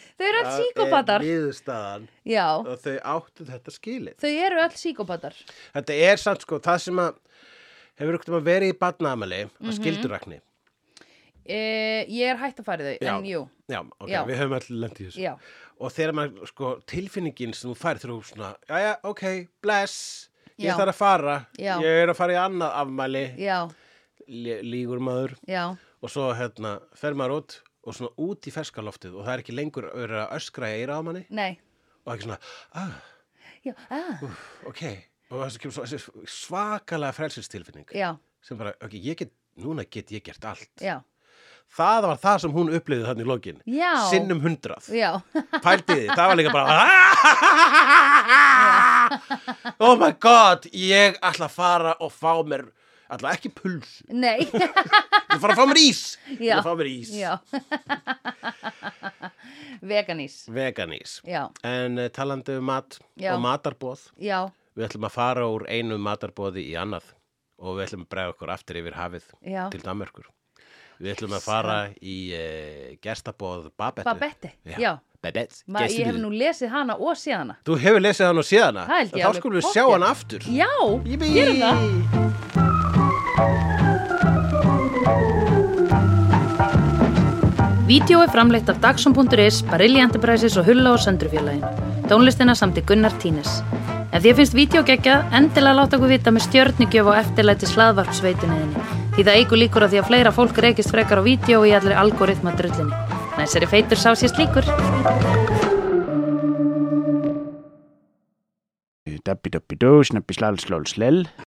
B: Þau eru öll
A: Það
B: síkopatar
A: er niðurstaðan
B: Já,
A: og þau áttu þetta skilið.
B: þau eru öll síkopatar
A: Þetta er samt sko, það sem að hefur ykkur að vera í badnaamali
B: Mhm.
A: að skildurakni.
B: e, Ég er hætt að fara í þau,
A: Já.
B: en jú
A: Já, ok,
B: Já.
A: við höfum allir lendið þessu.
B: Já,
A: og þegar maður, sko, tilfinningin sem þú fær þrjú svona, jæja, ok, bless
B: Já.
A: ég þarf að fara,
B: Já.
A: ég er að fara í annað afmæli,
B: já,
A: Lí- lígur maður
B: já
A: og svo, hérna, fer maður út og svona út í ferskaloftið og það er ekki lengur að vera að öskra í eira á manni
B: Nei,
A: og ekki svona, ah,
B: já, ah,
A: ok og þessi kemur svo þessi svakalega frelsistilfinning
B: já,
A: sem bara, ok, ég get, núna get ég gert allt
B: já
A: það var það sem hún upplifði þannig í lokin
D: Já.
A: sinnum hundrað
D: Já,
A: pæltiði, það var líka bara oh my god ég ætla að fara og fá mér ætla ekki pulsu,
D: nei,
A: ég ætla að fara að fá mér ís ég
D: Já.
A: ætla að fá mér ís,
D: já Veganís,
A: veganís
D: já,
A: en uh, talandi um mat
D: Já.
A: og matarboð
D: já,
A: við ætlum að fara úr einu matarboði í annað og við ætlum að bregða okkur aftur yfir hafið
D: Já.
A: til Danmörkur við ætlum að fara í uh, gestaboð Babette
D: Babette, já,
A: Babette,
D: Ma, Ég hef
A: gestabílinn.
D: nú lesið hana og séð hana
A: Þú hefur lesið hann og séð hana
D: Það held ég
A: Þá
D: alveg
A: skulum við
D: pottþétt.
A: sjá hann aftur
D: Já,
A: Mm. Yippee.
D: gerum það
B: Vídeó er framleitt af Dagsum.is, Barilli Enterprises og Hulla og Söndrufjörlægin. Tónlistina samt í Gunnar Tínes. Ef þér finnst vídeo geggjað, endilega láta okkur vita með stjörnigjöf og eftirlæti slaðvarpsveitunniðinni. Því það eigur líkur að því að fleira fólk reykist frekar á vídeo í allir algoritma drullinni. Næsari feitur sá sér slíkur.
E: Dabbi dabbi dó, snabbi slal slól slel